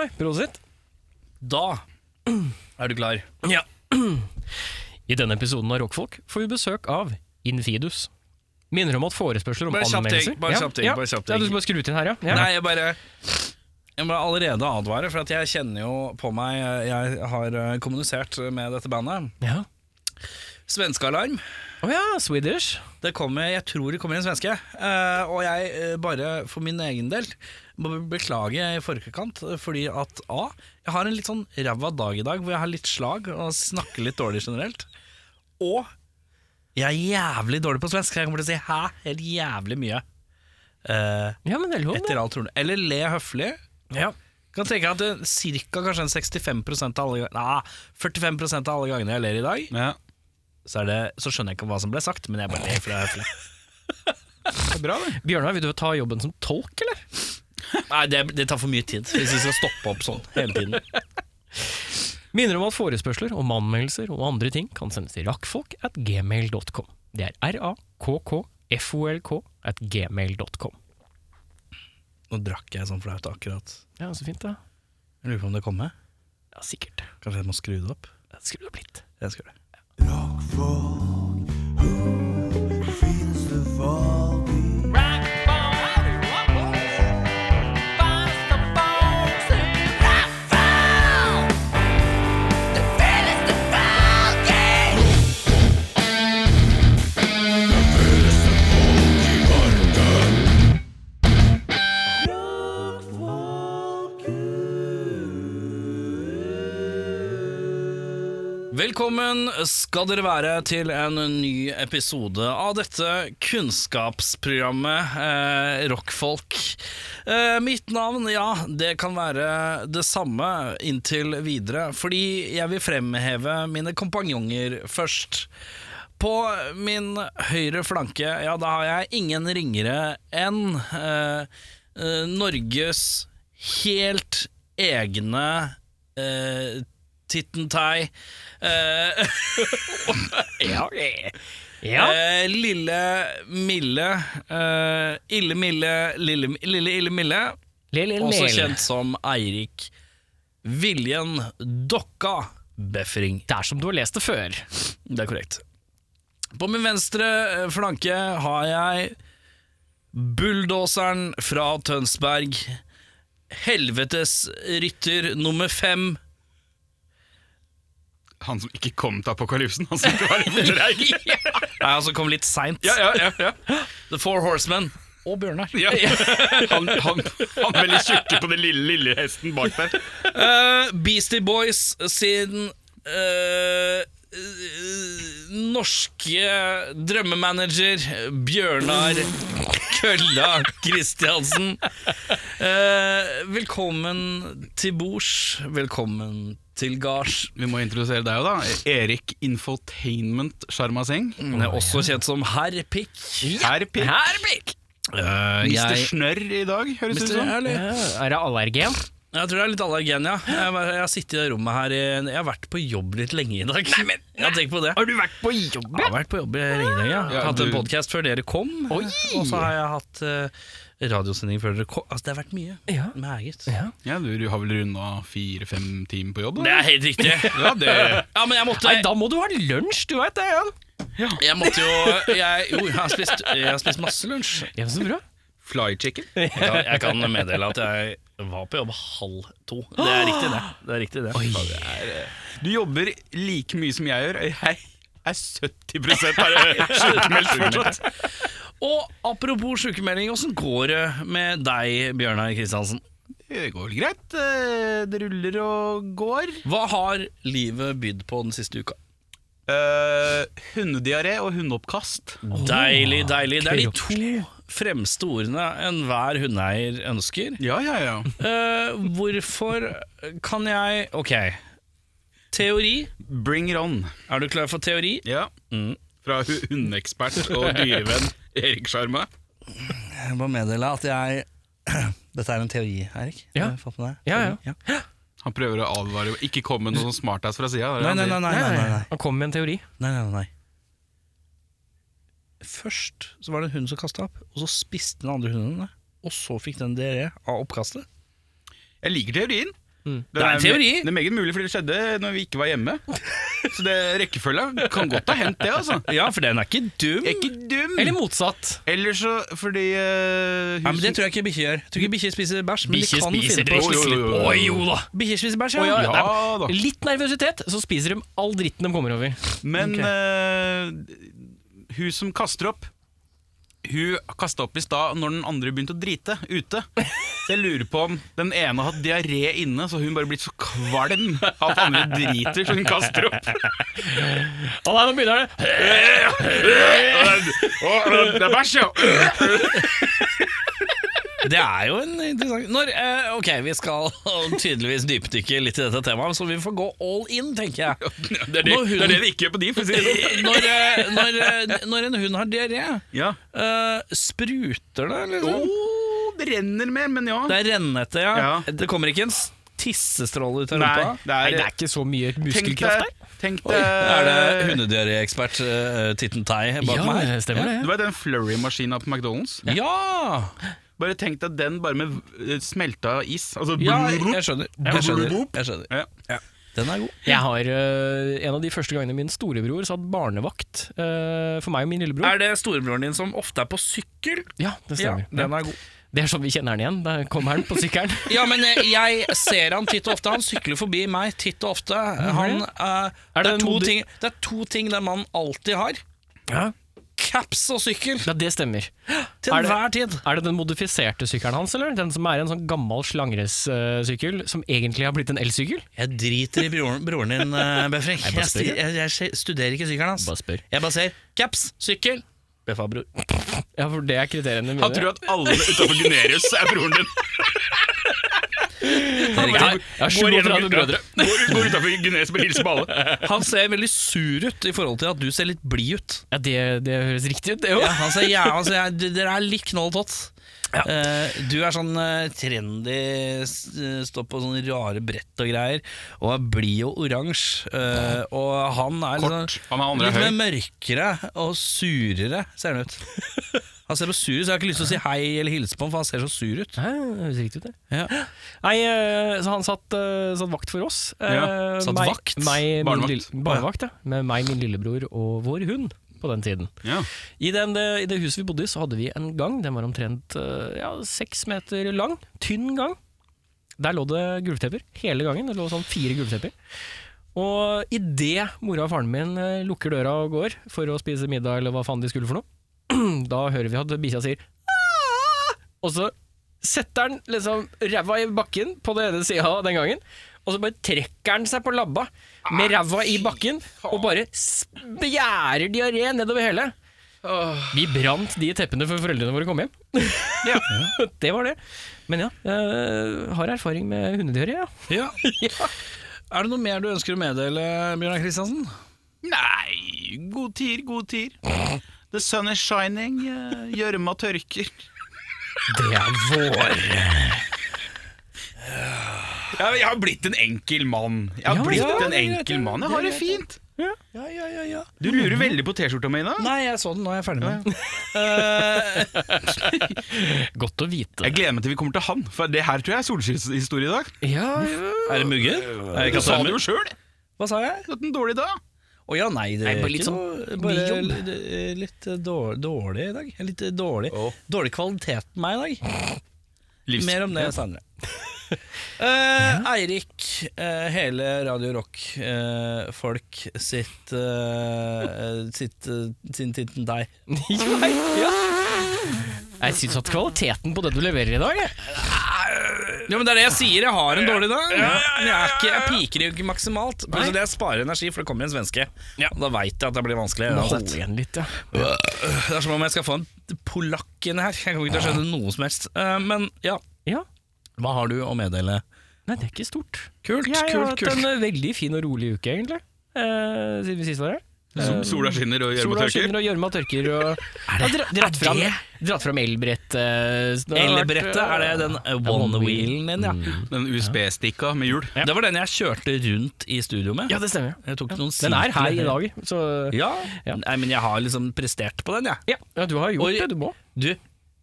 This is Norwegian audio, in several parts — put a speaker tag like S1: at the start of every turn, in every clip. S1: Oi, prosit.
S2: Da er du klar.
S1: Ja. I denne episoden av Rockfolk får vi besøk av Infidus. Minner om at forespørsler om
S2: Bare kjapt ting,
S1: anmeldelser
S2: bare
S1: Ja,
S2: kjapt ting,
S1: ja.
S2: bare kjapt
S1: Ja, du
S2: ting.
S1: skal bare skru til den her, ja? ja.
S2: Nei, jeg bare jeg må allerede advare, for at jeg kjenner jo på meg Jeg har eh, kommunisert med dette bandet.
S1: Ja.
S2: Svenskealarm.
S1: Å ja, Swedish.
S2: Det kommer, jeg tror det kommer en svenske. eh, og jeg eh, bare for min egen del må be- beklage i forkant, eh, fordi at A. Jeg har en litt sånn ræva dag i dag, hvor jeg har litt slag og snakker litt dårlig generelt. Og jeg er jævlig dårlig på svensk. Jeg kommer til å si hæ helt jævlig mye. eh,
S1: Sånn, Ja, men det er lov, det.
S2: etter alt turnet. Eller le høflig.
S1: Ja.
S2: Kan tenke at det, cirka kanskje en 65 av alle gangene Nei, 45 av alle gangene jeg ler i dag,
S3: Ja.
S2: så, er det, så skjønner jeg ikke hva som ble sagt, men jeg bare ler fordi det er høflig.
S3: Det er bra, det.
S1: Bjørnar, vil du ta jobben som tolk, eller?
S2: Nei, det, det tar for mye tid hvis vi skal stoppe opp sånn hele tiden.
S1: Minner om at forespørsler om anmeldelser og andre ting kan sendes til rakkfolk at gmail.com. Det er r-a-k-k-f-o-l-k at gmail.com.
S2: Nå drakk jeg sånn flaut akkurat.
S1: Ja, så fint, da.
S2: Jeg lurer på om det kommer.
S1: Ja, sikkert.
S2: Kanskje jeg må skru det opp?
S1: Det skulle det blitt.
S2: Jeg skal gjøre det. Velkommen skal dere være til en ny episode av dette kunnskapsprogrammet eh, Rockfolk. Eh, mitt navn, ja, det kan være det samme inntil videre, fordi jeg vil fremheve mine kompanjonger først. På min høyre flanke, ja, da har jeg ingen ringere enn eh, eh, Norges helt egne eh, Tittentai. Eh,
S1: Ja, ja.
S2: eh, lille Mille. Eh, ille Mille, lille, lille Ille Mille.
S1: Lille
S2: Også
S1: Mel.
S2: kjent som Eirik Viljen Dokka Befring.
S1: Det er som du har lest det før.
S2: Det er korrekt. På min venstre eh, flanke har jeg bulldoseren fra Tønsberg. Helvetes rytter nummer fem.
S3: Han som ikke kom til apokalypsen. Han som ikke var i Reik.
S2: Nei, altså kom litt seint.
S3: Ja, ja, ja, ja.
S2: The Four Horsemen. Og Bjørnar.
S3: ja. Han, han, han veldig tjukke på den lille, lille hesten bak der.
S2: Eh, Beastie Boys sin eh, eh, norske drømmemanager Bjørnar Kølla Kristiansen. Eh, velkommen til bords. Velkommen til gards.
S3: Vi må introdusere deg òg, da. Erik Infotainment Sjarmaseng.
S2: Han er også kjent som Herr Pikk.
S3: Herr Pikk.
S1: Herpik!
S2: Eh,
S3: Mr.
S2: jeg,
S3: Snørr i dag, høres det ut
S2: Mr.
S3: som.
S2: Herlig.
S1: sånn? Ja, er det allergen?
S2: Jeg tror det er litt allergen, ja. Jeg, var- jeg har sittet i det rommet her i, Jeg har vært på jobb litt lenge i dag. Nei, men, Jeg har tenkt på det.
S1: Har du vært på jobb?
S2: Jeg har vært på jobb i lenge, ja. Jeg har
S3: Ja,
S2: hatt en
S3: du-
S2: podkast før dere kom,
S1: Oi!
S2: og så har jeg hatt eh, radiosending før dere kom. Altså, det har vært mye.
S1: Ja.
S2: Meget.
S1: Ja.
S3: Ja, du, du har vel runda fire-fem timer på jobb?
S2: Det
S3: Da.
S2: er helt riktig.
S3: Ja, det
S2: Ja, men jeg måtte
S1: Nei, da må du ha lunsj, du veit det, Jan.
S2: Jeg måtte jo jeg, Jo, jeg har spist, jeg har spist masse lunsj.
S1: Ja, så bra.
S3: Fly chicken.
S2: Jeg kan, jeg kan meddele at jeg var på jobb halv to. Det er riktig, det. det, er riktig, det.
S3: Du jobber like mye som jeg gjør. Jeg er 70 bare sjukmeldt fortsatt.
S2: Og apropos sykemelding, åssen går det med deg, Bjørnar Kristiansen?
S3: Det går vel greit. Eh, Det ruller og går.
S2: Hva har livet bydd på den siste uka?
S3: Uh, hundediaré og hundeoppkast.
S2: Deilig, deilig. Det er de to
S1: koselig.
S2: fremste ordene enhver hundeeier ønsker.
S3: Ja, ja, ja.
S2: Eh, hvorfor kan jeg Ok. Teori.
S3: Bring it on.
S2: Er du klar for teori?
S3: Ja.
S2: Mm.
S3: Fra hu- hundeekspert og dyrevenn Erik Sjarma.
S2: Jeg må meddele at jeg Dette er en teori, Eirik.
S1: Ja.
S2: Jeg fant med deg.
S1: Ja, ja.
S2: Ja.
S3: Han prøver å advare Ikke kom med noe sånn smartass fra sida.
S2: Nei, nei, nei, nei, nei, nei, nei.
S1: Han kom med en teori.
S2: nei, nei, nei. Først så var det en hund som kasta opp, og så spiste den andre hunden det. Og så fikk den diaré av oppkastet.
S3: Jeg liker teorien.
S2: Mm. Det er en teori.
S4: Det er meget mulig, for det skjedde når vi ikke var hjemme. Så det rekkefølga kan godt ha hendt, det. altså
S2: Ja, for den er ikke dum.
S4: Jeg er ikke dum!
S1: Eller motsatt.
S4: Eller så fordi
S2: Nei,
S4: eh,
S2: men Det
S4: huset-
S2: tror jeg ikke bikkjer gjør. Jeg tror ikke bikkjer spiser bæsj. men de
S1: Bikkjer
S2: kan
S1: spiser
S2: finne
S1: det
S2: på å-
S4: jo,
S1: skikkelig.
S4: jo, jo, jo.
S1: Å jo da!
S2: Bikkjer spiser bæsj,
S1: Å, ja,
S2: ja.
S1: ja.
S4: Ja da.
S1: Litt nervøsitet, så spiser de all dritten de kommer over.
S4: Men
S2: Ok.
S4: eh, hun som kaster opp Hun kasta opp i stad når den andre begynte å drite ute. Så jeg lurer på om den ene har hatt diaré inne, så hun bare blitt så kvalm av at andre driter, så hun kaster opp.
S1: Å nei, nå begynner det!
S4: det er bæsj, ja!
S2: Det er jo en interessant Når, eh, Ok, vi skal tydeligvis dypdykke litt i dette temaet, så vi får gå all in, tenker jeg.
S4: Det er det,
S2: Når hun-
S4: det, er det vi ikke gjør på de, for å si det sånn.
S2: Når, eh, når, eh, når en hund har diaré,
S4: Ja.
S2: eh, spruter det, liksom?
S4: Oh, det renner mer, men ja.
S2: Det er rennete, ja.
S4: Ja.
S2: Det kommer ikke en s- tissestråle ut av
S4: Nei,
S2: rumpa?
S4: det
S1: Nei,
S4: er,
S1: det er ikke så mye
S4: Tenk
S1: muskelkraft der.
S4: deg, tenk
S2: Oi, eh,
S4: deg
S2: er det hundediaréekspert uh, Titten Tei bak
S1: Ja,
S2: meg?
S1: det stemmer
S4: Du
S1: det.
S4: vet den flurry-maskina på McDonald's?
S2: Ja! ja.
S4: Bare tenk deg den bare med eh, smelta is. Altså,
S2: Ja, jeg skjønner. Jeg skjønner. Jeg skjønner.
S4: Ja.
S2: Den er god.
S1: Jeg har øh, En av de første gangene min storebror satt barnevakt øh, for meg og min lillebror.
S2: Er det storebroren din som ofte er på sykkel?
S1: Ja, det stemmer.
S2: den er god.
S1: Det er sånn vi kjenner den igjen. Der kommer han på sykkelen.
S2: Ja, men eh, jeg ser han titt og ofte. Han sykler forbi meg titt og ofte. Han, eh,
S1: Er det
S2: det, er
S1: en
S2: to
S1: modi-
S2: ting, det er to ting den mannen alltid har.
S1: Ja,
S2: Caps og sykkel.
S1: det stemmer.
S2: Til
S1: Er det-
S2: enhver tid.
S1: Er det den modifiserte sykkelen hans, eller? Den som er en sånn gammel slangresykkel, som egentlig har blitt en elsykkel?
S2: Jeg driter i broren, broren din, uh, Befring. Jeg,
S1: spør,
S2: sti- jeg, jeg studerer ikke sykkelen hans.
S1: spør.
S2: Jeg bare ser caps, sykkel. Beffa, bror.
S1: Ja, for det er kriteriene mine.
S4: Han tror at alle utafor Gunerius er broren din.
S1: jeg har, jeg har 37 brødre.
S4: Går, går utafor Gunerius og bare hilser på alle.
S2: Han ser veldig sur ut i forhold til at du ser litt blid ut.
S1: Ja, det, det høres riktig ut, det
S2: Ja,
S1: òg.
S2: han sier ja, han sier, "D- dere er litt knoll og tott. Eh, du er sånn eh, trendy, s- eh, står på sånne rare brett og greier, og er blid og oransje. eh, og han er
S4: Kort.
S2: liksom
S4: Altså, Han er andre
S2: litt
S4: er høy.
S2: mer mørkere og surere, ser han ut. Han ser så sur ut, så jeg har ikke lyst til å si hei eller hilse på ham, for han ser så sur ut.
S1: Hæ, det høres riktig ut, det.
S2: Ja.
S1: Nei, eh, så han satt, eh, satt vakt for oss. Eh,
S4: Ja,
S2: satt
S1: meg-
S2: vakt?
S1: Meg, min
S4: Barnevakt.
S1: lille- barnevakt, ja. Med meg, min lillebror og vår hund på den tiden.
S4: Ja.
S1: I, den, eh, I det huset vi bodde i, så hadde vi en gang. Den var omtrent eh, ja, seks meter lang. Tynn gang. Der lå det gulvtepper hele gangen. Det lå sånn fire gulvtepper. Og idet mora og faren min eh, lukker døra og går for å spise middag, eller hva faen de skulle for noe, da hører vi at bikkja sier «Aah!» Og så setter han liksom ræva i bakken på den ene sida den gangen, og så bare trekker han seg på labba med ræva i bakken og bare spjærer diaré nedover hele. Vi brant de teppene før foreldrene våre kom hjem.
S4: Ja.
S1: det var det. Men ja, jeg har erfaring med hundediaré, ja.
S2: Ja. Er det noe mer du ønsker å meddele, Bjørnar Kristiansen?
S4: Nei, god tier, god tier. The sun is shining, eh, gjørma tørker.
S1: Det er vår.
S4: Ja, jeg har blitt en enkel mann. Jeg har
S1: Ja,
S4: blitt
S1: ja,
S4: en
S1: det vet
S4: enkel
S1: jeg.
S4: mann. Jeg Mhm. har det fint.
S2: Ja, ja, ja, ja.
S4: Du lurer veldig på T-skjorta mi i dag.
S2: Nei, jeg så den, nå er jeg ferdig med den. Eh,
S1: Godt å vite.
S4: Jeg gleder meg til vi kommer til han, for det her tror jeg er solskinnshistorie i dag.
S1: Ja,
S2: Er det mugger? Er det
S4: Du sa det
S2: kastanjer?
S4: jo sjøl. Du
S2: Hva sa jeg?
S4: har hatt en dårlig dag.
S2: Å ja, nei, det
S1: Nei,
S2: er
S1: bare
S2: ikke
S1: litt
S2: noe-
S1: sånn
S2: bare
S1: jobb.
S2: litt, eh, litt eh, dår- dårlig i dag. Jeg er Litt eh, dårlig
S4: Å.
S2: Dårlig kvalitet på meg i dag.
S4: Livs-
S2: Mer om det senere. Eh, Eirik, eh, hele Radio Rock-folk sitt, eh, eh, sitt eh, sin titten deg.
S1: ja, ja. Jeg syns at kvaliteten på det du leverer i dag jeg.
S2: Ja, men Det er det jeg sier, jeg har en dårlig dag. Men jeg, er ikke, jeg piker jo ikke maksimalt. Plutselig det jeg sparer energi, for det kommer en svenske. Og Da veit jeg at det blir vanskelig.
S1: Må
S2: uansett.
S1: holde igjen litt, ja.
S2: Det er som om jeg skal få en polakk inn her. Jeg kommer ikke til å skjønne noe som helst. Eh, men ja,
S1: ja.
S2: hva har du å meddele?
S1: Nei, det er ikke stort.
S2: Kult,
S1: Jeg har
S2: kult,
S1: hatt
S2: kult.
S1: en eh, veldig fin og rolig uke, egentlig. Eh, siden vi sist var her.
S4: Som Sola skinner og gjørma
S1: Sola
S4: tørker.
S1: skinner og gjørma tørker. Og, er det, dratt, fram, dratt fram elbrett. eh, så det har vært,
S2: Elbrettet,
S1: eh, Mm.
S2: er det den eh, one-wheelen din, ja?
S4: Den USB-stikka med hjul.
S2: Det var den jeg kjørte rundt i studio med.
S1: Ja, det stemmer.
S2: Jeg tok noen
S1: Den er her i
S2: simpler-
S1: dag, så
S2: Ja.
S1: Ja.
S2: Nei, men jeg har liksom prestert på den, jeg.
S1: ja, ja du har gjort
S2: Oi.
S1: det du må.
S2: Du,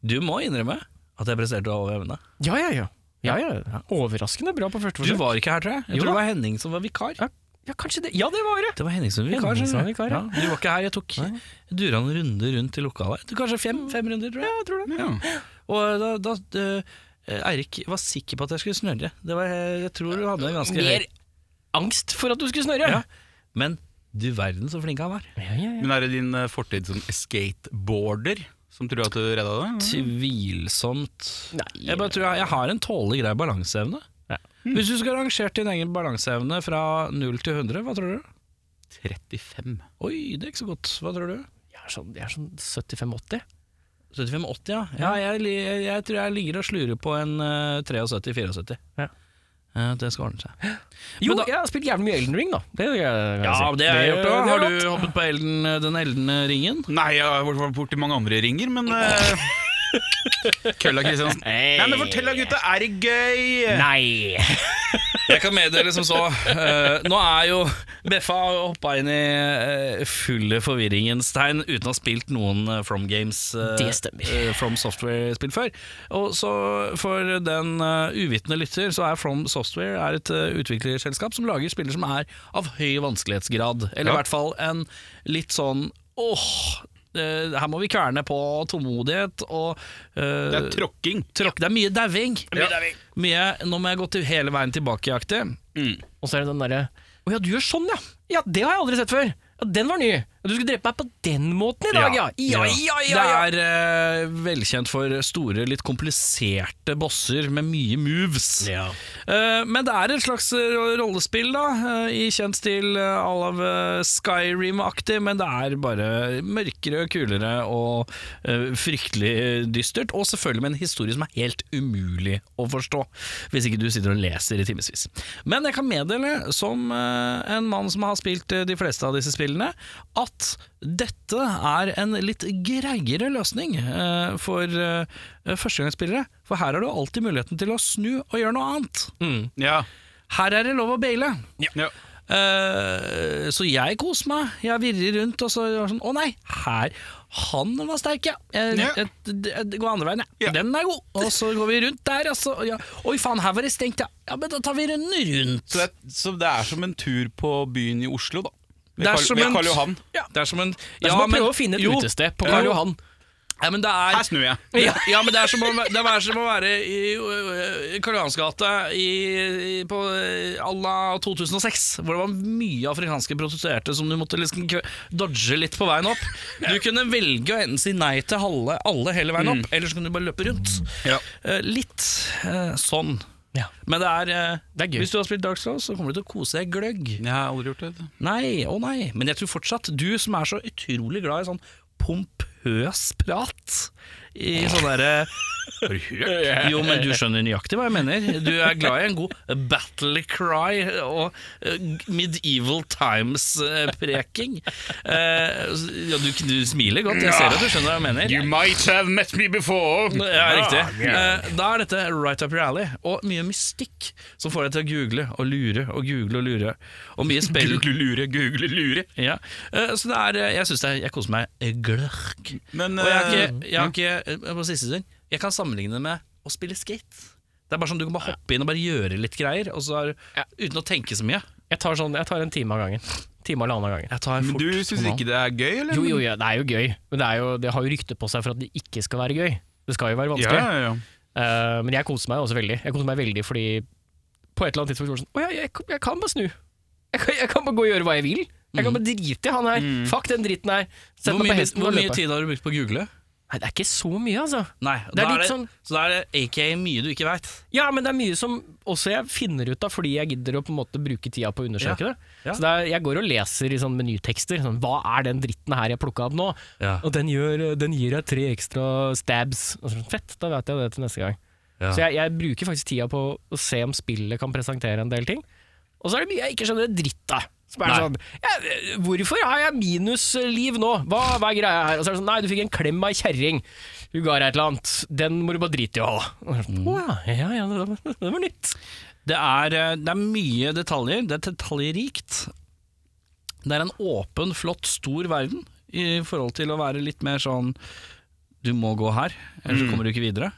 S2: du må innrømme at jeg presterte over evne.
S1: Ja, ja, ja. Ja, ja, ja. Overraskende bra på første
S2: Du
S1: forsøk.
S2: var ikke her, tror jeg. Jeg
S1: Jo da.
S2: tror det var Henning som var vikar.
S1: Ja, ja, kanskje det. Ja, det var det!
S2: Det var Henning som var vikar.
S1: Henning som var
S2: skjønner du.
S1: vikar,
S2: ja.
S1: ja.
S2: Du var ikke her. Jeg tok dura en runde rundt i lokalet. Du, Kanskje fem, fem runder, tror jeg.
S3: Ja.
S2: Og da, da eh, Eirik var sikker på at jeg skulle snørre. Det var, jeg tror du hadde en ganske
S1: Mer
S2: høy
S1: angst for at du skulle snørre.
S2: ja. Men du verden så flink han var.
S1: Ja, ja, ja.
S3: Men er det din eh, fortid som skateboarder som tror at du redda det?
S2: Tvilsomt.
S1: Mm. Nei,
S2: Jeg bare tror jeg, jeg har en tålelig grei balanseevne.
S1: Ja.
S2: Hvis du skulle rangert din egen balanseevne fra 0 til 100, hva tror du?
S3: 35.
S2: Oi, det er ikke så godt. Hva tror du?
S1: Jeg er sånn, jeg er sånn 75-80.
S2: 75-80, ja. ja jeg, li- jeg, jeg tror jeg ligger og slurer på en eh, 73-74.
S1: Ja.
S2: det skal ordne seg.
S1: Jo,
S2: Men da-
S1: jeg har spilt jævlig mye Elden Ring, da. Det, jeg,
S2: da. Har du hoppet på elden, eh, den eldende ringen?
S3: Nei, jeg har vært borti mange andre ringer, men eh, Kølla Kristiansen. Nei, men fortell da, gutta, er det gøy?
S1: Nei!
S2: Jeg kan meddele som så. eh, nå er jo Beffa har hoppa inn i uh, fulle forvirringens tegn uten å ha spilt noen eh, From Games eh,
S1: Det stemmer.
S2: eh, From Software-spill før. Og så For den eh, uvitende lytter, så er From Software er et eh, utviklerselskap som lager spiller som er av høy vanskelighetsgrad. Eller
S3: Ja.
S2: i hvert fall en litt sånn åh eh, her må vi kverne på tålmodighet og eh,
S3: Det er tråkking.
S2: tråkk. Det er mye dauing.
S3: Ja.
S2: Mye, nå må jeg gå til hele veien tilbake-aktig.
S1: Og så er det den derre Å ja, du gjør sånn, ja! Ja, det har jeg aldri sett før! Ja, den var ny! Ja, du skulle drepe meg på den måten i dag, ja! Ja, ja, ja, ja.
S2: Det er eh, velkjent for store, litt kompliserte bosser med mye moves. Eh, men det er et slags eh, rollespill, da, eh, i kjent stil eh, à la eh, Skyrim-aktig, men det er bare mørkere, kulere og eh, fryktelig dystert. Og selvfølgelig med en historie som er helt umulig å forstå, hvis ikke du sitter og leser i timevis. Men jeg kan meddele, som eh, en mann som har spilt eh, de fleste av disse spillene, at dette er en litt greiere løsning eh, for eh, førstegangsspillere. For her har du alltid muligheten til å snu og gjøre noe annet.
S3: Ja.
S2: Her er det lov å baile.
S3: ja.
S2: Eh, så jeg koser meg. Jeg virrer rundt, og så er det sånn Å nei, her Han var sterk, ja. Jeg,
S3: Ja.
S2: jeg, jeg, jeg går andre veien, jeg.
S3: Ja.
S2: Den er god. Og så går vi rundt der, altså. Ja. Oi faen, her var det stengt, ja. ja. Men da tar vi runden rundt.
S3: Så, det, så det er som en tur på byen i Oslo, da. Ved,
S2: Det er
S3: Karl-
S2: som
S3: ved
S2: en-
S3: Karl Johan.
S2: Ja. Det er som en
S1: Det er som å prøve å finne et utested på Karl
S2: Jo.
S1: Johan.
S2: Ja, men det er
S3: Her snur jeg.
S2: Ja, ja, men det er som å, det er som å være i øh, Karl Johans gate i, i, på øh, à la 2006, hvor det var mye afrikanske prostituerte som du måtte liksom kve- dodge litt på veien opp. Du kunne velge å enten si nei til alle, alle hele veien
S1: Mm.
S2: opp, eller så kunne du bare løpe rundt.
S3: Ja.
S2: Eh, litt eh, sånn.
S1: Ja.
S2: Men det er, eh,
S1: Det er gøy.
S2: hvis du har spilt Dark Souls, så kommer du til å kose deg gløgg.
S3: Jeg har aldri gjort det.
S2: Nei, å nei. Men jeg tror fortsatt du som er så utrolig glad i sånn pompøs prat i sånn derre
S3: Har du hørt?
S2: Jo, men du skjønner nøyaktig hva jeg mener. Du er glad i en god battle cry og eh, medieval times-preking. Eh, ja, du, du smiler godt. Jeg ser at du skjønner hva jeg mener.
S3: might have met me before.
S2: Ja, riktig. Eh, Da er dette right up your alley, og mye mystikk som får deg til å google og lure og google og lure. Og mye spill
S3: Google lure, google lure.
S2: Ja. eh, så det er, eh, jeg synes det er, jeg koser meg eh, glørk.
S3: Men,
S2: og jeg har
S3: eh,
S2: ikke, jeg har ikke eh, på siste stund, jeg kan sammenligne det med å spille skate. Det er bare sånn Du kan bare hoppe inn og bare gjøre litt greier, og så er,
S1: Ja.
S2: uten å tenke så mye.
S1: Jeg tar, sånn, jeg tar en time av gangen. Time eller annen av gangen.
S2: Jeg tar
S3: eh, Men
S2: fort
S3: du syns
S2: hånda.
S3: ikke det er gøy, eller?
S1: Jo, jo, ja, det er jo gøy, men det, er jo, det har jo rykte på seg for at det ikke skal være gøy. Det skal jo være
S3: Ja,
S1: vanskelig.
S3: ja, ja.
S1: Eh, men jeg koser meg også veldig. Jeg koser meg veldig fordi på et eller annet tidspunkt var det sånn Å ja, jeg, jeg kan bare snu. Jeg kan, jeg kan bare gå og gjøre hva jeg vil. Jeg kan bare drite i han her. Fuck den dritten her. Sett
S2: Mm. Hvor
S1: meg på
S2: mye,
S1: hesten
S2: hvor
S1: og
S2: mye
S1: løpe.
S2: tid har du brukt på å google?
S1: Nei, det er ikke så mye, altså.
S2: Nei,
S1: Det er
S2: da
S1: litt sånn-
S2: Så da er det aka mye du ikke veit.
S1: Ja, men det er mye som også jeg finner ut av fordi jeg gidder å på en måte bruke tida på å undersøke
S2: Ja.
S1: det.
S2: Ja.
S1: Så det er, jeg går og leser i sånn menytekster. Sånn, Hva er den dritten her jeg plukka opp nå?
S2: Ja.
S1: Og den, gjør, den gir deg tre ekstra stabs. Og sånn, Fett, da vet jeg det til neste gang.
S2: Ja.
S1: Så jeg, jeg bruker faktisk tida på å se om spillet kan presentere en del ting. Og så er det mye jeg ikke skjønner en dritt av. Som er
S2: Nei.
S1: sånn, ja, hvorfor har jeg minusliv nå? Hva, hva er greia her? Og så er det sånn, nei, du fikk en klem av ei kjerring. Hun ga deg et eller annet. Den må du bare drite i å ha. Og så er det sånn,
S2: Mm.
S1: Å ja, ja, ja, det var- det var nytt.
S2: Det er, eh, det er mye detaljer. Det er detaljrikt. Det er en åpen, flott, stor verden
S3: Mm.
S2: i forhold til å være litt mer sånn Du må gå her, ellers så kommer du ikke videre.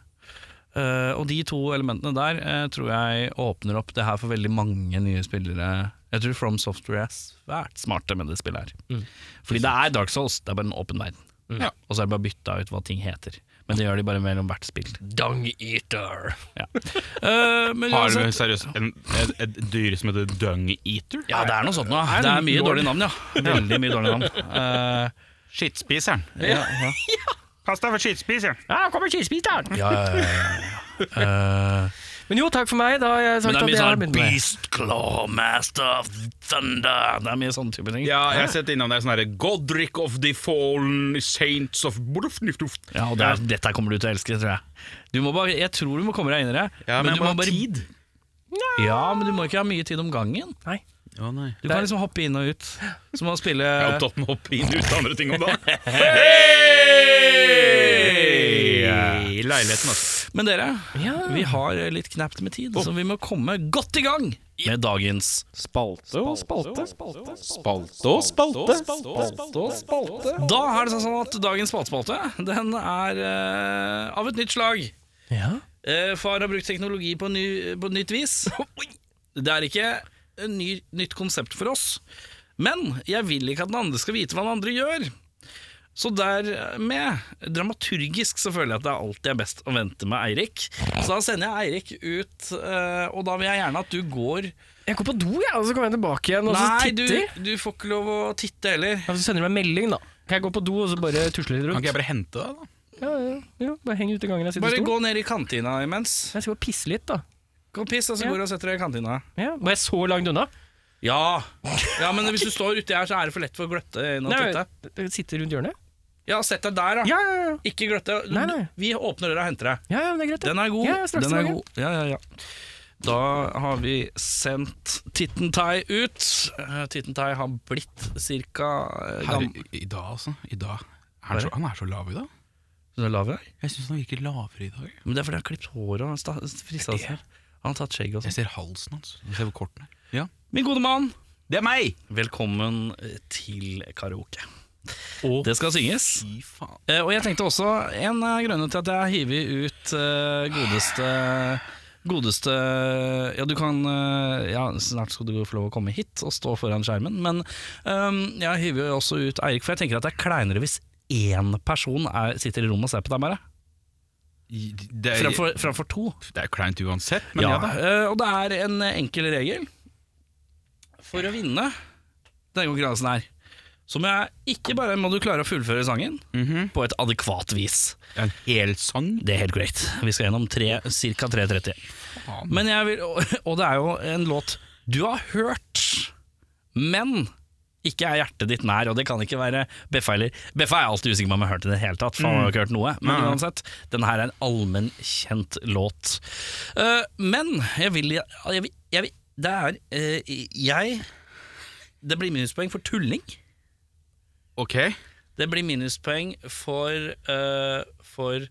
S2: Eh, og de to elementene der eh, tror jeg åpner opp det her for veldig mange nye spillere. Jeg tror From Software er svært smarte med det spillet her.
S3: Mm.
S2: Fordi det er Dark Souls, det er bare en åpen verden.
S3: Ja.
S2: Og så er det bare bytta ut hva ting heter. Men det gjør de bare mellom hvert spill.
S1: Dung Eater.
S2: Ja. Eh, men
S3: Har du
S2: uansett-
S3: seriøst en, et, et dyr som heter dung eater?
S2: Ja, det er noe sånt nå. Det er mye dårlige navn, ja. Veldig mye dårlige navn. Eh,
S3: Skittspiseren.
S2: ja, ja.
S3: Kast deg for skittspiseren.
S1: Ja, kommer cheesebeateren!
S2: Ja, ja, ja, ja, ja. Eh,
S1: Men jo, takk for meg. Da har jeg
S2: men
S1: sagt
S2: det er
S1: at
S2: mye
S1: jeg har
S2: sånn
S1: begynt med det.
S2: Beast Claw Master of Thunder Det er mye sånne type ting.
S3: Ja, jeg har sett innom der sånn herre Godric of the Fallen Saints of Borfniftoft.
S2: Ja, og det er, dette kommer du til å elske, tror jeg. Du må bare, jeg tror du må komme deg inn i det.
S3: Ja, men
S2: du
S3: jeg må
S2: må
S3: ha tid.
S2: Ja, men du må ikke ha mye tid om gangen.
S1: Nei.
S3: Å nei.
S2: Du kan liksom hoppe inn og ut. Som å spille
S3: Jeg er opptatt med å hoppe inn og ut av andre ting om dagen. I leiligheten, altså.
S2: Men dere,
S1: Ja.
S2: vi har litt knapt med tid, så vi må komme godt i gang med dagens
S1: Spalte og spalte. spalte.
S3: Spalte og spalte. Spalte og spalte.
S2: Da er det sånn at dagens matespalte, den er eh, av et nytt slag.
S1: Ja.
S2: Eh, far har brukt teknologi på, ny, på nytt vis. Oi! Det er ikke en ny, nytt konsept for oss. Men jeg vil ikke at den andre skal vite hva den andre gjør. Så dermed, dramaturgisk, så føler jeg at det er alltid er best å vente med Eirik. Så da sender jeg Eirik ut, eh, og da vil jeg gjerne at du går
S1: Jeg går på do, jeg, og så kommer jeg tilbake igjen og så
S2: Nei, du,
S1: titter.
S2: du får ikke lov å titte heller.
S1: Ja, så sender du meg melding, da. Kan jeg gå på do og så bare tusle litt rundt?
S3: Kan ikke jeg bare hente deg, da?
S1: Ja, ja, ja. Bare heng ute i gangen jeg sitter
S2: Bare
S1: i stolen.
S2: gå ned i kantina imens.
S1: Jeg skal bare pisse litt, da.
S2: Gå og piss, og så går du og setter deg i kantina.
S1: Ja. Var jeg så langt unna?
S2: Ja. ja, men hvis du står uti her, så er det for lett for å gløtte inn og titte.
S1: Nei, sitte rundt hjørnet?
S2: Ja, sett deg der, da.
S1: Ja, ja, ja.
S2: Ikke gløtte.
S1: Nei, nei.
S2: Vi åpner døra og henter deg.
S1: ja, ja men det er greit. det.
S2: Den er god.
S1: Ja, jeg er straks
S2: Den er
S1: tilbake.
S2: god. Ja, ja, ja. Da har vi sendt Tittentai ut. Eh, Tittentai har blitt eh, ca.
S3: Her,
S2: gammel.
S3: I dag, altså. I dag. Er han, så, han er så lav i dag.
S2: Du er lav i dag?
S3: Jeg syns han virker lavere i dag.
S2: Men det er fordi han har klippet håret og sta- frista seg. Han har tatt skjegg og
S3: Jeg
S2: sånn.
S3: ser halsen hans. Jeg ser hvor kort den er. Ja.
S2: Min gode mann,
S3: Det er meg!
S2: velkommen til karaoke.
S3: Å.
S2: Det skal synges.
S3: Fy faen.
S2: Eh, og jeg tenkte også, en av grunnene til at jeg har hivet ut eh, godeste Godeste Ja, du kan eh, Ja, snart skal du få lov å komme hit og stå foran skjermen, men ehm, jeg hiver jo også ut Eirik, for jeg tenker at det er kleinere hvis én person er, sitter i rommet og ser på deg, bare.
S3: I- Det er,
S2: Framfor, framfor to.
S3: det er kleint uansett, men ja, da.
S2: eh, og det er en enkel regel. For å vinne denne konkurransen her, så må jeg ikke bare må du klare å fullføre sangen
S3: mhm.
S2: på et adekvat vis.
S3: En hel sang.
S4: Mm.
S2: Det er helt korrekt. Vi skal gjennom tre, ca. 3.30. Men jeg vil, og, og det er jo en låt du har hørt, men ikke er hjertet ditt nær, og det kan ikke være Beffa heller. Beffa er jeg alltid usikker på om jeg har hørt i det hele tatt, for han har jo ikke hørt noe. Men uansett, den her er en allmennkjent låt. Eh, men jeg vil, jeg vil, jeg vil Det er eh, Jeg Det blir minuspoeng for tulling.
S3: Ok.
S2: Det blir minuspoeng for, eh, for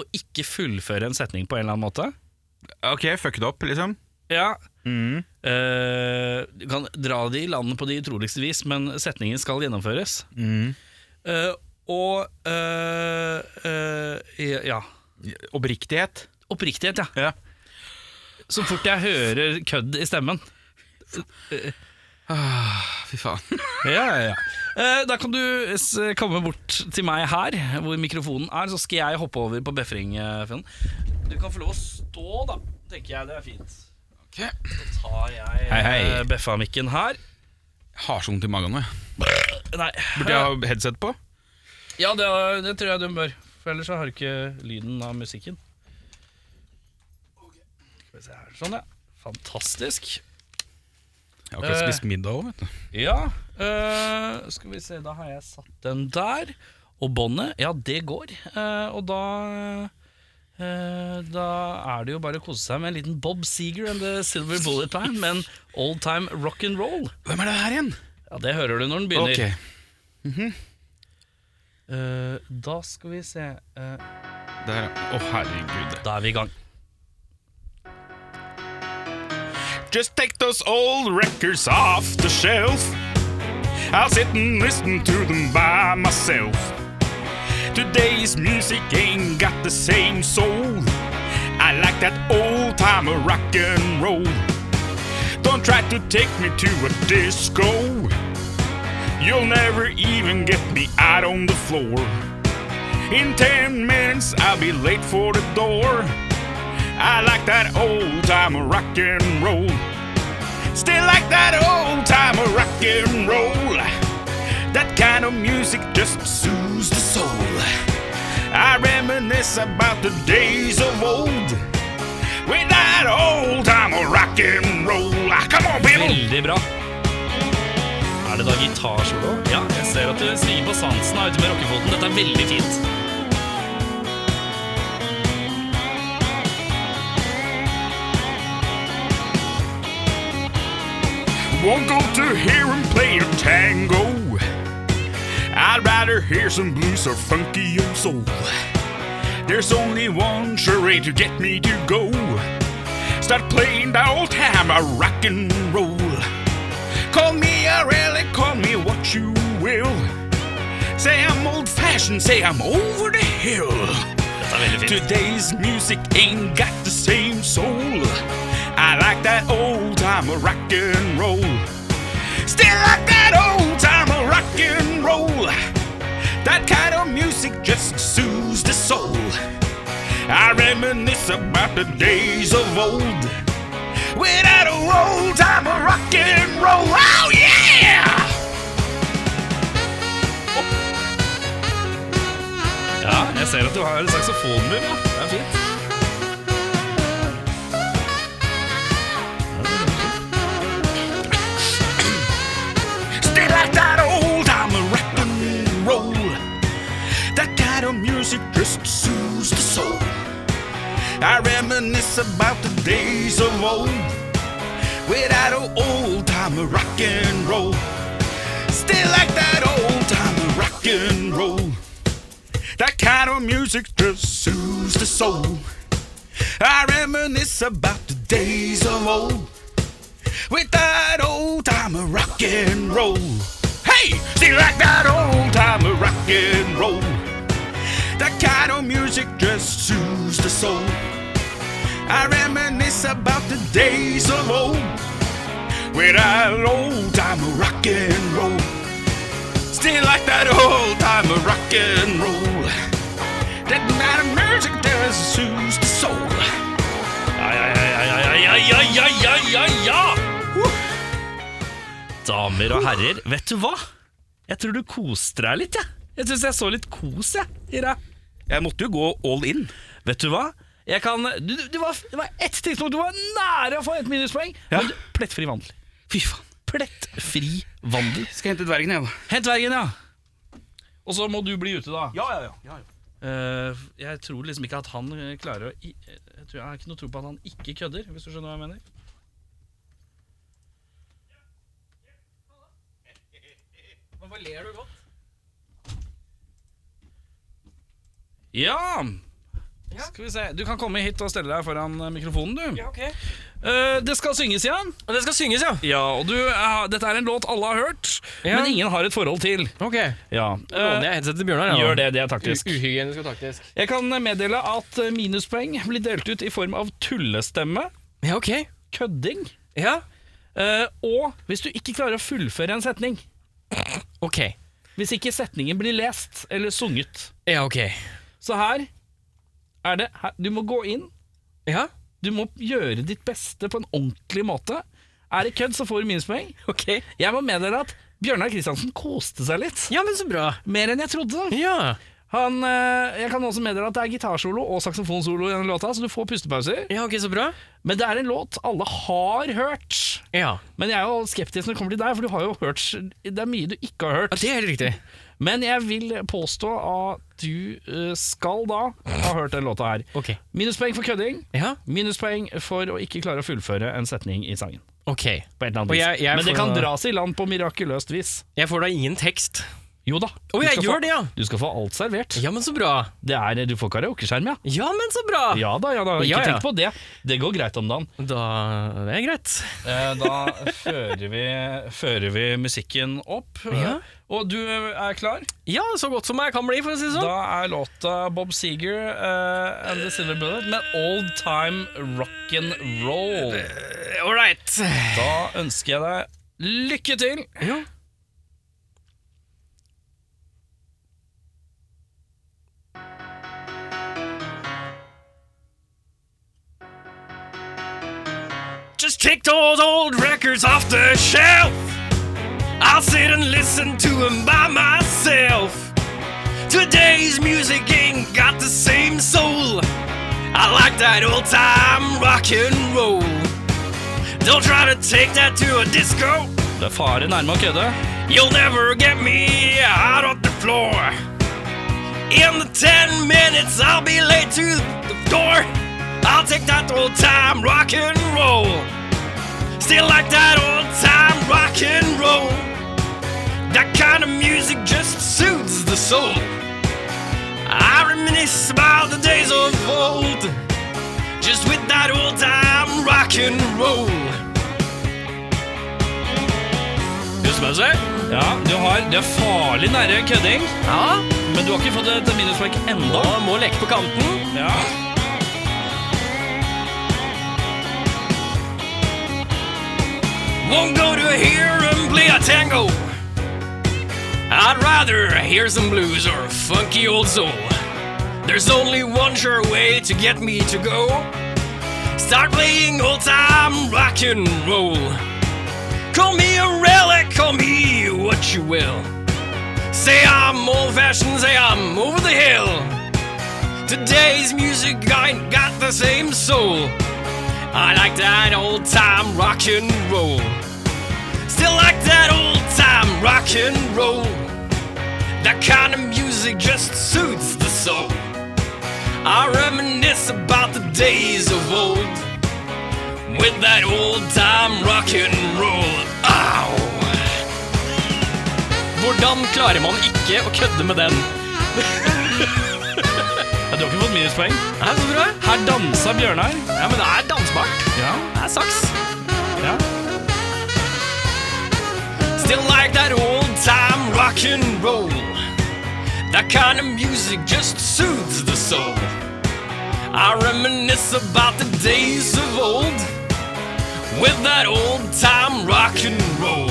S2: å ikke fullføre en setning på en eller annen måte.
S3: Ok, fuck it up, liksom.
S2: Ja. Eh, du kan dra det i landet på de utroligste vis, men setningen skal gjennomføres. Eh, og eh, eh, ja.
S3: Oppriktighet.
S2: Oppriktighet, ja.
S3: Ja.
S2: Så fort jeg hører kødd i stemmen.
S3: Fy faen.
S2: Ja, ja, ja. Eh, Da kan du s- komme bort til meg her, hvor mikrofonen er, så skal jeg hoppe over på befring. eh, Finn. Du kan få lov å stå, da, tenker jeg. Det er fint.
S3: Ok.
S2: Så tar jeg
S3: Hei, hei.
S2: eh, beffa-mikken her.
S3: Har så vondt i magen nå. jeg.
S2: Nei.
S3: Burde jeg ha headset på?
S2: Ja, det, er- det tror jeg du bør. For ellers så har du ikke lyden av musikken. Skal vi se her. Sånn, ja. Fantastisk.
S3: Jeg har akkurat
S2: Eh.
S3: spist middag òg, vet du.
S2: Ja, eh, skal vi se, da har jeg satt den der. Og båndet, ja, det går. Eh, og da eh, Da er det jo bare å kose seg med en liten Bob Seger and The Silver Bullet Band med en old time rock and roll.
S3: Hvem er det her igjen?
S2: Ja, det hører du når den begynner.
S3: Ok.
S2: Eh, da skal vi se eh,
S3: Der. Å, herregud.
S2: Da er vi i gang.
S4: Just take those old records off the shelf. I'll sit and listen to them by myself. Today's music ain't got the same soul. I like that old timer rock and roll. Don't try to take me to a disco. You'll never even get me out on the floor. In 10 minutes, I'll be late for the door. I like that old timer rock and roll. Still like that old timer rock and roll. That kind of music just soothes the soul. I reminisce about the days of old. With that old timer rock and roll. Ah, Come on, people!
S2: Veldig bra. Er det da gitarsolo? Ja, jeg ser at du svinger på sansen her ute med rockefoten. Dette er veldig fint.
S4: Won't go to hear him play a tango. I'd rather hear some blues or funky old soul. There's only one charade to get me to go. Start playing the old time I rock and roll. Call me a relic, call me what you will. Say I'm old fashioned, say I'm over the hill.
S2: Dette er veldig fint.
S4: Today's music ain't got the same soul. I like that old timer rock and roll. Still like that old timer rock and roll. That kind of music just soothes the soul. I reminisce about the days of old. Without a old timer rock and roll. Oh yeah!
S2: Ja, jeg ser at du har saksofonlyd, ja. Det er fint.
S4: Stay like that old time rock and roll. That kind of music just soothes the soul. I reminisce about the days of old. Without an old time rock and roll. Still like that old time rock and roll. That kind of music just soothes the soul. I reminisce about the days of old with that old timer rock and roll. Hey, see like that old timer rock and roll. That kind of music just soothes the soul. I reminisce about the days of old with that old timer rock and roll. Still like that old timer rock and roll. That kind of music just soothes the soul.
S2: Ja, ja, ja, ja, ja, ja, ja, ja, ja, ja, ja. Damer og herrer, vet du hva? Jeg tror du koste deg litt, jeg. Jeg syns jeg så litt kos, jeg, i deg.
S5: Jeg måtte jo gå all in.
S2: Vet du hva? Jeg kan, du, du, det, var, det var ett tidspunkt du var nære å få et minuspoeng. Men du, plettfri vandel.
S5: Fy faen.
S2: Plettfri vandel.
S5: Skal hente dvergen, jeg, da.
S2: Hent dvergen, ja. Og så må du bli ute, da.
S5: Ja, ja, ja.
S2: Eh, jeg tror liksom ikke at han eh, klarer å i, eh, Jeg tror jeg har ikke noe tro på at han ikke kødder, hvis du skjønner hva jeg mener.
S1: Hva ler du godt?
S2: Ja! Skal vi se. Du kan komme hit og stelle deg foran eh, mikrofonen, du.
S1: Ja, ok.
S2: Eh, det skal synges igjen.
S1: Og det skal synges, ja?
S2: Ja, og du, eh, Dette er en låt alle har hørt,
S1: Ja.
S2: men ingen har et forhold til.
S1: Ok.
S2: Ja,
S1: Låner jeg headsetet til Bjørnar? jeg, da?
S2: Eh, Gjør det, det er taktisk.
S1: Uhygienisk og taktisk.
S2: Jeg kan meddele at eh, minuspoeng blir delt ut i form av tullestemme,
S1: Ja, ok.
S2: kødding,
S1: Ja.
S2: eh, og hvis du ikke klarer å fullføre en setning.
S1: Ok.
S2: Hvis ikke setningen blir lest eller sunget.
S1: Ja, ok.
S2: Så her er det her, Du må gå inn.
S1: Ja,
S2: Du må gjøre ditt beste på en ordentlig måte. Er det kødd, så får du minuspoeng.
S1: ok.
S2: Jeg må meddele at Bjørnar Kristiansen koste seg litt.
S1: Ja, men så bra.
S2: Mer enn jeg trodde.
S1: Ja.
S2: Han, eh, jeg kan også meddele at det er gitarsolo og saksofonsolo i denne låta, så du får pustepauser.
S1: Ja, ok, så bra.
S2: Men det er en låt alle har hørt.
S1: Ja.
S2: Men jeg er jo skeptisk når det kommer til deg, for du har jo hørt Det er mye du ikke har hørt.
S1: Det er helt riktig.
S2: Men jeg vil påstå at du eh, skal da ha hørt den låta her.
S1: Ok.
S2: Minuspoeng for kødding.
S1: Ja,
S2: Minuspoeng for å ikke klare å fullføre en setning i sangen.
S1: ok.
S2: På et eller
S1: Og
S2: annet vis.
S1: jeg- jeg
S2: Men det
S1: får
S2: kan
S1: da-
S2: dras i land på mirakuløst vis.
S1: Jeg får da ingen tekst.
S2: Jo da.
S1: Å,
S2: du
S1: jeg
S2: skal
S1: gjør
S2: få-
S1: det, ja.
S2: Du skal få alt servert.
S1: Ja, men så bra.
S2: Det er, du får karaokeskjerm, ja.
S1: Ja, men så bra!
S2: Ja da, ja da. Ikke
S1: Ja, ja.
S2: tenk på det. Det går greit om dagen.
S1: Da Det er greit.
S2: Eh, Da fører vi, fører vi musikken opp.
S1: Ja.
S2: Og du er klar?
S1: Ja, så godt som jeg kan bli, for å si det sånn.
S2: Da er låta Bob Seger eh, and The Silver Bullet med Old Time Rock'n'Roll.
S1: All right.
S2: Da ønsker jeg deg lykke til.
S1: Ja. Just take those old records off the shelf. I'll sit and listen to them by myself. Today's music ain't got the same soul. I like that old time rock and roll. Don't try to take that to a disco.
S2: Det er fare nærme å kødde.
S1: You'll never get me out of the floor. In the ten minutes, I'll be late to the door. I'll take that old time rock and roll. Still like that old time rock and roll. That kind of music just soothes the soul. I reminisce about the days of old. Just with that old time rock and roll. Husmøse?
S2: Ja, du har Det er farlig nære kødding,
S1: Ja?
S2: men du har ikke fått et minuspoeng ennå.
S1: Da må leke på kanten.
S2: Ja.
S1: Won't go to here and play a tango. I'd rather hear some blues or funky old soul. There's only one sure way to get me to go. Start playing old time rock and roll. Call me a relic, call me what you will. Say I'm old fashioned, say I'm over the hill. Today's music ain't got the same soul. I like that old time rock and roll. Still like that old time rock and roll. That kind of music just suits the soul. I reminisce about the days of old with that old time rock and roll. Ow! Hvordan klarer man ikke å kødde med den?
S2: Ja, du har ikke fått minuspoeng.
S1: Er det så bra?
S2: Her dansa Bjørnar.
S1: Ja, men det er dansbart.
S2: Ja.
S1: Det er saks.
S2: ja.
S1: Still like that old time rock and roll. That kind of music just soothes the soul. I reminisce about the days of old with that old time rock and roll.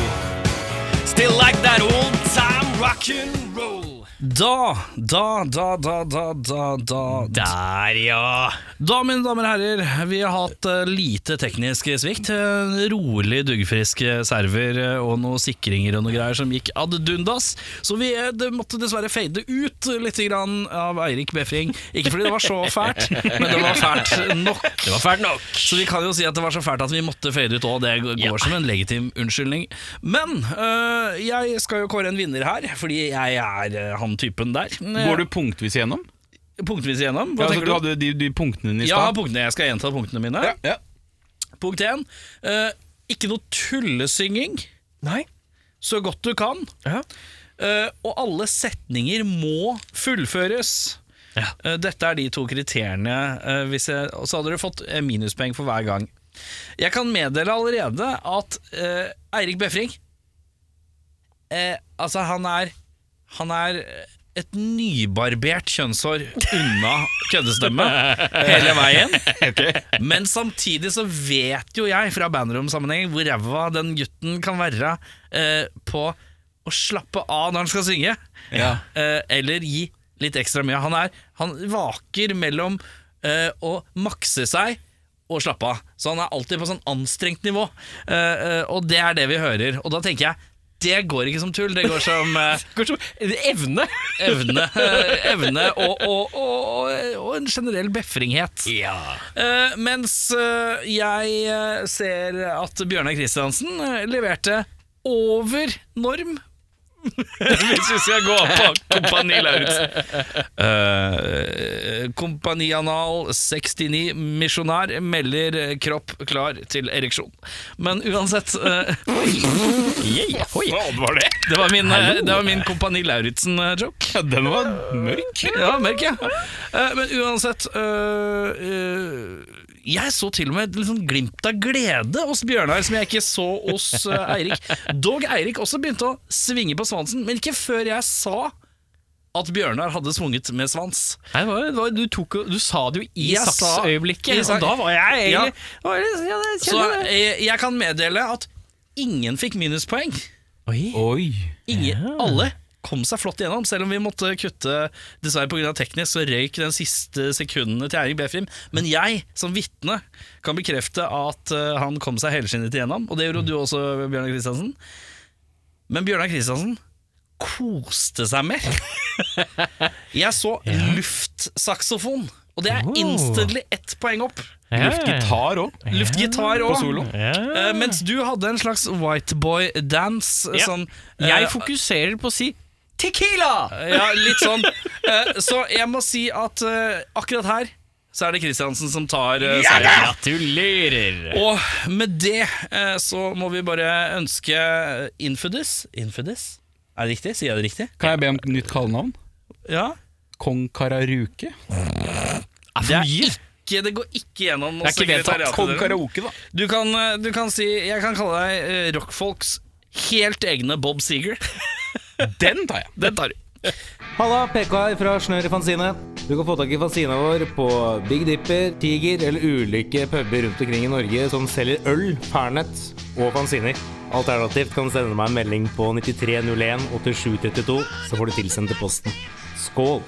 S1: Still like that old time rock and roll.
S2: Da, da, da, da, da, da, da
S1: Der, ja.
S2: Da, mine damer og herrer, vi har hatt eh, lite teknisk svikt. En rolig, duggfrisk server eh, og noen sikringer og noe greier som gikk ad dundas. Så vi eh, det måtte dessverre fade ut litt grann av Eirik Befring. Ikke fordi det var så fælt, men det var fælt nok.
S1: Det var fælt nok.
S2: Så vi kan jo si at det var så fælt at vi måtte fade ut òg. Det går
S1: Ja.
S2: som en legitim unnskyldning. Men eh, jeg skal jo kåre en vinner her, fordi jeg er eh, han typen der. Eh,
S3: Går du punktvis igjennom?
S2: punktvis igjennom?
S3: Ja,
S2: Hva
S3: altså,
S2: tenker
S3: du
S2: du?
S3: hadde de, de punktene dine i
S2: Ja,
S3: stad.
S2: punktene. Jeg skal gjenta punktene mine.
S3: ja.
S2: Punkt 1. ikke noe tullesynging.
S1: Nei.
S2: Så godt du kan.
S1: Ja.
S2: Eh, og alle setninger må fullføres.
S1: Ja.
S2: Eh, dette er de to kriteriene. eh, hvis jeg, og så hadde dere fått eh, minuspoeng for hver gang. Jeg kan meddele allerede at eh, Eirik Befring eh, Altså, han er Han er et nybarbert kjønnshår unna køddestemme hele veien. Men samtidig så vet jo jeg fra bandroom-sammenheng hvor ræva den gutten kan være eh, på å slappe av når han skal synge, eh, eller gi litt ekstra mye. Han, er, han vaker mellom eh, å makse seg og slappe av. Så han er alltid på sånn anstrengt nivå, eh, eh, og det er det vi hører. Og da tenker jeg det går ikke som tull, det går som eh,
S1: Kanskje evne?
S2: evne, eh, evne og, og, og, og, og en generell befringhet.
S1: Ja.
S2: Eh, mens eh, jeg eh, ser at Bjørnar Kristiansen eh, leverte over norm. Hvis vi skal gå på Kompani Lauritzen. Eh, Kompani Anal 69 Misjonær melder eh, kropp klar til ereksjon. Men uansett eh,
S1: Yeah. Oi.
S3: Hva var det?
S2: Det var min, eh, det var min Kompani Lauritzen-joke.
S3: Ja, den var mørk.
S2: Ja, merker jeg. Eh, Men uansett eh, eh, Jeg så til og med et litt sånn glimt av glede hos Bjørnar, som jeg ikke så hos eh, Eirik. Dog Eirik også begynte å svinge på svansen, men ikke før jeg sa at Bjørnar hadde svunget med svans.
S6: Nei, det var, det var, du, tok, jo- du sa det jo i
S2: Jeg sa-
S6: saksøyeblikket,
S2: i sak-
S6: og da var jeg
S2: Ja.
S6: egentlig var det- ja, det
S2: Så
S6: kjenner jeg.
S2: jeg, jeg kan meddele at ingen fikk minuspoeng.
S6: Oi.
S3: Oi.
S2: Ingen, Alle kom seg flott igjennom, selv om vi måtte kutte Dessverre pga. teknisk, så røyk den siste sekundene til Eirik Befrim. Men jeg, som vitne, kan bekrefte at eh, han kom seg helskinnet igjennom. Og det gjorde du også, Bjørnar Kristiansen. Men Bjørnar Kristiansen koste seg mer. Jeg så luftsaksofon, og det er
S6: Oh.
S2: instantly ett poeng opp.
S6: Ja.
S3: Luftgitar òg.
S2: Luftgitar
S3: På
S2: òg.
S3: solo.
S6: Ja.
S2: Eh, mens du hadde en slags whiteboy-dance.
S6: Ja.
S2: Sånn, eh,
S6: Jeg fokuserer på å si Tequila!
S2: Ja, litt sånn. Eh, Så jeg må si at eh, akkurat her så er det Kristiansen som tar eh, seieren.
S6: Gratulerer!
S2: Og med det eh, så må vi bare ønske Infudis Infudis? Er det riktig? Sier jeg det riktig?
S3: Kan jeg be om nytt kallenavn?
S2: Ja.
S3: Kong Kararuke?
S2: Det, er ikke, det går ikke gjennom
S6: Det er ikke vedtatt.
S2: sekretariatet deres.
S3: Karaoke, da.
S2: Du kan, eh, du kan si Jeg kan kalle deg eh, rockfolks helt egne Bob Seger.
S3: Den tar jeg.
S2: Den tar du.
S7: Halla, PK her fra Snør i Fanzine. Du kan få tak i fanzina vår på Big Dipper, Tiger eller ulike puber rundt omkring i Norge som selger øl, Fernet og fanziner. Alternativt kan du sende meg en melding på 9301 8732, så får du tilsendt til posten. Skål!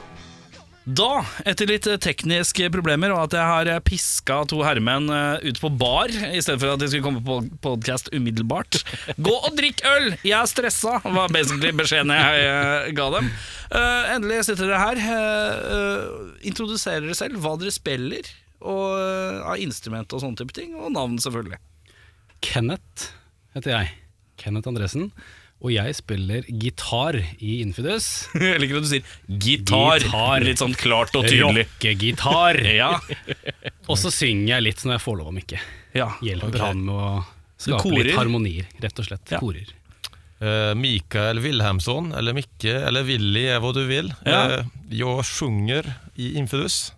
S2: Da, etter litt eh, tekniske problemer og at jeg har eh, piska to herremenn eh, ut på bar i stedet for at de skulle komme på podkast umiddelbart Gå og drikk øl! Jeg er stressa, var basically beskjeden jeg eh, ga dem. Eh, endelig sitter dere her. eh, eh, introduserer dere selv, hva dere spiller, og eh, av instrument og sånne type ting, og navn, selvfølgelig.
S1: Kenneth heter jeg. Kenneth Andresen. Og jeg spiller gitar i Infidus.
S2: Jeg liker at du sier gitar.
S1: Gitar.
S2: Litt sånn klart og tydelig.
S1: Rockegitar.
S2: Ja.
S1: Og så synger jeg litt når jeg får lov om ikke.
S2: ja.
S1: Hjelper
S2: Ok.
S1: han med å skape
S2: korer?
S1: litt harmonier, rett og slett.
S2: Ja.
S1: Korer.
S8: Eh, Mikael Wilhelmsson, eller Mikke, eller Willy är vad du vill.
S2: Ja.
S8: Eh, jag sjunger i Infidus.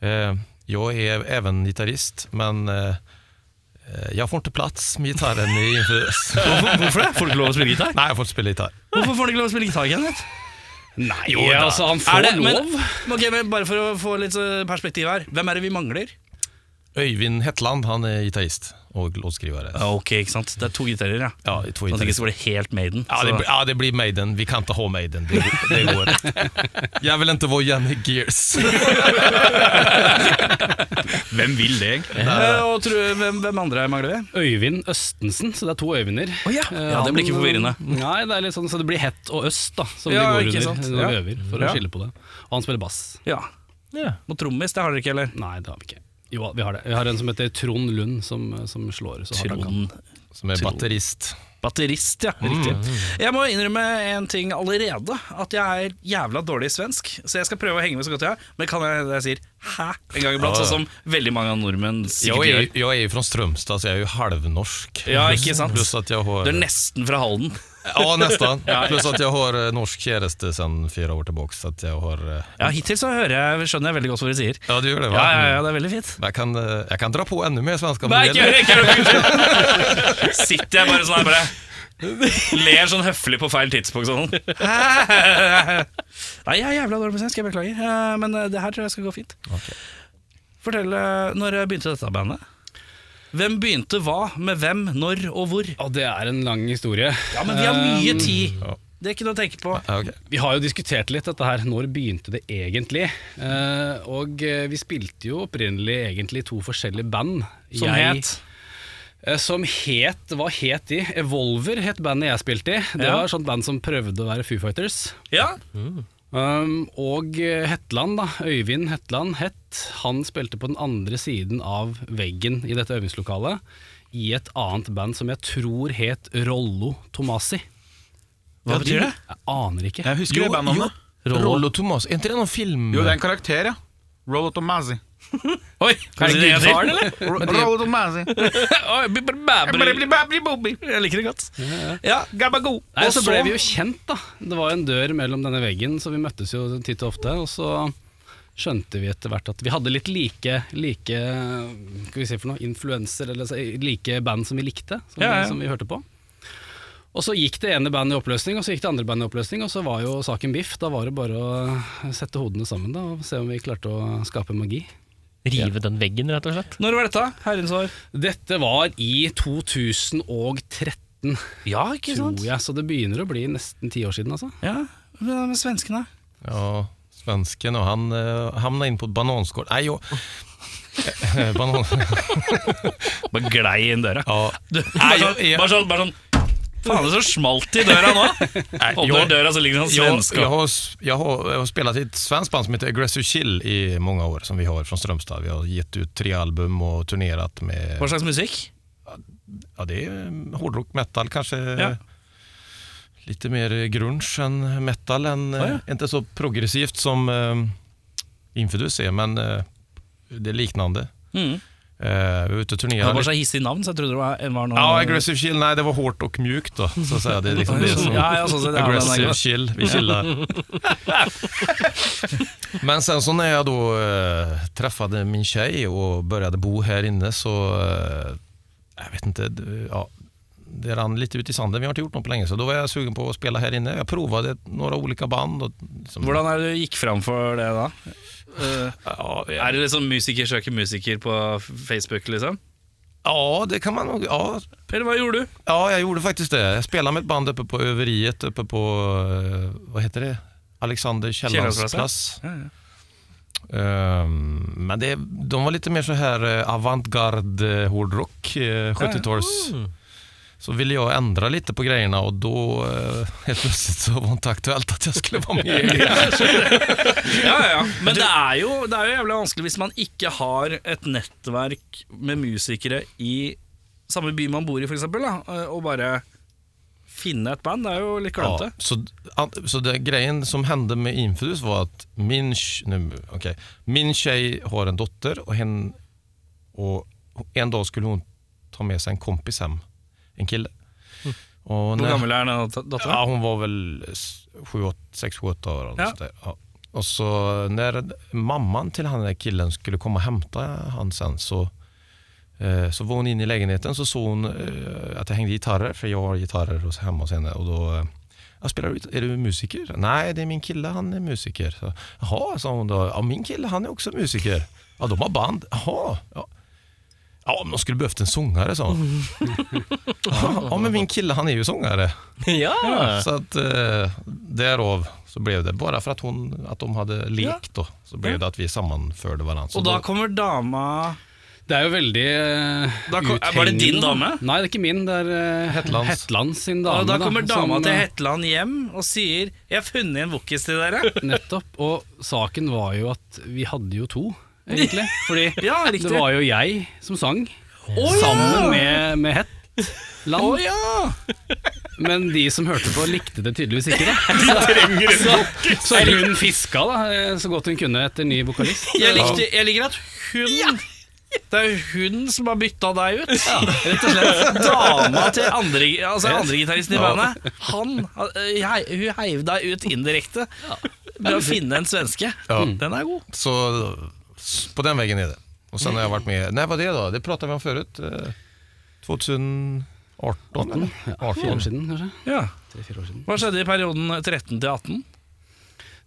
S8: Eh, jag är även gitarrist, men eh, eh, jag får inte plats med gitarren i Infidus.
S2: Hvorfor det? Får du ikke lov å spille gitar?
S8: Nej, jag får inte spela gitarr.
S2: Hvorfor får du ikke lov å spille gitar, Kenneth?
S1: Nei, altså, han
S2: Er
S1: får
S2: det, men,
S1: lov.
S2: ok, men bare for å få litt eh, perspektiv her Hvem er det vi mangler?
S8: Öyvind Hetland, han är gitarrist och låtskrivare. Ja.
S2: ok, ikke sant? Det er to gitarer, ja
S8: Ja, två
S2: Sånn at det ikke
S8: gitarrister.
S2: skal bli helt Maiden
S8: Ja det,
S2: så-
S8: blir- ja, det blir Maiden. Vi kan ikke ha Maiden. Det, det går ikke. Jeg vil ikke være Jenny Gears.
S3: Hvem vil det, egentlig?
S2: Eh, Og tror, du- hvem, hvem andre mangler vi?
S1: Øyvind Østensen, så det er to Øyvinder.
S2: ja.
S1: Eh,
S2: Ja, det blir
S1: han,
S2: ikke forvirrende.
S1: Nei, det er litt sånn, så det blir hett og øst, da, som
S2: Ja,
S1: de går under
S2: ikke sant?
S1: når vi
S2: Ja.
S1: øver, for å
S2: Ja.
S1: skille på det. Og han spiller bass.
S2: Ja,
S6: Ja.
S2: og trommis, det har dere ikke, eller?
S1: Nei, det har vi ikke. Jo, vi har det. Vi har en som heter Trond Lund, som, som slår. Så hardt han kan.
S8: Som er batterist.
S2: Batterist, ja, riktig
S1: Mm.
S2: Jeg må innrømme en ting allerede At jeg er jævla dårlig i svensk Så jeg skal prøve å henge med så godt jeg har Men kan jeg, jeg sier hæ en gang iblant
S8: Ja, ja.
S2: Sånn som veldig mange av nordmenn
S8: Jeg
S2: sikkert
S8: er,
S2: gjør
S8: jo- jeg er jo fra Strømstad, så jeg er jo halvnorsk.
S2: Ja,
S8: Pluss-
S2: ikke sant?
S8: Pluss at jeg har
S2: Du er nesten fra Halden
S8: Ja, nesten. Pluss at jeg har eh, norsk kjæreste siden fire år tilbake. Så at jeg har eh,
S2: Ja, hittil så hører jeg, skjønner jeg veldig godt hva dere sier
S8: Ja, du gjør det,
S2: Ja,
S8: va?
S2: ja, ja, det er veldig fint
S8: Men Jeg kan, eh, jeg kan dra på enda mer svenska. om
S2: Nei,
S8: du
S2: ikke gjør
S8: vil.
S2: det! Ikke gjør det unnskyld. Sitter jeg bare sånn her, bare ler sånn høflig på feil tidspunkt sånn. Nei, jeg er jævla dårlig på svensk, jeg beklager. Eh, Men eh, det her tror jeg skal gå fint. Fortell, eh, når begynte dette bandet? Hvem begynte hva, med hvem, når og hvor? Eh,
S1: Og det er en lang historie.
S2: Ja, men vi har mye
S1: Um,
S2: tid!
S8: ja.
S2: Det er ikke noe å tenke på.
S8: Ja, ok.
S1: Vi har jo diskutert litt dette her. Når begynte det egentlig? Eh, og eh, vi spilte jo opprinnelig egentlig i to forskjellige band.
S2: Som het?
S1: Eh, Som het, Hva het de? Evolver het bandet jeg spilte i. Det
S2: Ja.
S1: var et sånt band som prøvde å være Foo Fighters.
S2: Ja,
S1: Um, og eh, Hetland, da, Øyvind Hetland Hett, han spilte på den andre siden av veggen i dette øvingslokalet i et annet band som jeg tror het Rollo Tomasi.
S2: Hva betyr det?
S1: Jeg aner ikke.
S3: Jeg husker det bandnavnet.
S8: Rollo Thomas, er ikke det noen film?
S3: Jo, det er en karakter, ja. Rollo Tomasi.
S2: Oi, er det gudfaren, eller?
S9: Roll on Mazzy.
S2: Oi, bli- bli- bæ- bli- bli- Jeg liker det godt. Ja, gabago.
S1: Nei,
S2: Og
S1: så ble vi jo kjent, da. Det var jo en dør mellom denne veggen, så vi møttes jo titt og ofte. Og så skjønte vi etter hvert at vi hadde litt like, like skal vi si for noe, influenser, eller så- like band som vi likte, som,
S2: Ja, ja.
S1: Vi, som vi hørte på. Og så gikk det ene bandet i oppløsning, og så gikk det andre bandet i oppløsning, og så var jo saken biff. Da var det bare å sette hodene sammen da, og se om vi klarte å skape magi.
S10: Rive den veggen, rett og slett.
S2: Når var dette? Herrens år.
S1: Dette var i 2013,
S2: Ja, ikke
S1: tror
S2: sant?
S1: jeg, så det begynner å bli nesten ti år siden, altså.
S2: Ja, men svenskene
S8: Ja, svensken och han eh, hamnade in på ett bananskal. Nej, jag... Eh, Banan...
S2: Bare glei inn døra.
S8: Ja,
S2: Du, bare, sånn, bare sånn, bare sånn Faen, det er så smalt i døra nå! Åpner
S8: jeg-
S2: døra, så ligger det sånn
S8: jag,
S2: svenske
S8: jag, har, jag, har, jag har spelat i ett svenskt band som heter Aggressive Chill i många år, som vi har från Strömstad. Vi har gett ut tre album och turnerat med...
S2: Hva slags musikk?
S8: Ja, det är eh, hårdrock, metal kanske.
S2: Ja.
S8: Lite mer grunge än metal. Än, eh, Inte så progressivt som eh, Infidus är, men eh, det är liknande.
S2: Mm.
S8: Eh, vi var ute och
S2: Det var
S8: turnerade
S2: bare så hissig navn, så jeg trodde det var, var noe
S8: Ja, aggressive chill, nei, det var hårt og mjukt da, så å si. Det er liksom det som
S2: Eh, Ja, ja, sånn sett, ja, den er
S8: aggressive
S2: grei.
S8: chill, vi chillar. Men sen så när jag då eh, träffade min tjej och började bo här inne så, eh, jag vet inte, det- ja, det rann lite ut i sanden. Vi har inte gjort något på länge, så då var jag sugen på att spela här inne. Jag provade några olika band. Och, liksom,
S2: Hvordan er det du gikk fram for det da? Eh,
S8: Ja, jag-
S2: er det liksom musiker søker musiker på Facebook, liksom?
S8: ja, det kan man nog, ja,
S2: Eller hva gjorde du?
S8: Ja, jag gjorde faktiskt det. Jag spelade med ett band uppe på Överiet, uppe på, eh, vad heter det? Alexander Kiellands
S2: Kiellands
S8: plats. Ehm, men det, de var lite mer så här eh, avantgarde eh, hårdrock, eh, 70-tals.
S2: Mm.
S8: Så ville jag ändra lite på grejerna och då eh, helt plötsligt så var det inte aktuellt att jag skulle vara med. i det.
S2: Ja, ja, ja. Men det er, jo, det er jo jævlig vanskelig hvis man ikke har et nettverk med musikere i samme by man bor i, for eksempel, da, eh, og bare finne et band. Det er jo litt
S8: Ja,
S2: klønete.
S8: så, an- så det, grejen som hände med Infidus var att min, tj- nu, okej. min tjej har en dotter och, hen, och en dag skulle hon ta med sig en kompis hem, en kille. Och
S2: Hm. Hvor
S8: när-
S2: gammel er den dattera?
S8: Ja, hon var väl 6-7-8 år. eller
S2: Ja.
S8: sånt där. Ja. Och så när mamman till han där killen skulle komma och hämta han sen så, eh, så var hon inne i lägenheten så såg hon eh, att jag hängde gitarrer, för jag har gitarrer hos- hemma hos henne. Och då, eh, jag spelar ut, är du musiker? Nej, det är min kille, han är musiker. Så, Jaha, sa hon då. Ja, min kille, han är också musiker. Ja, de har band. Jaha. Ja. Ja, men de skulle behövt en sångare, sa hon. Ja, men min kille, han är ju sångare.
S10: ja.
S8: Så att eh, därav så blev det, bara för att, hon, att de hade lekt då, så blev det att vi sammanförde varandra. Så
S2: Og da kommer dama
S1: Det er jo veldig eh,
S2: Da kom- var det din dame?
S1: Nei, det er ikke min. Det er eh,
S8: Hetlands.
S1: Hetland sin
S2: Da,
S1: dame.
S2: da kommer dama
S1: som,
S2: til
S1: eh,
S2: Hetland hjem og sier 'Jeg har funnet en wokis til dere'.
S1: Nettopp. Og saken var jo at vi hadde jo to, egentlig. Fordi
S2: Ja, riktig.
S1: det var jo jeg som sang,
S2: Å,
S1: sammen med, med Hetland.
S2: ja!
S1: Men de som hørte på, likte det tydeligvis ikke. Da. Så, så, så hun fiska da, eh, så godt hun kunne etter ny vokalist.
S2: Jeg, likte, jeg liker at hun Det er hun som har bytta deg ut. Rett og slett. Dama til andre, altså andregitaristen i bandet. Han, eh, hei- hun heiv deg ut indirekte ved å finne en svenske.
S8: Ja.
S2: Den er god.
S8: så s- på den vägen är det. Och sen har jag varit med, när var det då? Det pratade vi om förut. Eh, 2018 eller?
S1: Fire
S8: 18.
S1: år siden, kanskje.
S2: Ja.
S1: Tre-fire år siden.
S2: Hva skjedde i perioden 13 til 18?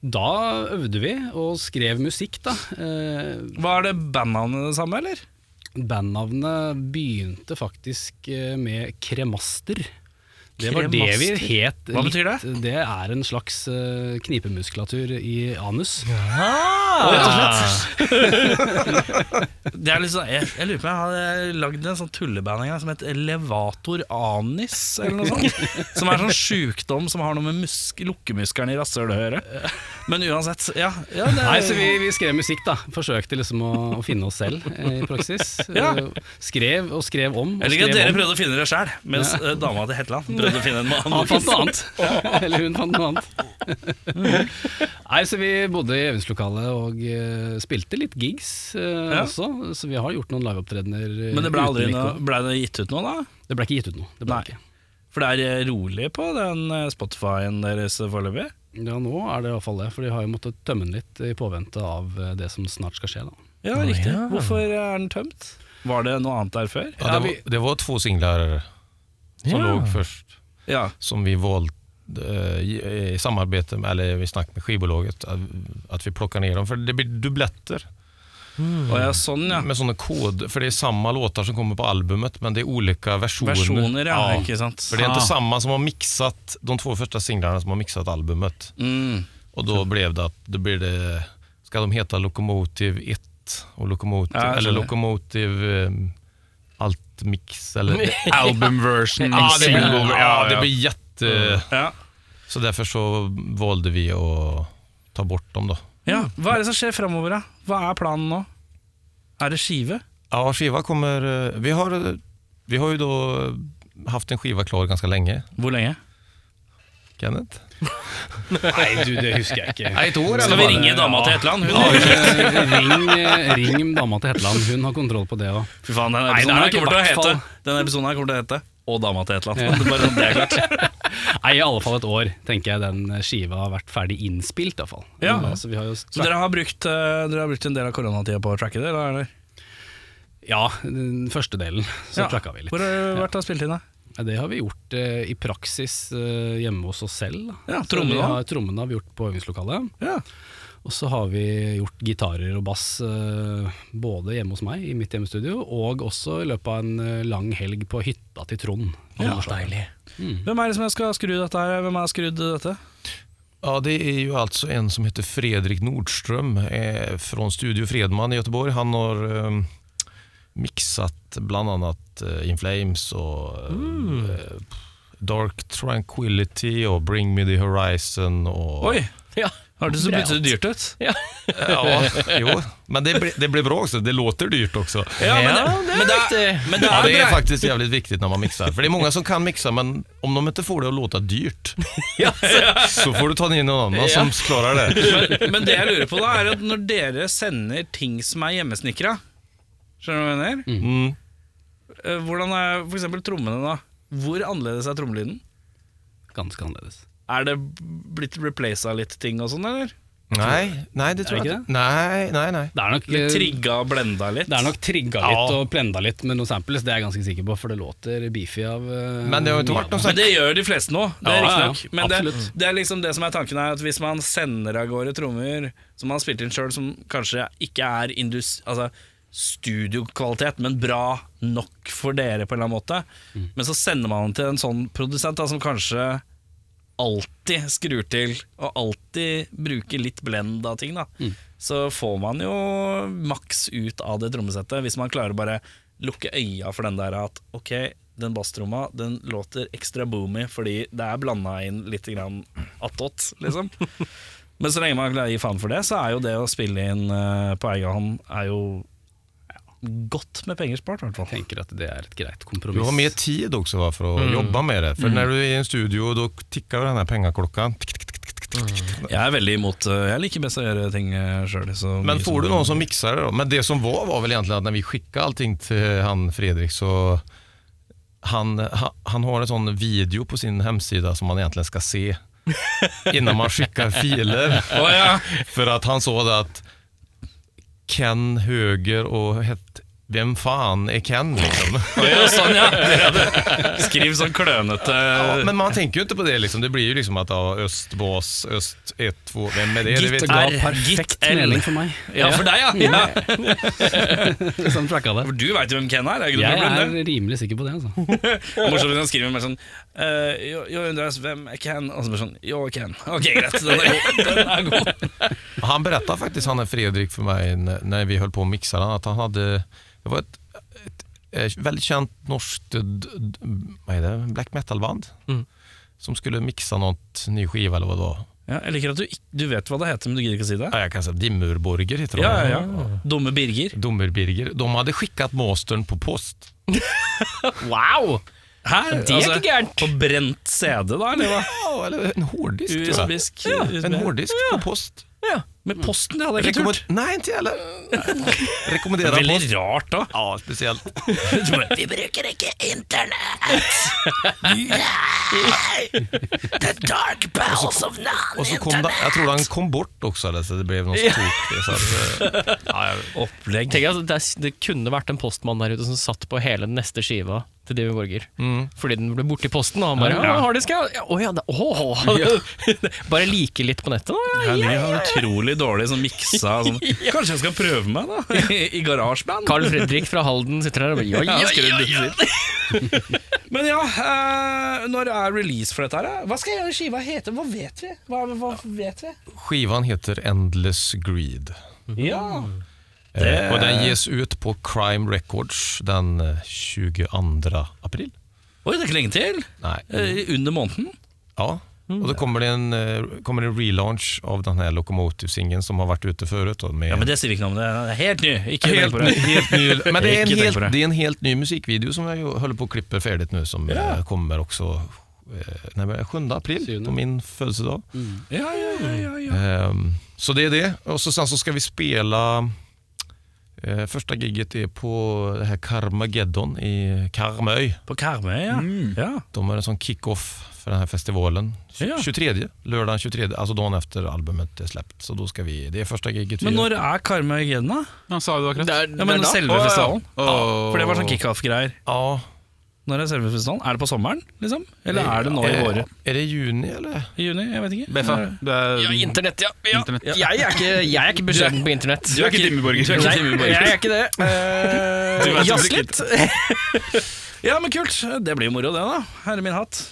S1: Da øvde vi og skrev musikk, da. Eh,
S2: Var det bandnavnet det samme, eller?
S1: Bandnavnet begynte faktisk eh, med kremaster. Det var det vi
S2: Kremaster.
S1: het.
S2: Hva betyr det?
S1: litt- Det er en slags eh, knipemuskulatur i anus.
S2: Det er litt sånn, jeg, jeg lurer på om jeg hadde lagd en sånn tulleband en gang som het Elevator Anis, eller noe sånt. Som er en sånn sjukdom som har noe med musk, lukkemuskelen i rasshølet å gjøre. Men uansett, ja. ja det,
S1: Nei, så vi, vi skrev musikk, da. Forsøkte liksom å, å finne oss selv eh, i praksis.
S2: Ja.
S1: Eh, Skrev og skrev om. Og
S2: jeg liker at dere
S1: skrev om.
S2: prøvde å finne det sjøl, mens eh, dama til Hetland prøvde å finne en mann.
S11: Han fant noe annet. Eller hun fant noe annet. Nei, så vi bodde i øvingslokalet og eh, spilte litt gigs eh,
S2: Ja.
S11: også, så vi har gjort noen liveopptredener. eh,
S2: Men det ble,
S11: uten
S2: aldri
S11: Mikko.
S2: noe, ble det gitt ut noe, da?
S11: Det ble ikke gitt ut noe. Det ble
S2: Nei.
S11: ikke.
S2: For det er eh, rolig på den eh, Spotify-en deres foreløpig.
S11: Ja, nå er det iallfall det, for de har jo måttet tømme den litt i påvente av eh, det som snart skal skje. da.
S2: Ja, riktig. Hvorfor er den tømt? Var det noe annet der før?
S8: Ja, det, var, det var två singlar som
S1: Ja.
S8: låg först,
S2: Ja,
S8: som vi valde eh, i i samarbete med, eller i snack med skivbolaget, att, att vi plockar ner dem. För det blir dubbletter
S11: Mm.
S2: og ja sånn, ja.
S8: med sånne kod, för det är samma låtar som kommer på albumet, men det är olika versioner.
S2: Versjoner, ja. Ikke sant.
S8: För det är inte
S2: Ah.
S8: samma som har mixat, de två första singlarna som har mixat albumet.
S2: Mm.
S8: Och då blev det att, då blir det, ska de heta Lokomotiv 1 och Lokomotiv,
S2: Ja, jag
S8: eller
S2: känner.
S8: Lokomotiv eh, Alt Mix eller
S3: Album version.
S8: Ja, det blir,
S3: single,
S8: ja, Mm. det blir jätte...
S2: Ja.
S8: Så derfor så valde vi å ta bort dem da.
S2: ja. Hva er det som skjer framover, da? Hva er planen nå? Er det skive?
S8: Ja, skiva kommer... eh, Vi har, eh, vi har ju då haft en skiva klar ganska länge,
S2: Hvor lenge?
S8: Kenneth.
S11: Nei, du, det husker jeg ikke.
S8: ett år
S2: Skal vi ringe dama til Hetland? Hun
S11: ring, eh, ring dama til Hetland, hun har kontroll på det òg.
S2: Fy faen, denne
S11: Nei, det
S2: episoden,
S11: er
S2: her
S11: ikke
S2: kommer til å
S11: hvert
S2: hete
S11: fall.
S2: Denne episoden her kommer til å hete Og dama til et eller annet. Det er Bare sånn det er klart.
S11: Nei, i alle fall et år, tenker jeg den skiva har vært ferdig innspilt, iallfall.
S2: Ja.
S11: Så altså, vi har jo
S2: Så dere har brukt, eh, dere har brukt en del av koronatida på å tracke det? Eller? er det-
S11: Ja, den første delen så
S2: Ja.
S11: tracka vi litt.
S2: Hvor har dere vært og spilt inn, da?
S11: Ja, Det har vi gjort eh, i praksis eh, hjemme hos oss selv. da.
S2: Ja,
S11: Så
S2: trommene
S11: vi
S2: da?
S11: har- Trommene har vi gjort på øvingslokalet.
S2: Ja.
S11: Og så har vi gjort gitarer og bass eh, både hjemme hos meg i mitt hjemmestudio, og også i løpet av en eh, lang helg på hytta til Trond. Ja, deilig.
S1: Mm.
S2: Hvem er det som jeg skal skru dette her? Hvem har skrudd dette?
S8: Ja, det är ju alltså en som heter Fredrik Nordström eh, från Studio Fredman i Göteborg. Han har eh, mixat bland annat eh, In Flames och eh,
S2: Mm.
S8: eh, Dark Tranquility och Bring Me The Horizon och...
S2: Oi!
S1: Ja.
S2: Hørtes så plutselig dyrt ut.
S8: Ja, jo. Men det, blir- det blir bra också. Det låter dyrt också.
S2: Ja, men,
S1: Ja,
S2: det, men, det, er, men det
S8: Ja,
S2: er
S8: det är
S2: brei-
S8: faktiskt jävligt viktigt när man mixar. För det är många som kan mixa, men om de inte får det att låta dyrt, så får du ta in någon annan som klarar det.
S2: men, men det jeg lurer på, da, er at når dere sender ting som er hjemmesnekra Skjønner du hva jeg mener?
S8: Mm.
S2: Eh, Hvordan er for eksempel trommene, da? Hvor annerledes er trommelyden?
S11: Ganske annerledes.
S2: Er det blitt replaced av litt ting og sånn, eller?
S8: Nej, nej, det tror
S11: det
S8: jag
S11: ikke
S8: inte. Nej, nej, nej.
S11: Det er nok,
S2: Litt
S11: eh,
S2: trigga og blenda litt?
S11: det er nok trigga litt og plenda litt med noen samples, det er jeg ganske sikker på, for det låter beefy av eh,
S8: Men det har ju inte varit någon
S2: Men
S8: sån
S2: det gjør de fleste nå. Det er
S11: Ja, ja, ja.
S2: riktig nok. Men det,
S11: Absolutt.
S2: det er liksom det som er tanken her, at hvis man sender av gårde trommer som man har spilt inn sjøl, som kanskje ikke er indus, altså, studiokvalitet, men bra nok for dere på en eller annen måte,
S11: Mm.
S2: men så sender man den til en sånn produsent da, som kanskje alltid skrur til og alltid bruker litt blend av ting, da.
S11: Mm.
S2: Så får man jo maks ut av det trommesettet hvis man klarer å bare lukke øya for den der at ok, den basstromma den låter ekstra boomy fordi det er blanda inn litt grann attåt, liksom. Men så lenge man klarer å gi faen for det, så er jo det å spille inn eh, på egen hånd er jo godt med penger spart, i hvert fall.
S11: tenker at det er et greit kompromiss.
S8: Du har mer tid också va, för att jobba med det. För när du är i en studio, då tickar den här pengaklockan.
S2: Jeg er veldig imot eh, Jeg liker best å gjøre ting eh, sjøl.
S8: Men får du någon som mixar det då? Men det som var var väl egentligen att när vi skickade allting till han Fredrik så han, ha- han har en sån video på sin hemsida som man egentligen ska se innan man skickar filer. För att han sa det att Ken höger och het, vem fan är Ken liksom?
S2: sånn, ja. Skriv sånn klønete
S8: Ja, men man tänker ju inte på det liksom. Det blir ju liksom att ja, östbas, öst 1, 2, vem är det? det
S11: Gitt
S8: vet
S11: og
S8: jag.
S11: ga
S2: R,
S11: perfekt
S2: gitt L.
S11: mening for meg,
S2: Ja, for deg, ja. ja.
S11: som tracka det.
S2: For du veit jo hvem Ken er. er ikke
S11: Jeg
S2: noe problem,
S11: er
S2: det?
S11: rimelig sikker på det, altså.
S2: Morsomt hvis han skriver meg sånn eh, jo, jo, undres hvem er Ken? Og så bare sånn Jo, Ken. Ok, greit. Den er god. Den er god.
S8: Han berättade faktiskt, han är Fredrik för mig, när- när vi höll på och mixade, att han hade, det var ett, ett eh, väldigt känt norskt d- d- vad är det, black metal-band som skulle mixa något ny skiva eller vad det var.
S2: Ja, jeg liker at du, ikk- du vet hva det heter, men du gidder ikke å si det.
S8: Ja, jag kan säga Dimmerborger heter de.
S2: Ja, ja, ja. Dumme Birger.
S8: Dommerbirger. De hade skickat mastern på post.
S1: Wow!
S2: Hæ?
S1: Det er ikke gærent.
S2: På brent CD, da? Eller hva?
S8: Ja, eller en hårddisk. tror jeg.
S2: USB-sk? USB.
S8: En hårddisk på post.
S1: Ja.
S2: Med posten, ja. Det er ikke
S8: Rekommer-
S2: turt.
S8: Nei, ikke jeg heller. Rekommenderer
S2: Veldig
S8: post.
S2: rart, da.
S8: Ja, spesielt.
S12: Vi bruker ikke internett! Nei! The dark bowels of
S8: Og så kom det, jeg tror han kom bort også, eller så det ble noe som tok det. Så at, eh,
S2: Opplegg.
S1: Tenk, altså, det, er, det kunne vært en postmann der ute som satt på hele den neste skiva til Dimmy Borger. Fordi den ble borte i posten, og han bare ja. harddisk, ja. Ja, Å ja, det, å, Bare like litt på nettet, da. Ja,
S2: Henning er utrolig dårlig som miksa. Sånn. Kanskje jeg skal prøve meg, da? I garasjeband?
S1: Carl Fredrik fra Halden sitter der og bare ja, ja, ja, ja, ja.
S2: Men ja, eh, når er release for dette her? da? Hva skal jeg gjøre skiva hete? Hva vet vi? Hva, hva vet vi?
S8: Skivan heter Endless Greed.
S2: Ja.
S8: Eh, og den gis ut på Crime Records den eh, 22. april.
S2: Oi, det er ikke lenge til.
S8: Nei.
S2: Eh, Under måneden.
S8: Ja.
S2: Mm.
S8: Og så kommer det en, eh, kommer det en relaunch av den her Locomotive-singen som har vært ute før. da, Med
S2: Ja, Men det sier vi ikke noe om. Det er helt ny. Ikke tenk
S8: helt,
S2: på
S8: ny,
S2: det.
S8: helt ny Men det er,
S2: Ikke
S8: en
S2: tenk
S8: helt,
S2: på det.
S8: det er en helt ny musikkvideo som jeg jo holder på å klippe ferdig nå, som eh, kommer også eh, nei, men 7. april,
S11: Syvende.
S8: på min fødselsdag.
S2: Ja, ja, ja, ja, ja.
S8: Ehm, så det er det. Og så, sen så skal vi spille eh, Første gigget er på det her Karmageddon i Karmøy.
S2: På Karmøy, ja. ja.
S8: De har en sånn kickoff for den här festivalen.
S2: Ja.
S8: 23, lördagen 23, alltså dagen efter albumet är släppt. Så då ska vi, det är första giget vi
S2: Men
S8: gör.
S2: når er Karmøy igjen, da?
S13: Han sa det akkurat.
S2: Ja, men selve
S13: Å, ja.
S2: festivalen?
S13: Å.
S2: Ja, for det var sånn kickoff-greier.
S8: Ja,
S2: Når er selve festivalen? Er det på sommeren, liksom? Eller er det nå i
S8: eh,
S2: året?
S8: Är det juni eller?
S2: I juni? Jeg vet ikke.
S13: Beffa, du er
S1: Internett, ja. ja.
S13: Internett.
S1: Jeg er ikke, jeg er ikke beskjeden på internett.
S13: Du er ikke Dimmeborger.
S1: Nei, jeg er ikke det.
S2: Du
S1: Uh,
S2: vet ikke. Ja, men kult. Det blir jo moro, det, da. Herre min hatt.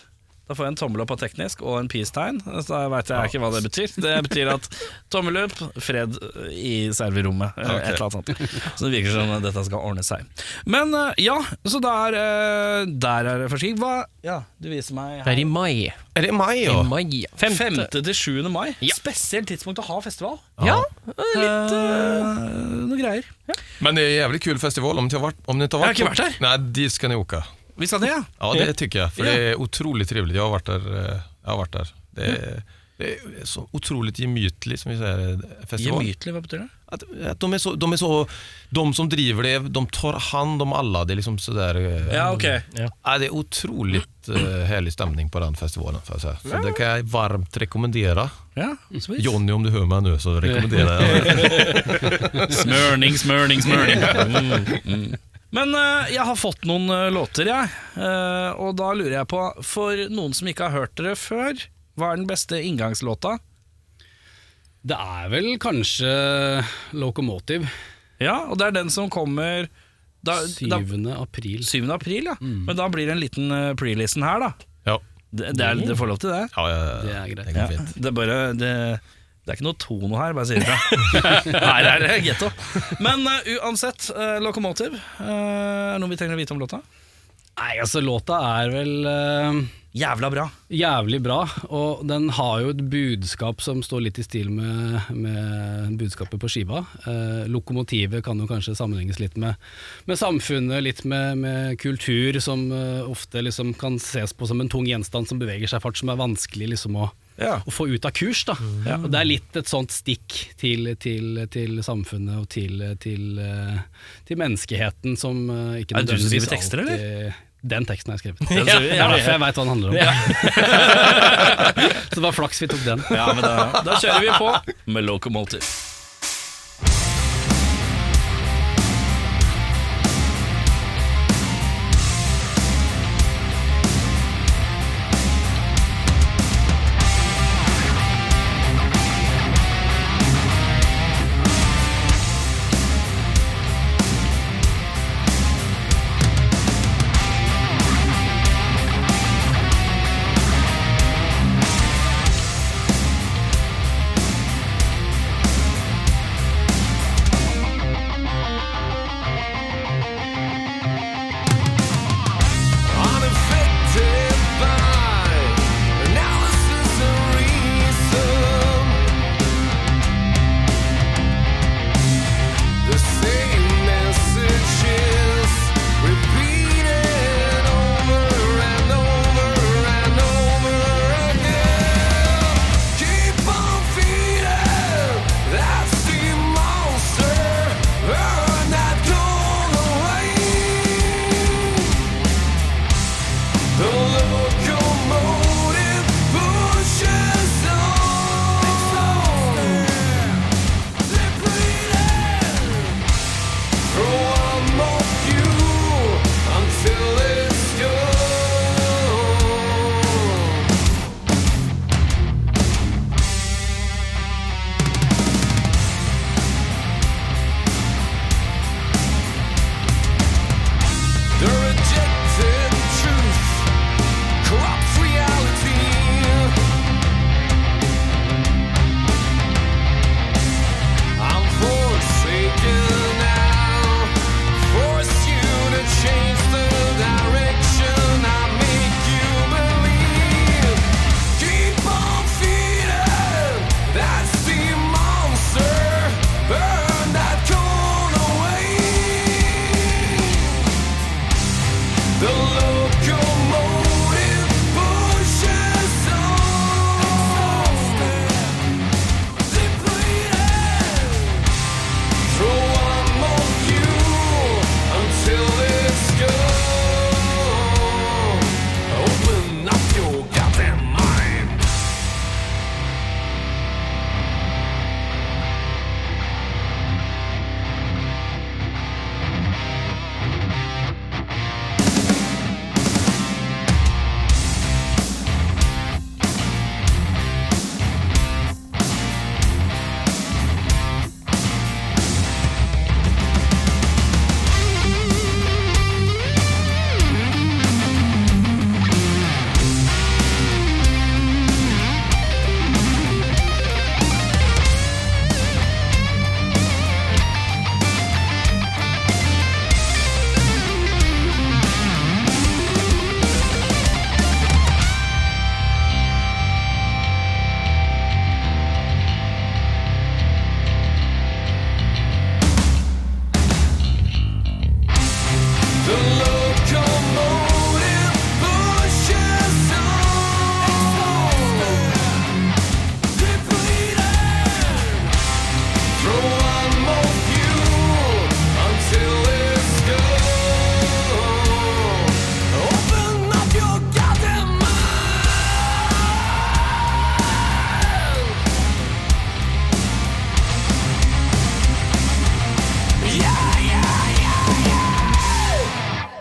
S2: Da får jeg en tommel opp av teknisk og en peace-tegn. Så jeg veit jeg ikke hva det betyr. Det betyr at tommel opp, fred i serverommet. eller Et eller annet sånt. Så det virker som dette skal ordne seg. Men eh, ja, så der, eh, der er det forskning. Hva Ja, du viser
S1: Det
S2: meg
S1: er
S2: her.
S1: i mai.
S8: Är det maj?
S1: I
S8: Ja.
S1: mai. ja. Femte.
S2: 5. til 7. mai.
S1: Ja.
S2: Spesielt tidspunkt å ha festival.
S1: Ja, eh,
S2: Litt noe greier.
S8: Men det är en jävligt kul festival om ni inte har varit om ni inte har
S2: Jag
S8: varit.
S2: har inte varit
S8: Nej, dit ska ni åka.
S2: Vi skal ned, ja.
S8: Ja, det tycker jag. För det är otroligt trevligt. Jag har varit där. eh, Jag har varit där. Det är, det är så otroligt gemytlig som vi säger eh, festival.
S2: Gemytlig, hva betyr det?
S8: Att, att de, är så, de är så, de som driver det, de tar hand om alla. Det är liksom sådär... eh,
S2: Ja, ok.
S8: Ja, det er utrolig eh, herlig stemning på den festivalen. Får jeg si. Så det kan jeg varmt rekommendere.
S2: Ja, sweet.
S8: Jonny, om du hører meg nå, så rekommenderer jeg det.
S2: Smørning, smørning, smørning. Mm, Men eh, jeg har fått noen eh, låter, jeg. Eh, og da lurer jeg på, for noen som ikke har hørt dere før, hva er den beste inngangslåta?
S11: Det er vel kanskje Locomotive.
S2: Ja, og det er den som kommer da, da, 7.
S11: 7. april.
S2: april, ja. Men da blir det en liten eh, pre-listen her, da.
S8: Ja,
S2: Det, det, er, det får lov til det.
S8: ja, ja, ja.
S11: Det er greit.
S8: Det går fint.
S2: Det er bare det, det er ikke noe tono her, bare sier ifra. her er det getto. Men eh, uansett, eh, Locomotive, eh, er det noe vi trenger å vite om låta?
S11: Nei, altså, låta er vel eh,
S2: Jævla bra.
S11: jævlig bra, og den har jo et budskap som står litt i stil med, med budskapet på skiva. Eh, lokomotivet kan jo kanskje sammenhenges litt med, med samfunnet, litt med, med kultur, som eh, ofte liksom kan ses på som en tung gjenstand som beveger seg fart, som er vanskelig liksom å
S2: Ja. Mm.
S11: å få ut av kurs. Da. Og det er litt et sånt stikk til, til, til samfunnet og til, til, eh, til menneskeheten som eh, ikke
S2: Er det du som
S11: nødvendigvis
S2: skriver tekster,
S11: alltid- Eh, Den teksten har jeg skrevet. Det
S2: Ja.
S11: er derfor jeg veit hva den handler om. Så det var flaks vi tok den.
S2: Ja, men da, da kjører vi på med Locomotive.
S14: Locomotive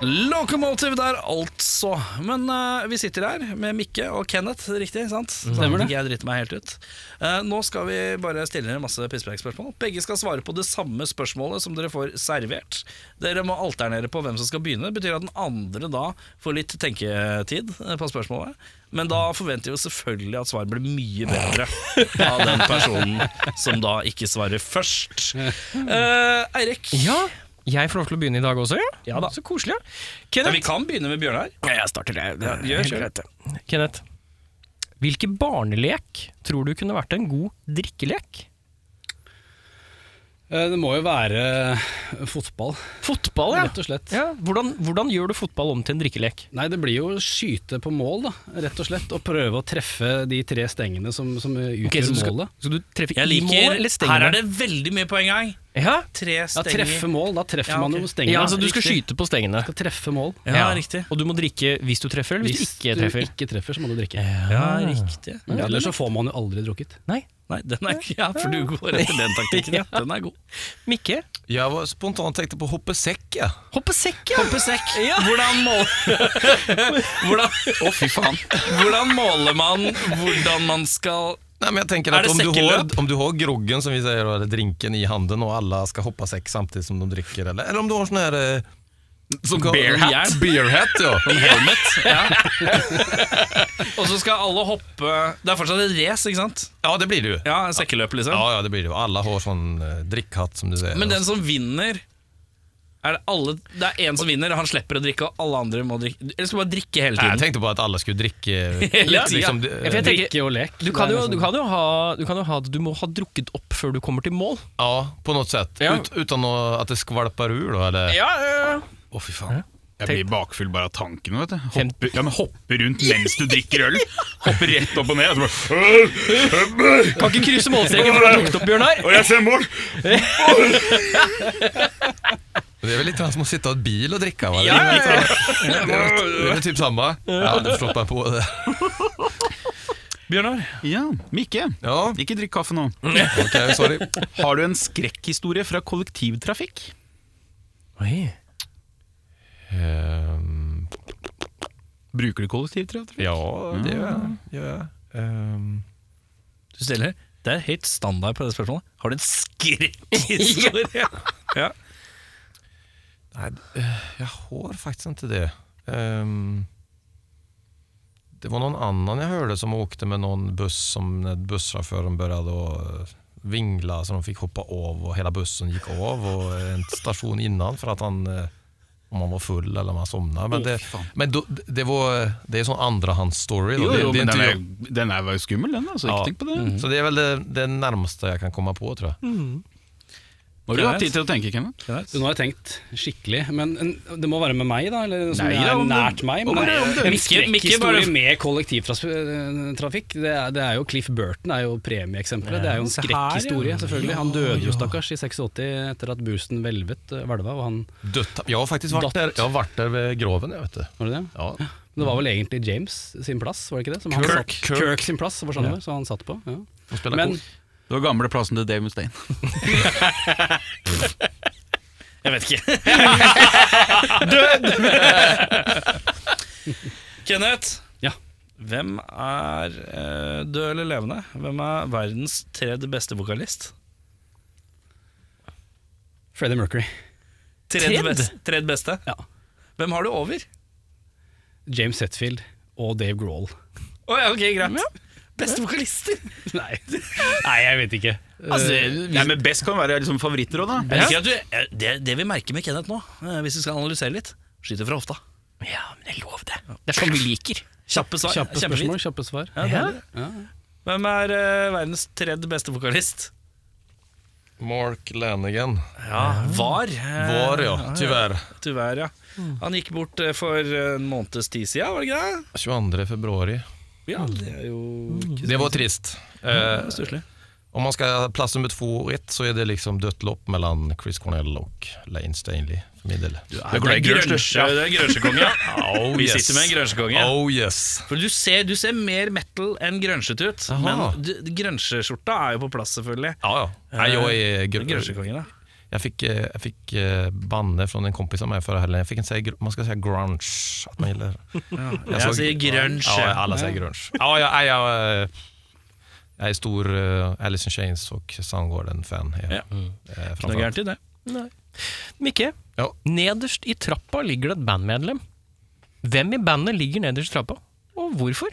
S2: Locomotive der, altså. Men eh, vi sitter her med Mikke og Kenneth, riktig? sant?
S1: Mm.
S2: Stemmer det. Jeg driter meg helt ut. Eh, nå skal vi bare stille dere masse pisspreikspørsmål. Begge skal svare på det samme spørsmålet som dere får servert. Dere må alternere på hvem som skal begynne. Det betyr at den andre da får litt tenketid eh, på spørsmålet. Men da forventer vi jo selvfølgelig at svaret blir mye bedre av den personen som da ikke svarer først. Eh, Eirik,
S1: Ja, jeg får lov til å begynne i dag også. Ja,
S2: Ja da.
S1: Så koselig. Ja.
S2: ja,
S1: Kenneth,
S2: vi kan begynne med Bjørnar.
S1: Ja, jeg starter, jeg. Det er
S2: gjør,
S1: helt
S2: kjør.
S1: greit, det. Kenneth, hvilke barnelek tror du kunne vært en god drikkelek?
S11: Eh, Det må jo være fotball,
S1: Fotball, ja.
S11: rett og slett.
S1: ja hvordan, hvordan gjør du fotball om til en drikkelek?
S11: Nei, det blir jo å skyte på mål, da, rett og slett. Og prøve å treffe de tre stengene som, som utgjør
S1: Ok, så du skal-
S11: målet.
S1: Skal du treffe
S2: Jeg
S1: i mål,
S2: liker
S1: eller stenger
S2: Her er det veldig mye på en gang.
S1: Ja,
S2: Tre
S11: Ja,
S2: stenger.
S11: treffe mål. Da treffer
S2: Ja, ok.
S11: man jo stengene.
S1: ja altså, du skal
S11: Riktig.
S1: skyte på stengene.
S11: Skal treffe mål.
S2: Ja, riktig.
S1: Og du må drikke hvis du treffer, eller hvis, du ikke treffer.
S11: ikke treffer, så må du drikke.
S2: Ja, riktig.
S11: Ellers så får man jo aldri drukket.
S1: Nei.
S2: Nei, den er ikke Ja, for du går etter den taktikken. ja. Den er god.
S1: Mikke,
S8: Jeg var spontant tenkte på hoppe sekk, jeg.
S1: hoppe sekk, ja!
S2: Puppesekk. Hvordan måler hvordan, Å, fy faen. Hvordan måler man hvordan man skal
S8: Nei, men jeg tenker
S2: Er
S8: at
S2: det
S8: om du, har,
S2: sekkeløp?
S8: om du har groggen, som vi sier, eller drinken i handen, og alle skal hoppe sekk samtidig som de drikker, eller, eller om du har sånn her eh, Som
S2: bear hat?
S8: Beer hat, ja.
S2: Helmet. Ja. Og så skal alle hoppe Det er fortsatt et race, ikke sant?
S8: Ja, det blir det jo.
S2: Ja, sekkeløp, liksom.
S8: Ja, ja, det blir det jo. Alle har sånn eh, drikkhatt, som du sier.
S2: Men den som vinner er det, alle, det er en som vinner, han slipper å drikke, og alle andre må drikke. Eller skal bare drikke hele
S8: Nei, jeg
S2: tiden.
S8: tenkte på at alle skulle drikke
S2: Hele tiden.
S8: liksom,
S1: Ja, for jeg
S8: eh,
S1: tenker,
S11: Drikke og lek.
S1: du kan,
S2: liksom-
S1: jo, du, kan jo ha, du kan jo ha at du må ha drukket opp før du kommer til mål.
S8: Ja, på noe sett.
S1: Ja.
S8: Ut, uten å, at det skvalper ur, da? Eller?
S1: Ja,
S3: Å, fy faen. Jeg blir bakfull bare av tanken. vet du Hoppe,
S1: Fem-
S3: ja, men hoppe rundt mens du drikker øl. Hoppe rett opp og ned. Og, så bare,
S1: Kan ikke krysse målstreken for å ha drukket opp, Bjørnar.
S3: og jeg ser mål!
S8: Det er vel litt sånn som å sitte i et bil og drikke? va?
S2: Ja, ja, ja.
S8: Det er vel- det er vel typ samme? Ja, du slapp meg på det.
S2: Bjørnar?
S3: Ja, Mikke.
S8: Ja,
S3: Ikke drikk kaffe nå.
S8: ok, sorry.
S3: Har du en skrekkhistorie fra kollektivtrafikk?
S8: Ehm,
S3: Bruker du Mm. kollektivtrafikk?
S8: ja, det gjør jeg. Gjør jeg. Ehm,
S2: Du stiller Det er helt standard på det spørsmålet. Har du en skrekkhistorie? ja.
S8: nei, eh, jeg har faktisk ikke det. Ehm, det var noen annen jeg hørte som åkte med noen buss som när bussjåføren begynte å eh, vingla så de fikk hoppe av og hele bussen gikk av og en stasjon innan for at han eh, om han var full eller om han sovna. Men, det, men då- det, var, det er sånn andrehandsstory.
S3: Jo,
S8: det,
S3: jo,
S8: det
S3: men
S8: er inte
S3: den
S8: jag-
S3: er, den er jo skummel, den. Altså. Ikke
S8: Ja.
S3: tenk på det.
S8: Så det er vel det, det nærmeste jeg kan komme på, tror jeg.
S3: Nå har du hatt tid til å tenke, Kenneth.
S11: Så nå har jeg tenkt skikkelig, men en, det må være med meg, da? Eller noe som
S3: Nei,
S11: er
S3: da, om du-
S11: nært meg?
S3: om
S11: Men
S3: du- om du-
S2: Mikke-
S11: en
S2: Mikke bare-
S11: skrekkhistorie med kollektivtrafikk, det er, det er jo Cliff Burton er jo premieeksempelet. Det er jo en
S1: se her, ja.
S11: skrekkhistorie, selvfølgelig. Han døde jo, stakkars, i 86 etter at bussen hvelvet, øh, hvelva, og han
S8: Dødt. Jeg har faktisk vært
S11: Dødt.
S8: der, jeg har vært der ved groven, jeg, vet du.
S11: Var det det?
S8: Ja.
S11: Men det var vel egentlig James sin plass, var det ikke det? Som
S8: Kirk.
S11: Han satt,
S8: Kirk.
S11: Kirk. sin plass, var sånn det var, så han satt på. Ja.
S8: Og spiller
S11: Men
S8: kort.
S3: Det var gamle plassen til Dave Mustaine.
S2: Jeg vet ikke. Død! Kenneth,
S11: Ja.
S2: hvem er eh, død eller levende? Hvem er verdens tredje beste vokalist?
S11: Freddie Mercury.
S2: Tredje
S1: Tredje?
S2: beste? Tredje beste?
S11: Ja.
S2: Hvem har du over?
S11: James Hetfield og Dave Grohl.
S2: Å ja, ok, greit. Beste vokalister!
S11: Nei. Nei, jeg vet ikke.
S3: Altså, Nei, men Best kan være liksom favoritter òg, da.
S2: Eh, Jeg liker at du, eh, det, det vi merker med Kenneth nå, eh, hvis vi skal analysere litt, skyter fra hofta.
S1: Ja, men det er lov, det. Det er sånn vi liker.
S2: Kjappe svar.
S11: Kjappe
S2: kjempefint.
S11: spørsmål, kjappe svar.
S2: Ja, deilig. Hvem er eh, verdens tredje beste vokalist?
S8: Mark Lanigan.
S2: Ja, var. eh,
S8: Var, ja. Tyvärr.
S2: Tyvärr, ja. Han gikk bort eh, for en måneds tid siden, var det ikke det?
S8: 22 februari.
S2: Ja, det er jo ikke
S8: Det var trist. Eh,
S2: så stusslig.
S8: om man ska plats nummer två och ett så är det liksom dött lopp mellan Chris Cornell och Lane Stanley för min del.
S2: Det er grønsje- det er grønsjekonge.
S8: Oh,
S2: Vi
S8: yes.
S2: sitter med en grønsjekonge.
S8: Oh yes.
S2: For du ser, du ser mer metal enn grønsjete ut.
S8: Aha.
S2: Men d- grønsjeskjorta er jo på plass, selvfølgelig.
S8: Ja, ja. Nej, jag är
S2: Grønsjekongen, da.
S8: Jag fick, eh, jag fick eh, banne från en kompis av mig förra helgen. Jag fick inte säga, gr- man ska säga grunge. Att man gillar.
S15: Jeg,
S8: såg-
S15: sier grunge.
S8: Ja, alla säger grunge. Ja, jag, nej, jag, eh, jag är stor eh, Alice in Chains och Soundgarden-fan. Ja. Eh,
S15: Ikke noe
S8: framförallt.
S15: gærent i det.
S1: Mikke,
S8: Ja.
S1: nederst i trappa ligger det et bandmedlem. Hvem i bandet ligger nederst i trappa, og hvorfor?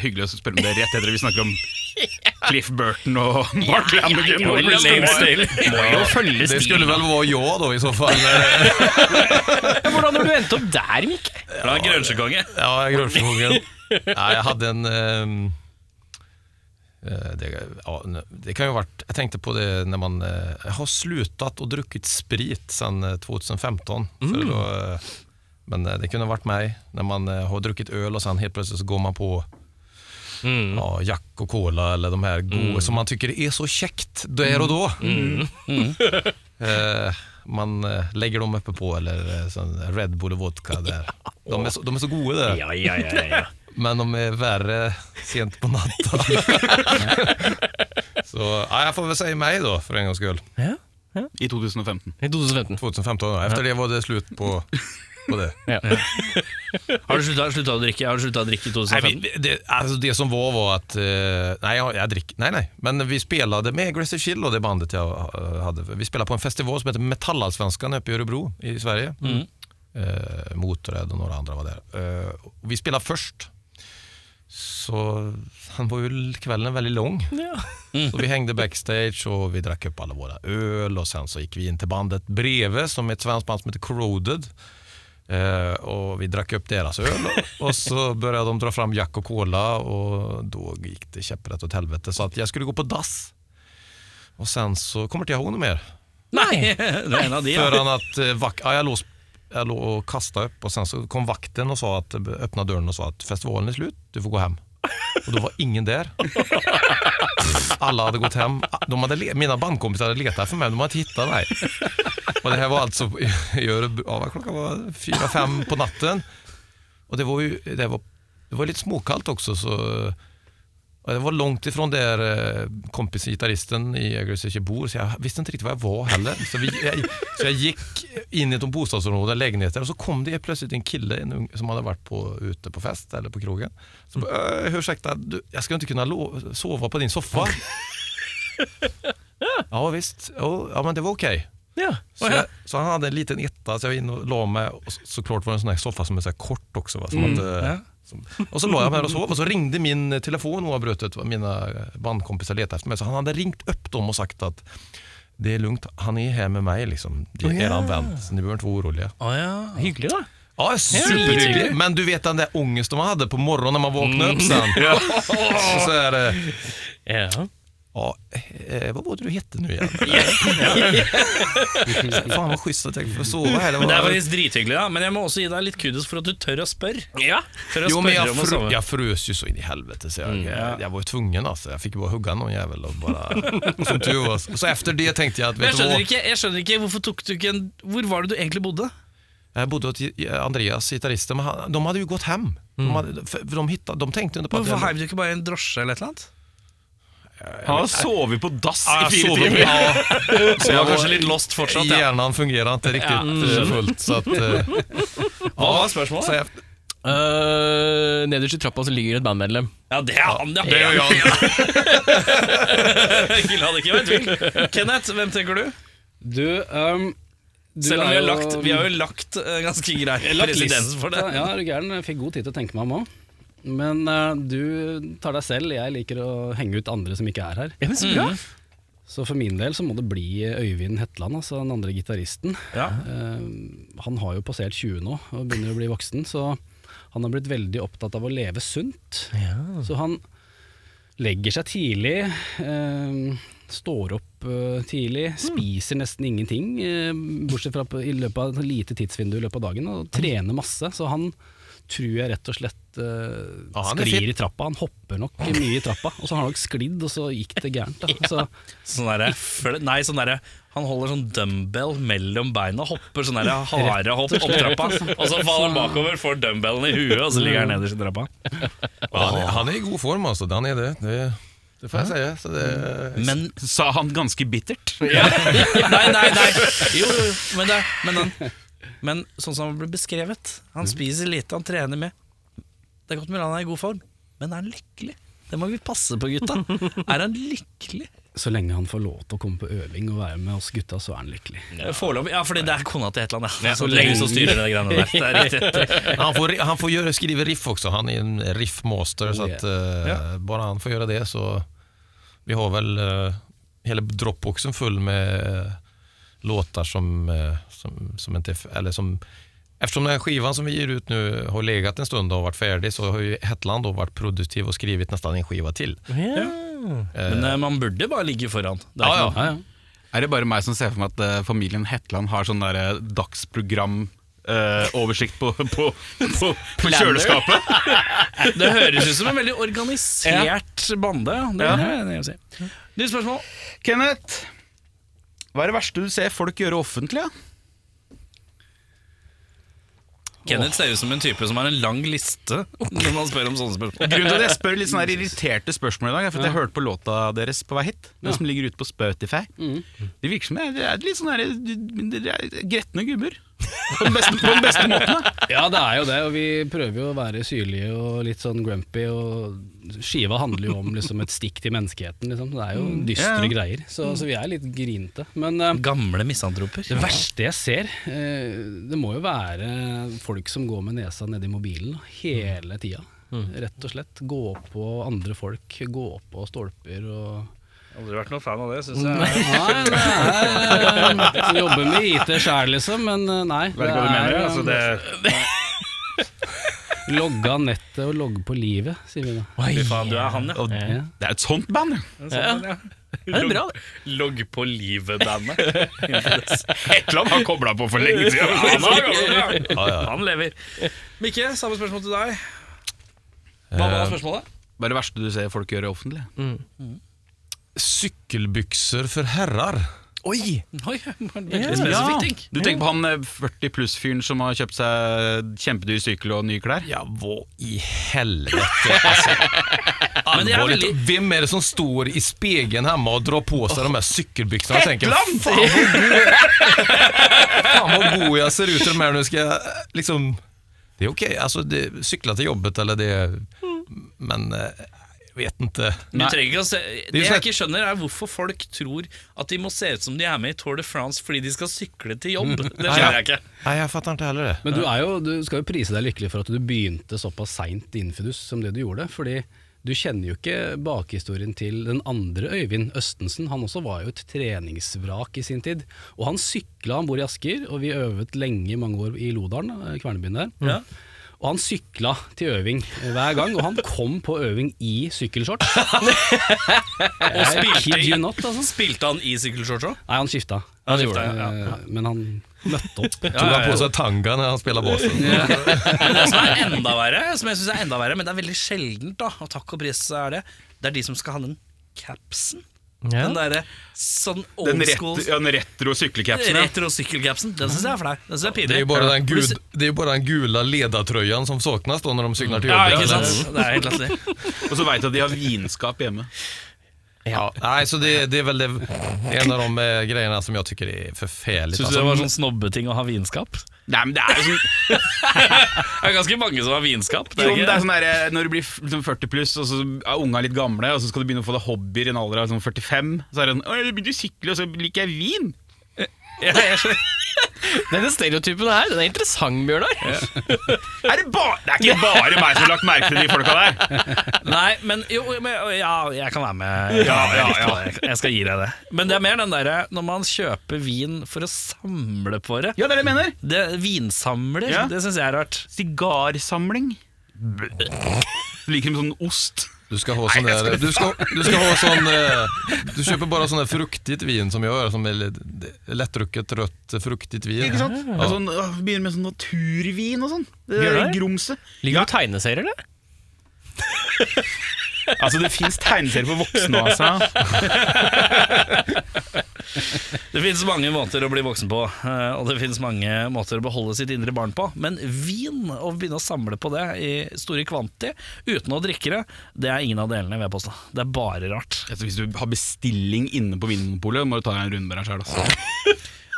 S3: Hyggelig å spørre om det rett etter at vi snakker om Cliff Burton og Mark
S1: ja,
S3: Lanigan.
S1: ja, ja.
S8: Ja, det skulle väl vara jag då i så fall.
S1: Hvordan har du endt opp der, Mikke?
S15: Ja, Grungekonge.
S8: Ja, grunchevågen. Ja, jag hade en... ehm, eh, det, ja, nu- det kan ju ha varit, jag tänkte på det när man eh, jag har slutat och druckit sprit sedan eh, 2015. För då, eh, men eh, det kunde ha varit mig när man eh, har druckit öl och sen helt plötsligt så går man på ja, Jack och Cola eller de här goda som man tycker är så käckt där och då. Eh, man eh, lägger dem uppe på eller eh, sån Red Bull och vodka där. De är så, de är så goda där.
S1: Ja, ja, ja, ja.
S8: Men de är värre sent på natten. så ja, jag får väl säga mig då för en gångs skull.
S3: I 2015.
S1: I 2015.
S8: 2015 då. Efter det var det slut på, på det.
S15: Har du slutta slutta å drikke Har du slutta å drikke i
S8: Nej,
S15: 2015?
S8: vi, det, alltså det som var var att, eh, nej jag, jag drick, nej nej, men vi spelade med Aggressive Chill och det bandet jag eh, hade. Vi spelade på en festival som heter Metallallsvenskan uppe i Örebro i Sverige. Mm. Eh, Motörhead och några andra var där. Eh, och vi spelade först. Så han var ju kvällen väldigt lång. Så vi hängde backstage och vi drack upp alla våra öl och sen så gick vi in till bandet bredvid som är ett svenskt band som heter Corroded. Eh, och vi drack upp deras öl och så började de dra fram Jack och Cola och då gick det käpprätt åt helvete. Så att jag skulle gå på dass. Och sen så kommer inte jag ihåg något mer.
S15: Nei! Det er en av de, ja.
S8: Förrän att eh, vak- ja, jag, låg, jag låg och kastade upp och sen så kom vakten och sa att, öppna dörren och sa att festivalen är slut, du får gå hem. Och då var ingen där. Alla hade gått hem. De hade, le- mina bandkompisar hade letat för mig, men de hade inte hittat mig. Och det här var alltså i- i Örebro, ja, vad klockan var fyra, fem på natten. Och det var ju det var, det var lite småkallt också. Så, och det var långt ifrån där eh, kompis gitarristen i Aggressive bor, så jag visste inte riktigt var jag var heller. Så, vi, jag, så jag gick in i ett bostadsområde, lägenheter, och så kom det helt plötsligt en kille en ung, som hade varit på, ute på fest eller på krogen. Så bara, "Eh, ursäkta, du, jag ska inte kunna lo- sova på din soffa. Ja visst, Jo, ja men det var okej.
S1: Ja.
S8: Så, jag, så han hade en liten etta, så jag var inne och la mig. Och så, såklart var det en sån här soffa som är så här kort också. Va? Som att, eh, som, och så la jag mig här och sov och så ringde min eh, telefon oavbrutet. va, Mina eh, bandkompisar letade efter mig. Så han hade ringt upp dem och sagt att det är lugnt, han är här med mig liksom. Det är eran vän, så ni behöver inte vara oroliga.
S15: Å, ja.
S1: Hyggelig, da.
S8: Ja, superhygglig. Men du vet den där ångesten man hade på morgonen när man vaknade upp sen. så, så är det...
S1: Ja.
S8: Ja, eh, vad var det du hette nu igen? Fan vad schysst att jag får sova här. Det var-
S15: Men Det er faktisk drithyggelig, da. Men jeg må også gi deg litt kudos for at du tør å spørre.
S1: ja.
S15: Tør å
S8: Jo, men
S15: spørre
S8: jag,
S15: om Mm, å
S8: fr-
S15: sove.
S8: jag frös ju så in i helvete så jag, jag, jag var ju tvungen altså. alltså. Jag fick ju bara hugga någon jävel och bara... som tur var. Så efter det tänkte jag att
S15: Men jeg
S8: vet du
S15: skjønner,
S8: vad?
S15: ikke, jeg skjønner ikke, hvorfor tok du ikke en Hvor var det du egentlig bodde?
S8: Jag bodde hos Andreas, gitarristen, men han, de hade ju gått hem. De,
S15: Mm.
S8: hade, för för de, hittade, de tänkte inte på att...
S15: Hvorfor heiv du ikke bare i en drosje eller et eller annet?
S3: Han har sovet på dass
S8: Ja,
S3: i
S8: jag
S3: fire
S8: sov
S3: timer.
S8: ja,
S15: Så jeg var kanskje litt lost fortsatt, ja. Mm.
S8: Hjärnan fungerar inte riktigt eh, fullt så att... eh,
S15: Hva var
S8: Så
S15: spørsmålet?
S8: jag,
S11: Eh,
S1: Øh, nederst i trappa så ligger et bandmedlem.
S15: Ja, det er han, ja. Det gjør
S8: jag.
S15: hadde ikke vært tvil. Kenneth, hvem tenker du?
S11: Du, ehm, du
S15: Selv om vi har
S11: er jo-
S15: lagt, vi har jo lagt eh, ganske grei
S11: Jeg har lagt
S15: presedens
S11: lista.
S15: for det.
S11: Ja, er du gæren. Jeg fikk god tid til å tenke meg om òg. Men eh, du tar deg selv. Jeg liker å henge ut andre som ikke er her. Mm.
S1: Ja, men så bra.
S11: Så for min del så må det bli Øyvind Hetland, altså den andre gitaristen. Eh, han har jo passert 20 nå og begynner å bli voksen, så han har blitt veldig opptatt av å leve sunt. Så han legger seg tidlig, eh, står opp eh, tidlig, spiser nesten ingenting, eh, bortsett fra på, i løpet av et lite tidsvindu i løpet av dagen, og trener masse. Så han tror jeg rett og slett eh,
S8: Ja, han er
S11: sklir
S8: fit.
S11: i trappa. Han hopper nok mye i trappa, og så har han nok sklidd, og så gikk det gærent. Da. Så,
S15: Sånn derre- fl- Nei, sånn derre Han holder sånn dumbbell mellom beina, hopper sånn derre harde hopp opp trappa, og så faller han bakover, får Mm. dumbbellen i huet, og så ligger han nederst i trappa.
S8: han, han är i god form alltså, han är altså. det. det Det får jeg säga. Så
S15: Mm.
S8: det,
S2: Men
S3: Sa han ganske bittert.
S2: Nei, nei, nei. Jo, jo, jo. Men, det, men, han, men sånn som han ble beskrevet Han spiser lite, han trener med. Det er godt mulig han er i god form, men er han lykkelig? Det må vi passe på, gutta. Er han lykkelig?
S11: Så lenge han får lov til å komme på øving og være med oss gutta, så er han lykkelig.
S2: Foreløpig. Ja, fordi det er kona til et eller annet. Ja,
S15: Så lenge så styrer det greiene der.
S2: det er riktig.
S8: han får, han får göra, skriva riff också, han är en riffmaster. så att, eh, Bara han får göra det så... Vi har väl eh, hela dropboxen full med eh, låtar som, eh, som, som inte... är- Eller som, eftersom den här skivan som vi ger ut nu har legat en stund och varit färdig så har ju Hetland då varit produktiv och skrivit nästan en skiva till.
S2: Men eh, man burde bare ligge foran. Det er ikke
S8: Ja, ja.
S11: Ja, ja.
S3: Er det bare meg som ser for meg at eh, familien Hetland har sånn der eh, dagsprogram eh, oversikt på, på, på, på kjøleskapet?
S2: noe- Det høres ut som en veldig organisert bande. Det er det jeg vil si. Nytt spørsmål.
S3: Kenneth, hva er det verste du ser folk gjøre offentlig? Ja?
S2: Kenneth ser ut som en type som har en lang liste når man spør om sånne spørsmål.
S3: Grunnen til at jeg spør litt sånne her irriterte spørsmål i dag, er for at jeg hørte på låta deres på vei hit. Den som ligger ute på Spotify. Det virker som jeg er litt sånn her dere er gretne gubber. På den beste, på den beste måten. da.
S11: ja, det er jo det, og vi prøver jo å være syrlige og litt sånn grumpy, og skiva handler jo om liksom, et stikk til menneskeheten, liksom. Det er
S2: Mm.
S11: jo dystre
S3: Ja, ja.
S11: greier, så, så vi er litt grinete. Men eh,
S2: Gamle misantroper.
S11: det verste jeg ser, eh, det må jo være folk som går med nesa nedi mobilen da, hele tida.
S2: Mm.
S11: Rett og slett. Gå på andre folk, gå på stolper og
S15: Aldri vært noen fan av det, syns jeg.
S11: Nei, det er eh, Jobber med IT sjæl, liksom, men eh, nei.
S15: Vet ikke hva du mener. Altså, det,
S11: Logge av nettet og logge på livet, sier vi da.
S15: fy faen, du er han, ja.
S3: Og
S11: Ja.
S3: det er et sånt band, ja.
S1: Det er bra, det.
S15: Logg på livet-bandet.
S3: Hetland har kobla på for lenge siden.
S15: Han, har jo-
S8: Ja, ja.
S15: han lever. Mikke, samme spørsmål til deg. Hva var
S8: Eh,
S15: spørsmålet?
S3: Hva er det verste du ser folk gjøre offentlig?
S8: cykelbyxor för herrar.
S15: Oi, veldig
S3: Ja.
S15: spesifikt, tenk.
S3: Du tenker på han eh, 40 pluss-fyren som har kjøpt seg kjempedyr sykkel og nye klær?
S8: Ja, vad i helvete alltså. Allvarligt, vem är det som står i spegeln hemma och drar på sig de här cykelbyxorna och tänker fan vad, god, fan vad god jag ser ut i de här nu ska jag liksom Det är okej, alltså det, cykla till jobbet eller det Men eh, jeg vet inte
S15: Du trenger ikke å se Det
S8: jo
S15: jeg
S8: slett-
S15: ikke skjønner, er hvorfor folk tror at de må se ut som de er med i Tour de France fordi de skal sykle til jobb. Det skjønner jeg ikke.
S8: Nej jag fattar inte heller det
S11: Men du, er jo, du skal jo prise deg lykkelig for at du begynte såpass seint i Infidus som det du gjorde. Fordi du kjenner jo ikke bakhistorien til den andre Øyvind Østensen. Han også var jo et treningsvrak i sin tid. Og han sykla, han bor i Asker, og vi øvet lenge i mange år i Lodalen, eh, Kvernebyen der. Og han sykla til øving eh, hver gang, og han kom på øving i sykkelshorts. og spilte you not, altså.
S15: Spilte han i sykkelshorts òg?
S11: Nei, han skifta.
S15: Han skifta, ja, ja,
S11: Eh, Men han møtte opp.
S8: Tog han på sig tanga när han spelade basen
S15: Det som er enda verre, som jeg synes er enda verre, men det er veldig sjeldent, da, og takk og pris er det, det er de som skal ha den capsen. Den derre sånn old
S3: Den,
S15: school
S3: ret ja, den retro sykkelcapsen. ja.
S15: retro sykkelcapsen. Den syns jeg er flau. Den synes jeg er
S8: Det är
S15: pinlig.
S8: ju bara den,
S15: Blir
S8: gud,
S15: så-
S8: det är ju bara den gula ledartröjan som saknas då när de cyklar till
S15: Ja,
S8: jobbet
S15: ikke
S8: eller?
S15: sant? Det er helt latterlig.
S3: Og så veit du at de har vinskap hjemme.
S8: Ja, nej, så det, det är väl det, det är en av de eh, grejerna som jag tycker är förfärligt.
S15: Syns du
S3: Altså-
S15: det var sånn snobbeting å ha vinskap?
S3: Nei, men det er jo sånn
S15: Det er ganske mange som har vinskap. Det
S3: Jo,
S15: er
S3: men det
S15: ikke
S3: er sånn der, eh, Når du blir f- liksom 40 pluss, og så er unga litt gamle, og så skal du begynne å få deg hobbyer i en alder av sånn 45, så er det sånn Å, jeg begynte å sykle, og så liker jeg vin.
S1: Denne stereotypen her, den er interessant, Bjørnar.
S3: Er det, ba det er ikke bare meg som har lagt merke til de folka der.
S15: Nei, men jo, men, ja, jeg kan være med. Jeg, kan være med litt på det. jeg skal gi deg det. Men det er mer den derre når man kjøper vin for å samle på det.
S3: Ja, det er det jeg mener.
S15: det vinsamler,
S3: Ja.
S15: det syns jeg er rart.
S3: Sigarsamling. Du liker med sånn ost.
S8: Du ska ha sån där, du ska, du ska ha sån, eh, du köper bara sån där fruktigt vin som jag gör, som är l- lättdrucket rött fruktigt vin.
S3: Ikke sant? Og sånn, å, begynner med sånn naturvin og sånn. Det
S1: Gjør
S3: er
S1: det?
S3: grumset.
S1: Ligger du i tegneserier, eller?
S3: Altså, det fins tegneserier for voksne, altså.
S2: Det finnes mange måter å bli voksen på, eh, og det finnes mange måter å beholde sitt indre barn på. Men vin, å begynne å samle på det i store kvanti uten å drikke det, det er ingen av delene, vil jeg påstå. Det er bare rart.
S3: Altså, Hvis du har bestilling inne på Vinmonopolet, må du ta deg en runde med deg sjøl. Altså.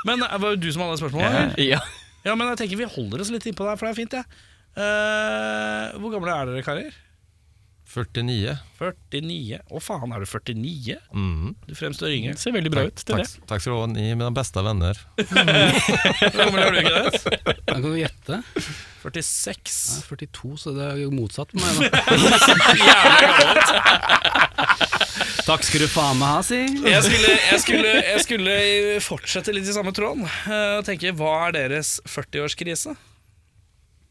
S2: Men det var jo du som hadde spørsmålet? eller?
S1: Ja.
S2: Ja, men jeg tenker vi holder oss litt innpå der, for det er fint, jeg. Eh, hvor gamle er dere, karer?
S8: 49.
S2: 49. Å faen, er du 49?
S3: Mhm.
S8: Mm.
S2: Du fremstår yngre.
S1: Det ser veldig bra ut til det.
S8: Takk, takk skal du ha. Ni er mine beste venner.
S2: Hvor gammel er du, Gaus?
S11: Da kan du gjette. Jeg
S2: 46.
S11: er 42, så det er jo motsatt på meg. Da. Takk skal du faen meg ha, si.
S2: Jeg skulle, jeg, skulle, jeg skulle fortsette litt i samme tråden eh, og tenke hva er deres 40-årskrise?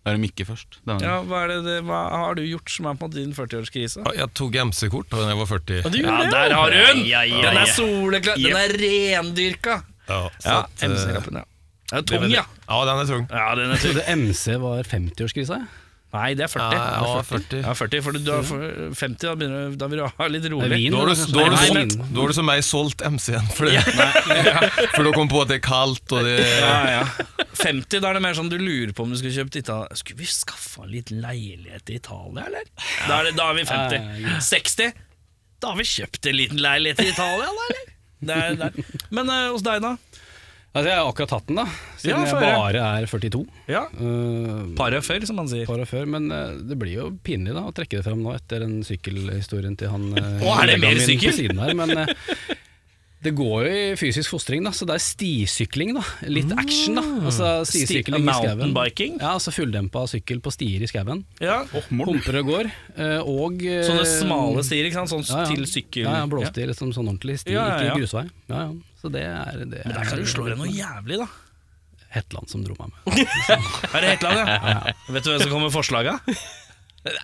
S3: Da er det Mikke først. Det er
S2: Ja, hva, er det, det- hva har du gjort som er på en måte din 40-årskrise?
S8: Jeg tok MC-kort da jeg var 40.
S2: Ja, der har hun! Den
S1: ja.
S2: er soleklar, den er rendyrka!
S8: Ja, så
S2: Ja,
S8: at, eh,
S2: MC-lappen, ja. Den er
S8: det var
S2: tung,
S8: det.
S2: ja.
S8: Ja, den er tung.
S2: ja den er
S11: Jeg
S2: tung.
S11: trodde MC var 50-årskrisa. jeg.
S2: Nei, det er 40.
S8: Ja, jeg var 40.
S2: Ja, 40, for du er for- 50, da, begynner, du- da vil du ha litt
S11: Det er
S2: rolig.
S11: vin.
S8: Da har du,
S11: kanskje?
S8: da har du,
S11: Nei,
S8: som-
S11: vin.
S8: da har du som meg solgt MC-en, for, det, for da kom på at det er kaldt og det
S2: Ja, ja. 50, da er det mer sånn du lurer på om du skulle kjøpt Italia. Skulle vi skaffa en liten leilighet i Italia, eller? Da er, det, da er vi 50. 60, da har vi kjøpt en liten leilighet i Italia, da, eller? Det er, det er. Men eh, hos deg, da?
S11: Altså, jeg har akkurat tatt den, da. Siden
S2: Ja, få
S11: jeg
S2: høre.
S11: bare er 42.
S2: Ja.
S11: Uh,
S2: Paret før, som man sier.
S11: par år før, men eh, det blir jo pinlig da å trekke det fram nå etter den sykkelhistorien til han eh,
S2: Å, er det
S11: kollegaen
S2: mer
S11: min på
S2: sykkel?
S11: siden her, men eh, det går jo i fysisk fostring, da, så det er stisykling. da Litt
S2: Ah.
S11: action, da. Altså Stisykling i skauen.
S2: Mountainbiking.
S11: Ja, altså fulldempa sykkel på stier i skauen.
S2: Ja.
S11: Humper og går. eh, Og eh,
S2: Sånne smale stier, ikke sant? Sånn
S11: ja, ja.
S2: til sykkel.
S11: Ja, ja blåstier. Liksom, sånn ordentlig sti,
S2: Ja, ja, ja.
S11: ikke grusvei. Ja, ja. Så det er det.
S2: Men der kan du slå deg noe jævlig, da.
S11: Hetland som dro meg med.
S2: Er det Hetland, ja? Vet du hvem som kommer med forslaga?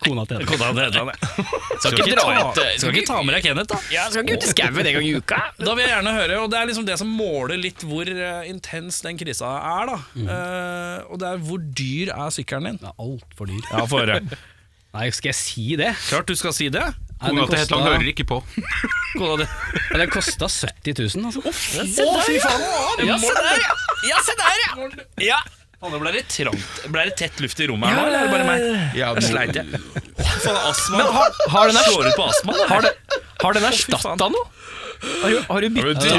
S11: Kona til Hetland.
S2: Kona til Hetland, ja. Skal ikke, ta, skal ikke ta med deg Kenneth, da.
S1: Jeg skal ikke ut i skauen en gang i uka.
S2: Da vil jeg gjerne høre, og det er liksom det som måler litt hvor eh, intens den krisa er, da.
S11: Mm.
S2: Eh, og det er hvor dyr er sykkelen din?
S11: Det er altfor dyr.
S2: Ja, få høre.
S11: Nei, skal jeg si det?
S2: Klart du skal si det.
S11: Nei,
S3: Kona
S11: den
S3: til Hetland
S11: kosta-
S3: hører ikke på.
S2: Kona di.
S11: Ja, Den kosta 70 000, altså.
S2: Å, fy faen! Ja, se der, ja! Ja, se der, ja! ja. Faen, det ble litt trangt. Ble det tett luft i rommet her nå, eller er det bare meg?
S3: Ja,
S2: Jeg sleit, jeg. Å, Faen, astma. har den slår ut på astma? da.
S1: Har, det, har den erstatta noe? Har du, har du bytt-
S8: Det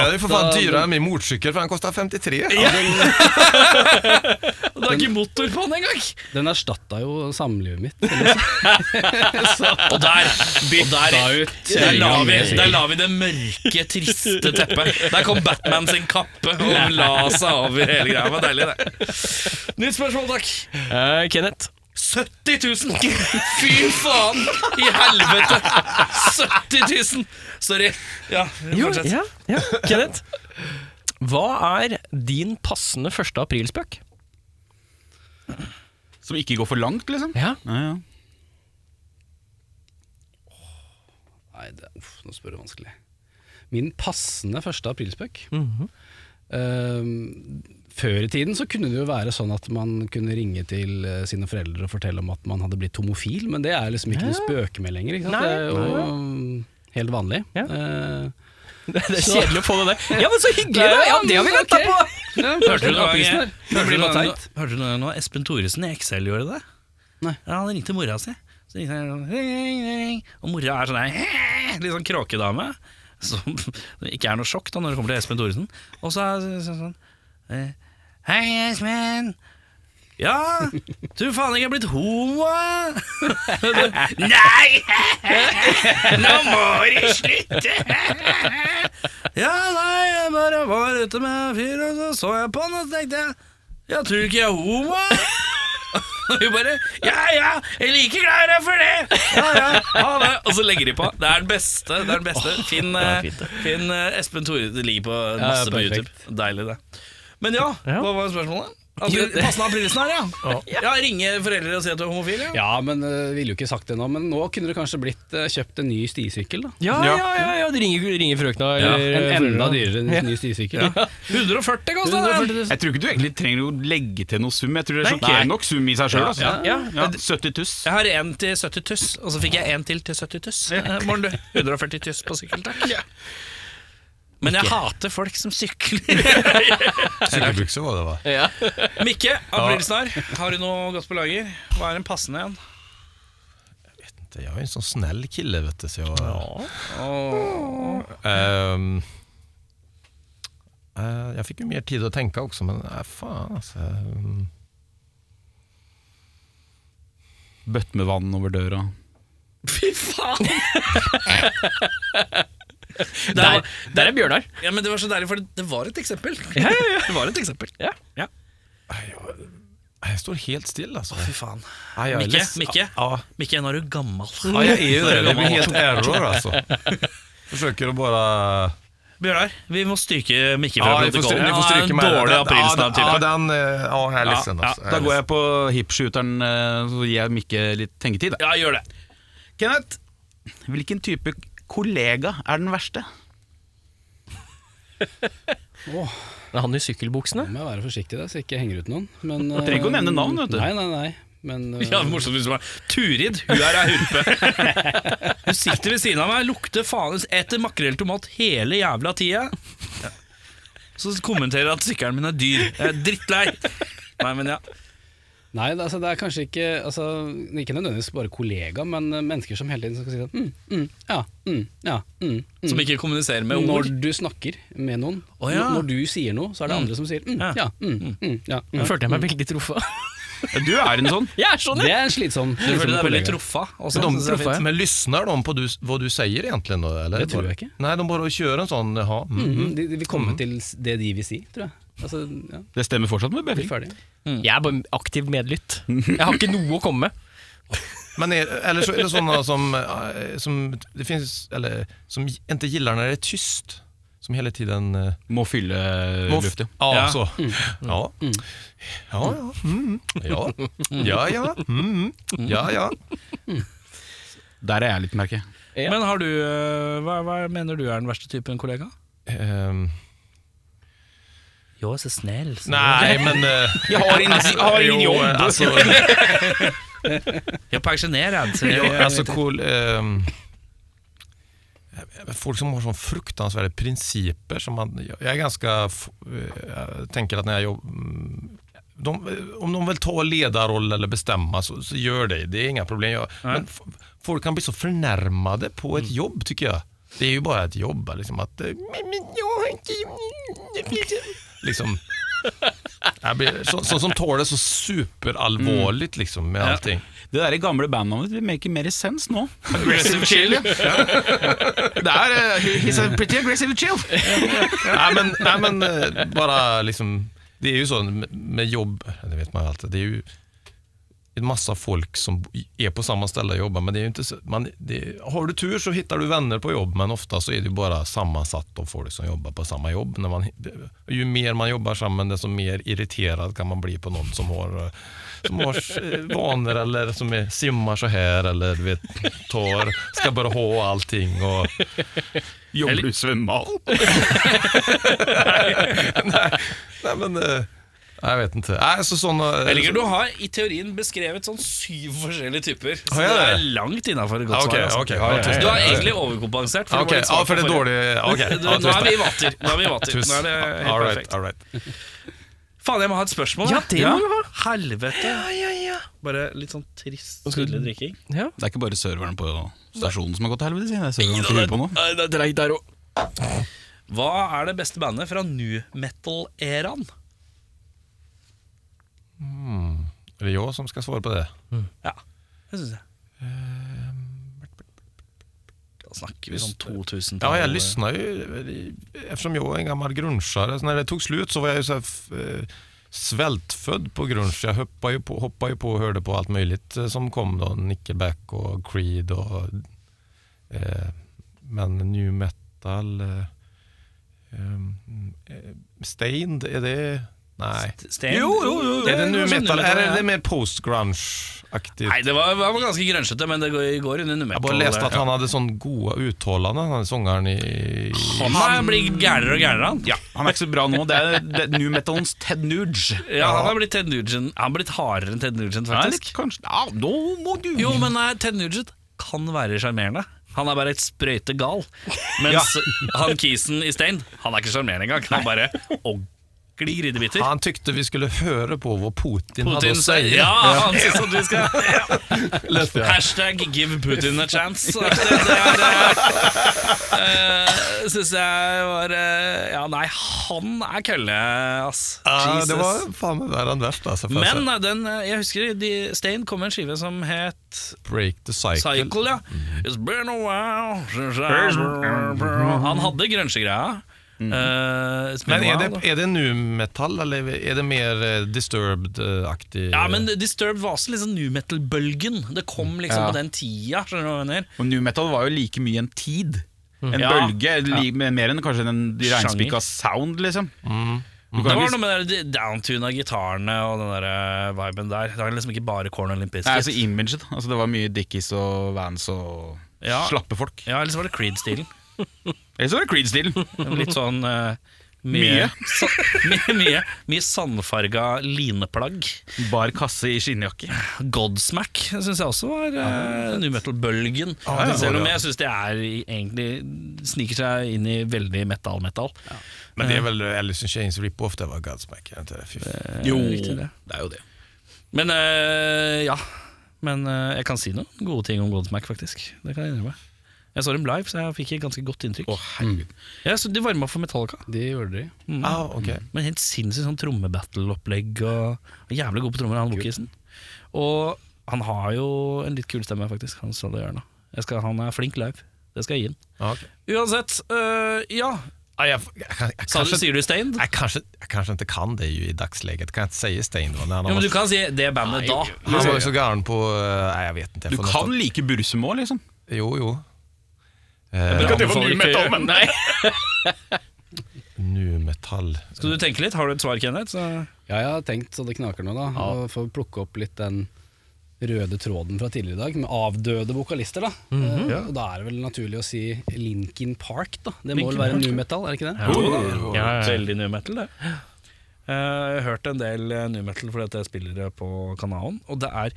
S8: er jo for faen dyrere enn min motorsykkel, for den kosta 53.
S2: Det er ikke motor på den engang!
S11: Den erstatta jo samlivet mitt.
S2: Og der bytta
S11: ut
S2: Der la, vi,
S11: Selger.
S2: der la vi det mørke, triste teppet. Der kom Batman sin kappe og la seg over hele greia. Det var deilig, det. Nytt spørsmål, takk.
S1: Eh, Kenneth.
S2: 70 000! Fy faen i helvete! 70 000! Sorry. Ja,
S1: Jo,
S2: fortsett.
S1: ja, ja. Kenneth. Hva er din passende 1. aprilspøk?
S3: Som ikke går for langt, liksom.
S1: Ja.
S3: Ja, ja.
S11: Nei, det, uff, nå spør du vanskelig. Min passende 1. aprilspøk.
S1: Mhm.
S11: Ehm, før i tiden så kunne det jo være sånn at man kunne ringe til eh, sine foreldre og fortelle om at man hadde blitt homofil, men det er liksom ikke noe spøke med lenger. Ikke sant?
S1: Nei.
S11: det er jo mm, helt vanlig.
S1: Ja.
S11: Eh,
S1: Det er kjedelig å få det der. Ja, men så hyggelig!
S11: Ja,
S1: da. Ja,
S11: men
S1: det har vi venta
S11: ok.
S1: på!
S11: ja,
S2: Hørte du noen
S11: aprilsen
S2: ganger
S11: her. Det blir bare teit.
S2: Hørte du noen ganger nå Espen Thoresen i Excel gjorde det?
S11: Nei.
S2: Ja, han ringte mora si. Så ringte han sånn ring, ring. Og mora er sånn der, litt sånn kråkedame. Som ikke er noe sjokk da når det kommer til Espen Thoresen. Og så er det sånn eh, Hei, Espen. Ja, tror faen ikke jeg er blitt homo. Nei! Nå må du slutte! Ja, nei, jeg bare var ute med en fyr, og så så jeg på han, og så tenkte jeg Jeg tror ikke jeg er homo. Og hun bare Ja, ja, jeg er like glad i deg for det! Ja, ja, ha det. Og så legger de på. Det er den beste. det er den beste Finn, eh, Finn eh, Espen Tore. Det ligger på masse på
S11: perfekt.
S2: YouTube. Deilig, det. Men ja,
S1: Ja.
S2: hva var spørsmålet? Altså, Passende aprilsen her, ja. ja. Ringe foreldre og si at du er homofil, ja.
S11: Ja, men eh, ville jo ikke sagt det nå, men nå kunne det kanskje blitt eh, kjøpt en ny stisykkel, da.
S1: Ja, ja, ja, ja, de ringer, ringer frøkna. Eller,
S11: En enda
S1: foreldra.
S11: dyrere enn ny stisykkel.
S2: 140 koster den!
S3: Jeg tror ikke du egentlig trenger å legge til noe sum. Jeg tror det er
S2: Nei.
S3: sjokkerende nok sum i seg sjøl. Altså.
S2: Ja, ja.
S3: Ja, 70 tuss.
S2: Jeg har én til 70 tuss, og så fikk jeg én til til 70 tuss. Eh, Morten, du. 140 tuss på sykkel, takk. Men jeg hater folk som sykler.
S8: Sykkelbukse var det, va?
S2: Mikke, aprilsnarr, har du noe godt på lager? Hva er en passende en?
S8: Jag är ju en sån snäll kille vet du. Så jag, Ehm, eh, jag fick ju mer tid att tänka också men äh, fan alltså. ehm,
S3: Bøtt med vann over døra.
S2: Fy faen!
S1: Der, der er Bjørnar.
S2: Ja, men Det var så deilig, for det- det var et eksempel. Det var et eksempel.
S1: Ja.
S8: jag står helt still alltså.
S2: Fy faen.
S8: Ja, jag är
S2: Micke,
S8: ledsen.
S2: Micke.
S8: Ja,
S2: Mikke, Mm. nå er du gammel.
S8: ja, jag är ju det. Det blir helt error alltså. Försöker att bara...
S2: Bjørnar, vi må stryke Mikke fra
S8: Ja, ni får stry-
S2: protokollen.
S8: ni får
S2: Han er
S8: stryka
S2: en
S8: med den.
S2: dårlig
S8: Den-
S2: aprilsnarr-type.
S8: Ja, den, ja, den, eh, ja, jag är ledsen alltså.
S3: Da går jeg på hipshooteren, eh, så gir jeg Mikke litt tengetid.
S2: Ja, gjør det.
S3: Kenneth, hvilken type kollega er den verste?
S1: Det er han i sykkelbuksene.
S11: Må jeg være forsiktig der, så jeg ikke henger ut noen. Men,
S3: Du trenger ikke å
S11: eh,
S3: nevne navn, vet du.
S11: Nei, nei, nei. Men eh,
S2: Ja, det morsomt hvis det var Turid, hun er ei hurpe. Hun sitter ved siden av meg, lukter faen etter makrell tomat hele jævla tida. Så kommenterer jeg at sykkelen min er dyr. Jeg er drittlei. Nei, men ja.
S11: nei det, altså, det er kanskje ikke altså, Ikke nødvendigvis bare kollega, men eh, mennesker som hele tiden skal si sånn mm, mm, ja, mm, ja, mm, mm.
S2: Som ikke kommuniserer med
S11: Når
S2: ord.
S11: du snakker med noen,
S2: Å, ja.
S11: n- når du sier noe, så er det andre som sier mm,
S2: Ja.
S11: ja, mm, mm, ja,
S1: Nå
S11: mm.
S1: følte jeg meg veldig truffet.
S3: Du er en sånn.
S1: Jeg er sånn,
S11: Det
S1: ja!
S11: er en slitsom,
S2: Du føler
S11: slitsom
S2: deg veldig
S11: kollega.
S2: truffa.
S8: Men,
S2: Også,
S8: de,
S2: synes jeg er fint.
S8: men lyssnar de på du, vad du säger egentligen då? Eller?
S11: Det tror jag inte.
S8: Nej, de bara kör en sån, jaha. Mm.
S11: Mm, de, de vil komme til s- det de vil si, tror jeg. Altså, ja,
S3: Det stemmer fortsatt med
S11: blir
S3: Befring.
S11: ferdig.
S1: Jeg er bare aktiv medlytt. Jeg har ikke noe å komme med.
S8: Men är, eller så är det sådana som, eh, som, det finns, eller, som inte gillar när det är tyst. Som hela tiden... eh,
S3: Må fylle
S8: må-
S3: luft, ja.
S8: Ja, så. Ja. Ja, ja. Mm. Ja, ja. Ja, mm. ja. ja.
S3: Der er jeg litt, merker jeg.
S2: Men har du øh, hva, hva mener du er den verste typen kollega?
S8: Ehm,
S2: Jo, så snill.
S8: nej, men... eh,
S3: Jeg har ingen, jeg har ingen
S8: jo,
S3: jobb!
S8: eh, alltså,
S2: Jeg er sånn pensjonert. så jeg-
S8: ja, alltså cool, ehm, Folk som har sån fruktansvärda principer som man... Jag, jag är ganska... f- eh, Jag tänker att när jag jobbar... De, eh, om de vill ta ledarroll eller bestämma så, så gör det. Det är inga problem. Jag, men f- folk kan bli så förnärmade på ett jobb tycker jag. Det är ju bara ett jobb. Liksom, att, eh, men, men jag har inte... Liksom, jag blir, så, så, som tar det så superallvarligt liksom, med allting.
S3: Det der gamle bandnavnet det maker mer sens nå. Aggressive chill. ja. Det er eh, He's a pretty aggressive chill.
S8: nej, men, nej, men eh, bara liksom... Det är ju så med- med jobb, det vet man ju alltid, det är ju en massa folk som är på samma ställe och jobbar. Men det är ju inte så, man, det, har du tur så hittar du vänner på jobb, men ofta så är det ju bara sammansatt av folk som jobbar på samma jobb. När man, ju mer man jobbar samman, desto mer irriterad kan man bli på någon som har, eh, som har eh, vanor eller som är, simmar så här eller du vet, tar, ska bara ha allting. Och,
S3: Jobber du svømmehallen?
S8: nej, men, eh, jag vet inte. Nej, så såna,
S2: Jeg liker Du har i teorien beskrevet sånn syv forskjellige typer. Så
S8: Har jeg
S2: det
S8: det?
S2: er langt innafor et godt
S8: Ja, ok,
S2: svar. altså.
S8: ok, ja, ja, ja, ja.
S2: Du har egentlig overkompensert. For
S8: Ok,
S2: det var litt svar
S8: ja, for det
S2: på
S8: dårlige ok,
S2: forrige. Du,
S8: ja,
S2: nå
S8: tusen
S2: er vi i
S8: takk.
S2: vater. Nå er vi i vater. Nå er det
S8: Tusen-
S2: helt
S8: all right,
S2: perfekt.
S8: all right.
S2: Faen, jeg må ha et spørsmål.
S1: Ja, det må du ha.
S2: Helvete. Bare litt sånn trist stille drikking.
S3: Det er ikke bare serveren på stasjonen som har gått til helvete, sier jeg. Serveren på huet på nå.
S1: Det er treigt der òg.
S2: Hva er det beste bandet fra nu metal-æraen?
S8: Är det jag som ska svara på det?
S2: Ja, det syns jeg. Da snakker vi sånn 2000
S8: Ja, jag lyssnar ju. Eftersom jag är en gammal grunschare. Så när det tog slut så var jag ju så här, f- eh, svältfödd på grunge. Jag hoppade ju på, hoppade ju på och hörde på allt möjligt eh, som kom då. Nickelback och Creed och... Eh, men new metal... Eh, eh, Stained, är det... Nej.
S2: Sten?
S8: Är det nu metal?
S2: nu metal,
S8: Är
S2: ja.
S8: det mer post-grunge-aktigt?
S2: Nei, det var, det var ganske grønsjete, men det går, går under
S8: Jag
S2: metal.
S8: bara läste att
S2: Ja.
S8: han hade sån goa uttalanden, han sångaren i...
S2: Han har- blir gærnere og gærnere, han.
S3: Ja, Han er ikke så bra nå. Det er, det er new metalens Ted Nuge.
S2: Ja, han har blitt Ted Nugent. Han har blitt hardere enn Ted Nugent,
S3: Ja,
S2: faktisk.
S3: litt kanskje ja, Nå må du
S2: Jo, men nei, Ted Nugent kan være sjarmerende. Han er bare et sprøyte gal. Mens han Kisen i Stein, han er ikke sjarmerende engang. Han bare ogler gridebiter.
S8: Han tyckte vi skulle höra på vad Putin, hade
S2: Putin
S8: att
S2: sier
S8: säga.
S2: ja, han synes at vi skal ja. Hashtag give Putin a chance. Det, det, syns jeg var eh, Ja, nei, han er kølle, ass.
S8: Ja, det
S2: Jesus.
S8: var fan med värre än värst alltså. får jag
S2: Men
S8: säga.
S2: eh, den, eh, jeg husker de, Stein kom med en skive som het
S8: Break the cycle.
S2: Cycle, ja. It's been a while Han hadde grønsjegreia. Uh,
S8: Men är det, är det nu metall eller är det mer eh, disturbed-aktig?
S2: Ja, men Disturbed var også liksom new metal-bølgen. Det kom liksom på den tida. skjønner du hva jeg mener?
S3: Og new metal var jo like mye en tid. En
S2: Ja.
S3: bølge. li- Mer enn kanskje en
S2: Sjanger.
S3: regnspikka sound, liksom. Du
S2: Det
S3: kan
S2: var
S3: ikke-
S2: noe med den der downtuna gitarene og den der eh, viben der. Det var liksom ikke bare Corn og Limp
S3: Nei, altså
S2: Bizkit.
S3: imaget. Altså, det var mye Dickies og Vans og
S2: Ja.
S3: slappe folk.
S2: Ja, eller så var det Creed-stilen.
S3: Eller så var det Creed-stilen.
S2: Litt sånn eh, mye,
S3: Mye.
S2: sa, mye, mye, mye sandfarga lineplagg.
S3: Bar kasse i skinnjakke.
S2: Godsmack syns jeg også var eh, new metal-bølgen.
S8: det var
S2: Selv om
S8: det, ja.
S2: jeg syns det er i- egentlig sniker seg inn i veldig metal-metal.
S8: Men det är väl Alice in Chains rip-off, det var Godsmack. är det Inte det? Fy fan.
S2: Jo, det
S3: er jo det.
S2: Men eh, ja. Men eh, jeg kan si noen gode ting om Godsmack, faktisk. Det kan jeg innrømme. Jeg så dem live, så jeg fikk et ganske godt inntrykk. Mm. ja, så De varma for Metallica.
S11: Det gjorde de.
S2: Mm.
S8: Ah, okej.
S2: Men helt sinnssykt sånn trommebattle-opplegg. Og, og Jævlig god på trommer, han Wokisen. Og han har jo en litt kul stemme, faktisk. Han, Sally Jørn, da. jeg skal, han er flink live. Det skal jeg gi han.
S8: Ja, Ah, okej. Ah,
S2: Uansett, øh, ja.
S8: Ja, jeg, jeg, jeg, jeg,
S2: Sa du,
S8: kanskje,
S2: sier du Stained?
S8: jeg, kanskje, jeg kanskje ikke kan det jo i dagsläget. Kan jeg ikke si Stein? da, Når han,
S2: Jo, men
S8: var,
S2: du kan si det bandet da.
S8: han var jo så gæren på eh, Nei, jeg vet ikke. jeg
S3: Du
S8: får
S3: kan
S8: nesten-
S3: like Bursum òg, liksom.
S8: Jo, jo. Eh,
S2: Det var ny metal, men nei.
S8: Nu metall.
S2: Skal du tenke litt? Har du et svar, Kenneth? Så
S11: Ja, jeg har tenkt så det knaker nå, da. Og Få plukke opp litt den røde tråden fra tidligere i dag, med avdøde vokalister. da Eh, Og Da er det vel naturlig å si Linkin Park, da. Det må vel være new metal, er det ikke det?
S2: Veldig new metal, det. Eh, Jeg har hørt en del eh, new metal fordi at jeg spiller det på kanalen. Og det er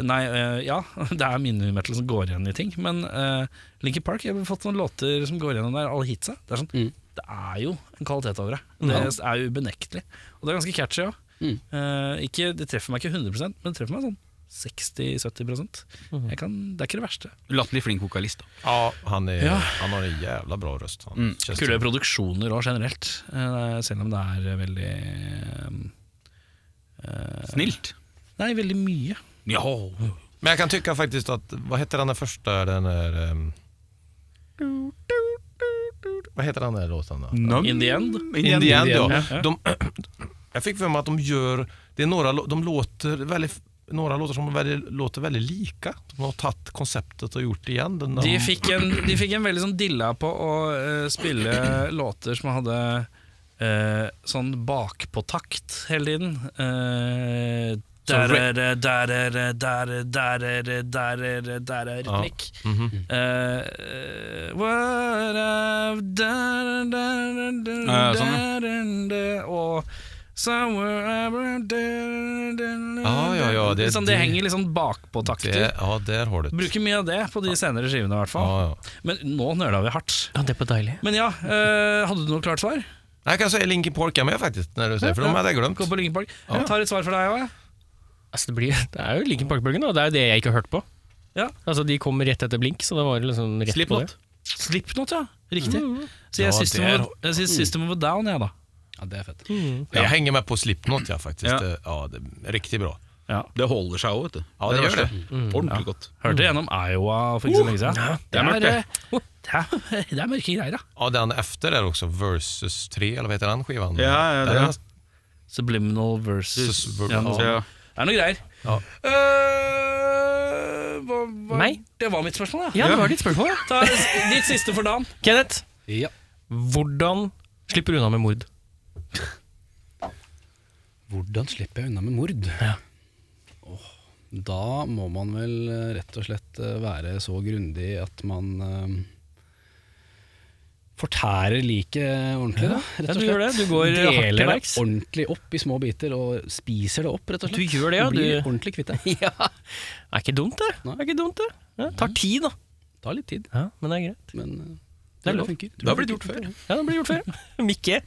S2: Nei, eh, ja, det er min new metal som går igjen i ting, men uh, Linkin Park Jeg har fått noen låter som går igjennom der, alle hitsa. Det er, sånn, det er jo en kvalitet over det. Det er jo ubenektelig. Og det er ganske catchy òg. det treffer meg ikke 100 men det treffer meg sånn 60-70 Jeg kan, Det er ikke det verste.
S3: Latterlig flink vokalist. da
S8: Ja, han, är,
S2: Ja.
S8: han har en jävla bra röst. Han. Känns
S2: Kule
S8: det.
S2: produksjoner òg, generelt. eh, Selv om det er veldig eh,
S3: Snilt.
S2: Nei, veldig mye.
S3: Ja.
S8: Men jag kan tycka faktiskt att, vad heter den där första, den där... ehm, vad heter den där låten då?
S2: In the end.
S8: In the end,
S11: Indian,
S8: ja. De, jag fick för mig att de gör, det är några, lå- de låter väldigt, några låtar som väldigt, låter väldigt lika. De har tagit konceptet och gjort det igen. Den,
S2: De fikk en, de fikk en veldig sånn dilla på å eh, spille låter som hadde eh, sånn bakpåtakt hele tiden. Uh, Derere, derere, derere, derere, derere, derere, rytmikk.
S8: Mhm.
S2: Eh, eh, what I've done, done, done,
S3: Ja, ja,
S8: sånn,
S2: done, done, Og Somewhere I've done, done,
S8: Ja, Ah, ja, ja, det-
S2: liksom, det,
S8: det-
S2: henger litt sånn bakpå
S8: det,
S2: takter.
S8: ja, där har du det.
S2: Bruker mye av det på de senere skivene, i hvert fall.
S8: Ja, ja.
S2: Men nå nøla vi hardt.
S1: Ja, det er på deilig.
S2: Men ja, eh, hadde du noe klart svar?
S8: Jag kan säga Linkin Park är med faktiskt, när du säger, för de hade jag glömt.
S2: Gå på Linkin Park. Jeg tar et svar for deg òg, jeg.
S1: Altså, det, blir, det er jo Linkin Park-bølgen, og det er jo det jeg ikke har hørt på.
S2: Ja.
S1: Altså, De kom rett etter Blink, så det var liksom rett
S3: Slipknot.
S1: på det. Mm.
S2: Slipknot, ja. Riktig. Så jeg
S8: Ja,
S2: sier System,
S8: det er-
S2: of- jeg sier system of a Down, jeg, da.
S11: Ja, det er fett.
S8: Jag hänger med på Slipknot ja, faktiskt.
S3: Ja.
S8: Det- Ja, det är riktigt bra.
S3: Det holder seg òg, vet du.
S8: Ja, det
S3: er
S8: gjør
S3: verste. Ordentlig godt.
S2: Hørte
S8: Mm.
S2: gjennom Iowa for
S8: Uh!
S2: ikke så lenge siden.
S3: Det er mørkt, det.
S2: eh, det er, det er mørke greier, da.
S8: Ja, den efter där också, Versus 3, eller vad heter den skivan?
S3: Ja, ja,
S8: Där
S3: det-
S8: är den-
S2: Subliminal versus
S8: Sus-
S2: ja, noe sånt.
S3: Ja.
S2: Det er noe greier.
S8: Ja.
S2: Eh, hva, hva,
S1: Meg?
S2: Det var mitt spørsmål, ja.
S1: Ja, det var ditt spørsmål, ja.
S2: Ta ditt siste for dagen.
S1: Kenneth,
S11: Ja.
S1: hvordan slipper du unna med mord?
S11: Hvordan slipper jeg unna med mord? Åh, da må man vel eh, rett og slett eh, være så grundig at man eh, fortærer liket ordentlig, da. Rett
S1: Ja,
S11: og
S1: du gjør det.
S11: slett.
S1: Du går hardt til
S11: Deler det
S1: verks.
S11: ordentlig opp i små biter og spiser det opp, rett og
S1: Du
S11: slett.
S1: gjør det, ja,
S11: Og Blir
S1: du-
S11: ordentlig kvitt det.
S1: Ja, det er ikke dumt, det.
S11: Nei.
S1: det, er ikke dumt, det. Ja, tar tid, da.
S11: Tar litt tid,
S1: Ja, men det er greit.
S11: men eh,
S1: Det er
S11: tror
S1: lov.
S11: funker. Tror
S8: Det har blitt
S11: funker.
S8: gjort før.
S1: Ja, det blir gjort før. Mikke.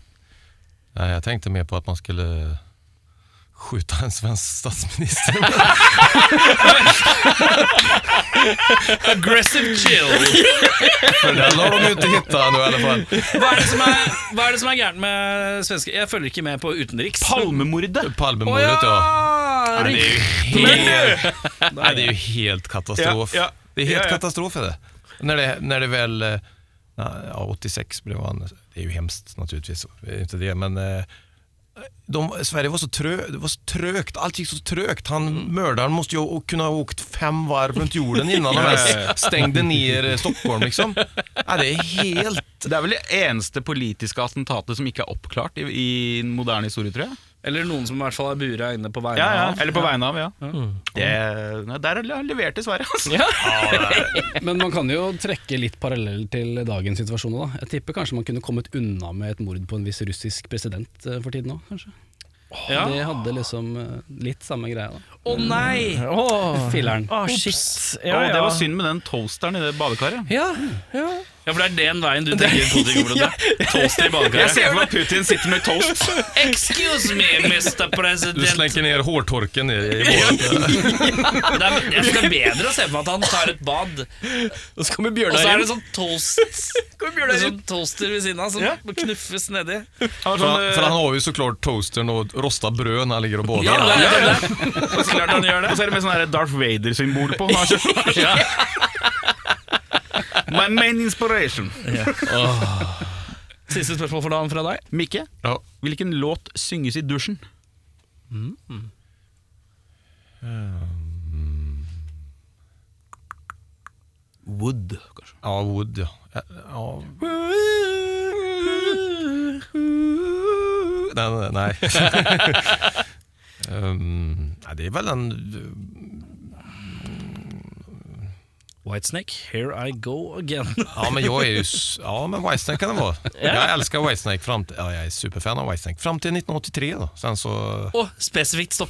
S8: Nej, jag tänkte mer på att man skulle skjuta en svensk statsminister.
S16: Aggressive chill.
S8: Men den har de ju inte hittat nu i alla fall.
S16: Hva er det som er
S2: Hva er det som er gærent med svenske Jeg følger ikke med på utenriks.
S3: Palmemordet!
S8: Palmemordet ja.
S2: Ah,
S8: Det är ju helt, nej, det är ju helt katastrof.
S3: Ja, ja.
S8: Det är helt
S3: Ja, ja.
S8: katastrof är det. När det, när det väl, eh, na, ja, 86 blev han, det är ju hemskt naturligtvis, det är inte det, men eh, de, Sverige var så, trö, det var så trögt, allt gick så trögt. Han, Mördaren måste ju å- kunna ha åkt fem varv runt jorden innan han ens stängde ner eh, Stockholm liksom. Ja, det är helt
S3: Det er vel det eneste politiske attentatet som ikke er oppklart i, i den moderne historie, tror jeg.
S2: Eller noen som i hvert fall er bura inne på vegne
S3: Ja, ja.
S2: av.
S3: Eller på vegne av, ja. Det, nei, der er det levert i Sverige, altså.
S11: Men man kan jo trekke litt parallell til dagens situasjon. Da. Jeg tipper kanskje man kunne kommet unna med et mord på en viss russisk president eh, for tiden òg, kanskje.
S2: Ja.
S11: De hadde liksom eh, litt samme greia, da.
S2: Å nei!
S1: Åh,
S11: Filleren.
S1: Åh, shit.
S3: Å, det var synd med den toasteren i det badekaret.
S1: Ja,
S2: Ja, for det er den veien du tenker Putin kommer til å dra. Toast i
S3: Jeg
S2: badekaret.
S3: ser for meg Putin sitter med toast.
S2: Excuse me, Mr.
S8: Du
S2: President.
S8: slenker ner hårtorken i, i båten.
S2: Det er, jeg synes det er bedre å se på at han tar et bad,
S1: og så kommer
S2: og så er
S1: Bjørnar
S2: det
S1: inn.
S2: sånn toast En sånn toaster ved siden av som knuffes nedi.
S3: Han var
S8: For,
S3: sånn,
S8: han-
S3: eh,
S8: for han har ju såklart toastern och rostat bröd när han ligger och badar.
S2: Ja, det er det. Det er klart han gjør det.
S3: Og så er det med sånn der Darth Vader-symbol på. Han har kjørt- My main inspiration.
S2: Siste spørsmål for dagen fra deg.
S3: Mikke,
S8: Ja.
S3: hvilken låt synges i dusjen? Mm. Wood, kanskje.
S8: Ja, Wood ja. Ja, ja. Den, nej. um, ja, det är väl en...
S2: Whitesnake, here I go again.
S8: Ja men jag är ju... s- Ja men Whitesnake kan det vara. Jag älskar Whitesnake fram till... Ja jag är superfan av Whitesnake. Fram til 1983 då. Sen så...
S2: Å, spesifikt stopp.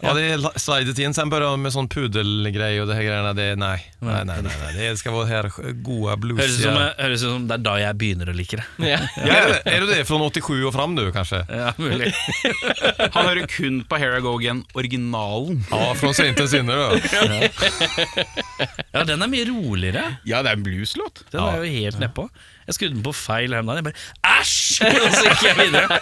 S8: Ja, det är la- slidet in. Sen började de med sån pudelgrej och det här grejerna. Det är nej. Nej, nej, nej. nej. Det ska vara här goa
S2: Høres ut
S8: bluesiga...
S2: som, høres ut som det er da jeg begynner å like det.
S8: Ja, är, det, är det det? Från 87 och fram nu kanske?
S2: Ja, mulig.
S3: Han hører kun på Here I Go Again, originalen.
S8: Ja, från sent till sinne då.
S2: Ja, den er mye roligere.
S3: Ja, det er en blueslåt.
S2: Den er jo helt nedpå. Jeg skrudde den på feil her om dagen. Jeg bare æsj! Og så gikk jeg videre.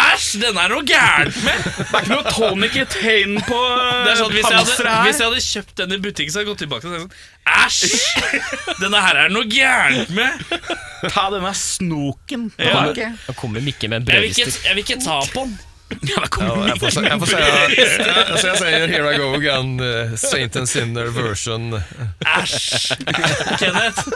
S2: Æsj! Den er noe gærent med!
S3: Det er ikke noe tonic i tegn på
S2: Det er sånn, hvis, jeg hadde,
S3: hamstere her.
S2: hvis jeg hadde kjøpt den i butikken, så hadde jeg gått tilbake og sagt sånn Æsj! Denne her er det noe gærent med!
S3: Ta denne snoken
S2: Ja.
S3: tilbake.
S1: Nå kommer sånn- Mikke med en
S2: Jeg vil ikke,
S1: brødrist.
S2: jeg vil ikke ta på den. Ja, da kommer
S8: Ja,
S2: den.
S8: jeg, får, se- jeg får säga, jag, alltså jag säger Here I Go Again, eh, Saint and Sinner version.
S2: Æsj! Kenneth.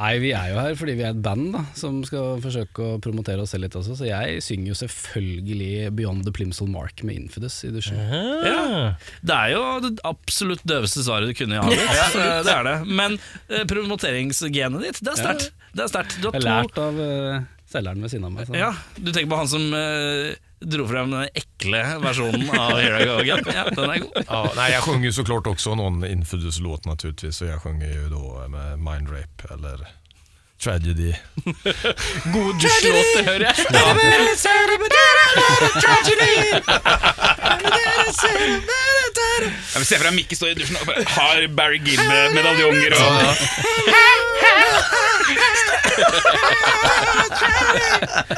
S11: Nei, vi er jo her fordi vi er et band da, som skal forsøke å promotere oss selv litt også, så jeg synger jo selvfølgelig Beyond the Plimsoll Mark med Infidus i dusjen.
S2: Eh,
S1: Ja.
S2: Det er jo det absolutt døveste svaret du kunne ha avgitt. så Det er det. Men eh, promoteringsgenet ditt, det er sterkt. Det er sterkt. Du
S11: Jeg
S2: har
S11: har
S2: to Eh,
S11: lært av eh, selgeren ved siden av meg. sånn. så-
S2: Ja, du tenker på han som eh, dro frem den ekle versjonen av Here I Go Again. Ja, den er god.
S8: Ja, nej, jag sjunger ju såklart också någon Infidus-låt naturligtvis, så jag sjunger ju då med Mind Rape eller Tragedy.
S1: God dusjlåter, hører jeg.
S3: Jeg vil se for deg Mikke står i dusjen og bare har Barry Gibb-medaljonger. og-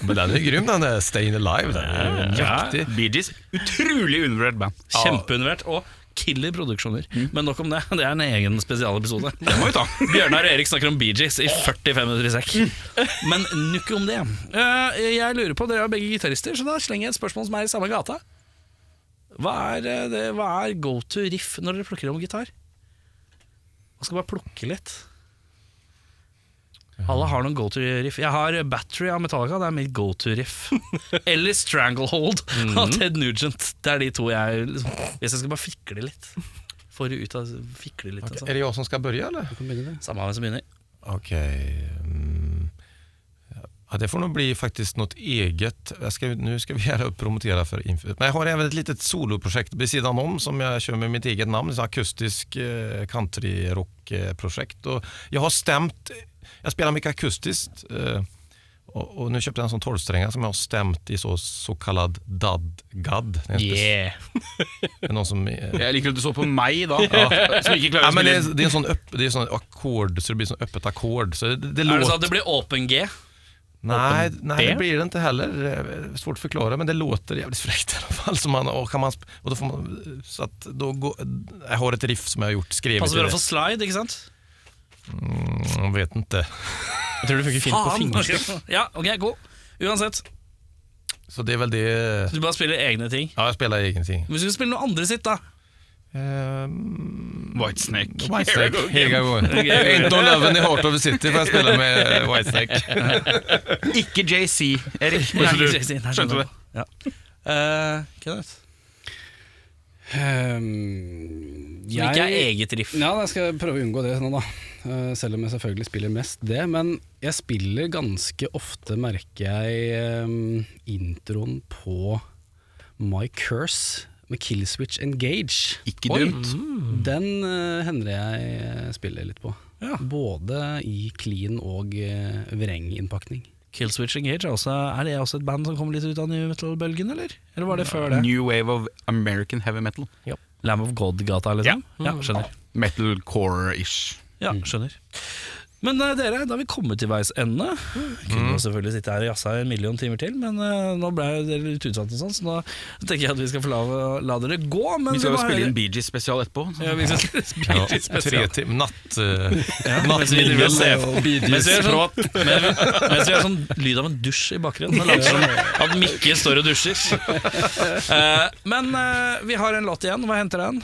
S8: Men den är ju grym den där Stayin' Alive, den är ju mäktig.
S3: Bee Gees, utrolig undervurdert band. Mm.
S2: Kjempeunivert og killer produksjoner. Men nok om det. Det er en egen spesialepisode.
S3: Det må vi ta.
S2: Bjørnar og Erik snakker om Bee Gees i 45 minutter i sekk. Men nukk om det. Eh, jeg lurer på, Dere er begge gitarister, så da slenger jeg et spørsmål som er i samme gata. Hva er, eh, det, hva er go to riff når dere plukker om gitar? Man skal bare plukke litt. Alle har noen go-to-riff. Jeg har Battery av Metallica, det er mitt go-to-riff. Eller Stranglehold av Ted Nugent. Det er de to jeg liksom, Hvis jeg skal bare fikle litt. Får det ut av Fikle litt.
S8: Er det jeg som skal begynne, eller?
S2: Altså. Samme hvem som begynner.
S8: Ok mm. ja, Det får nog bli faktiskt något eget. Jag ska, nu ska vi gärna promotera för info. Men jag har även ett litet soloprojekt vid sidan om som jag kör med mitt eget namn. Ett akustisk eh, countryrockprojekt. Och jag har stämt, jag spelar mycket akustiskt. Eh, och, och nu köpte jag en sån 12-strängare som jag har stämt i så, så kallad dad-gadd. Det är en spec- det är någon som eh,
S3: Jeg liker at du så på meg da, som ikke klarer
S8: Ja,
S3: å
S8: men det,
S3: spille
S8: er- det er en sånn, öpp, det er sånn akkord, så det blir sånn öppet akkord. Så det, det
S2: Er det
S8: låter...
S2: sånn at det blir åpen G?
S8: Nej, nej, det blir det inte heller. Eh, Svårt att förklara, men det låter jävligt fräckt i alla fall. Så man, och kan man, sp- och då får man, så att då går, jag har ett riff som jag har gjort, skrivit
S2: Passer
S8: i
S2: bra
S8: det.
S2: for slide, ikke sant?
S8: Mm, jag vet inte.
S1: Jeg tror det funker fint på
S2: Faen!
S1: fingre.
S2: Ja, ok, god. Uansett,
S8: Så det är väl det.
S2: du bare spiller egne ting.
S8: Ja, jag spelar ingenting.
S2: Hvis du skal spille noe andre sitt, da.
S8: Um,
S3: Whitesnake.
S8: Whitesnake, here I go. Ain't no lovin' i Heart of the City får jag spela med eh, Whitesnake.
S3: Ikke JC, Erik.
S2: Nei,
S3: Skjønte
S2: ikke si- nei,
S3: du? Skjønte du?
S2: Ja. Eh, Kenneth?
S11: Ehm,
S2: Som ikke er eget riff.
S11: Ja, jeg skal prøve å unngå det nå, da. Eh, Selv om jeg selvfølgelig spiller mest det. Men jeg spiller ganske ofte, merker jeg, ehm, introen på My Curse med Killswitch Engage.
S3: Ikke dumt.
S11: Den eh, hender jeg eh, spiller litt på. Både i clean og eh, vrenginnpakning.
S2: Killswitch Engage er, også, er det også et band som kom litt ut av new metal-bølgen, eller? Eller var det før det?
S3: New wave of American heavy metal.
S2: Lamb of God-gata, liksom? Ja, skjønner.
S3: Metalcore-ish.
S2: Ja, skjønner. Men eh, dere, da har vi kommet til veis ende.
S3: Mm.
S2: Kunne jo selvfølgelig sitte her og jazza en million timer til, men eh, nå ble dere litt utsatt, og sånn, så nå tenker jeg at vi skal få la, la dere gå. Men
S3: Vi skal jo
S2: må
S3: spille
S2: høre-
S3: inn Bee Gees-spesial etterpå. så-
S2: Ja, vi skal spille inn
S8: Ja,
S2: Bee Gees
S8: tre
S2: spesial.
S8: tim natt... eh,
S2: Mens vi driver og ser
S8: nattmingel
S2: på-
S8: og Bee
S2: mens vi gjør
S8: Gees-låt.
S2: sånn- men- Mens vi har sånn lyd av en dusj i bakgrunnen. Det later som at Mikke står og dusjer. Eh, men eh, vi har en låt igjen. Hva henter den?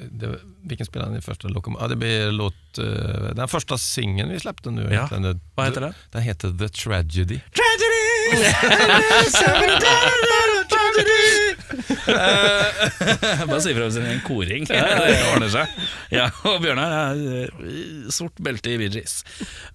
S8: det, vilken spelade ni första lokom? Ja, det blir låt, eh, den första singeln vi släppte nu. egentligen. Det-
S2: Vad heter den?
S8: Den heter The Tragedy.
S2: Jeg bare sier fra hvis det er en koring. Det ordner seg. Ja, og Bjørnar er eh, sort belte i Bee Gees.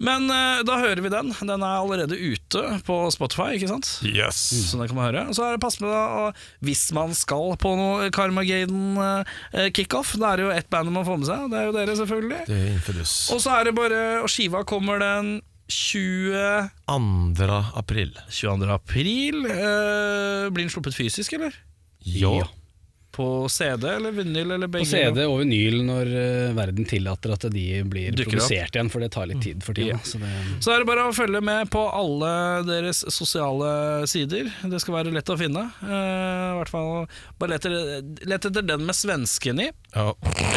S2: Men eh, da hører vi den. Den er allerede ute på Spotify, ikke sant?
S8: Yes.
S2: Så det kan man høre. Og så er det pass med da, å- hvis man skal på noe Karmageddon-kickoff. Da er det jo ett band man får med seg, og det er jo dere, selvfølgelig.
S8: Det är Infidus.
S2: Og så er det bare Og skiva kommer den 20
S8: Andra april.
S2: 22. april. Eh, blir den sluppet fysisk, eller?
S8: Ja.
S2: På CD eller vinyl eller
S11: På
S2: begge?
S11: CD og vinyl når eh, verden tillater at de blir
S2: Dukker opp. Mm.
S11: produsert igjen, for det tar litt tid for tida. Så det
S2: Så er det bare å følge med på alle deres sosiale sider. Det skal være lett å finne. Eh, I hvert fall bare let etter, let etter den med svensken i.
S8: ja.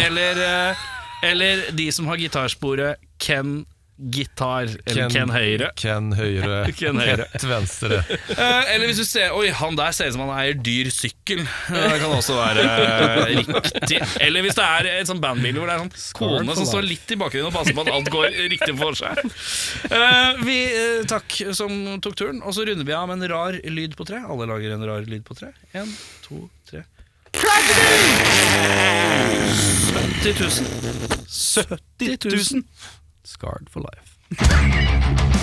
S2: Eller, eh, eller de som har gitarsporet Ken Gitar, eller Ken, Høyre.
S8: Ken Høyre.
S2: Ken Høyre.
S8: Ett venstre.
S2: Eh, eller hvis du ser Oi, han der ser ut som han eier dyr sykkel. Eh, Det kan også være eh, riktig. Eller hvis det er et sånt bandbilde hvor det er en sånn kone som står litt i bakgrunnen og passer på at alt går riktig for seg. Eh, vi, eh, takk som tok turen. Og så runder vi av med en rar lyd på tre. Alle lager en rar lyd på tre. En, to, tre. 70 000. 70 000.
S11: Scarred for life.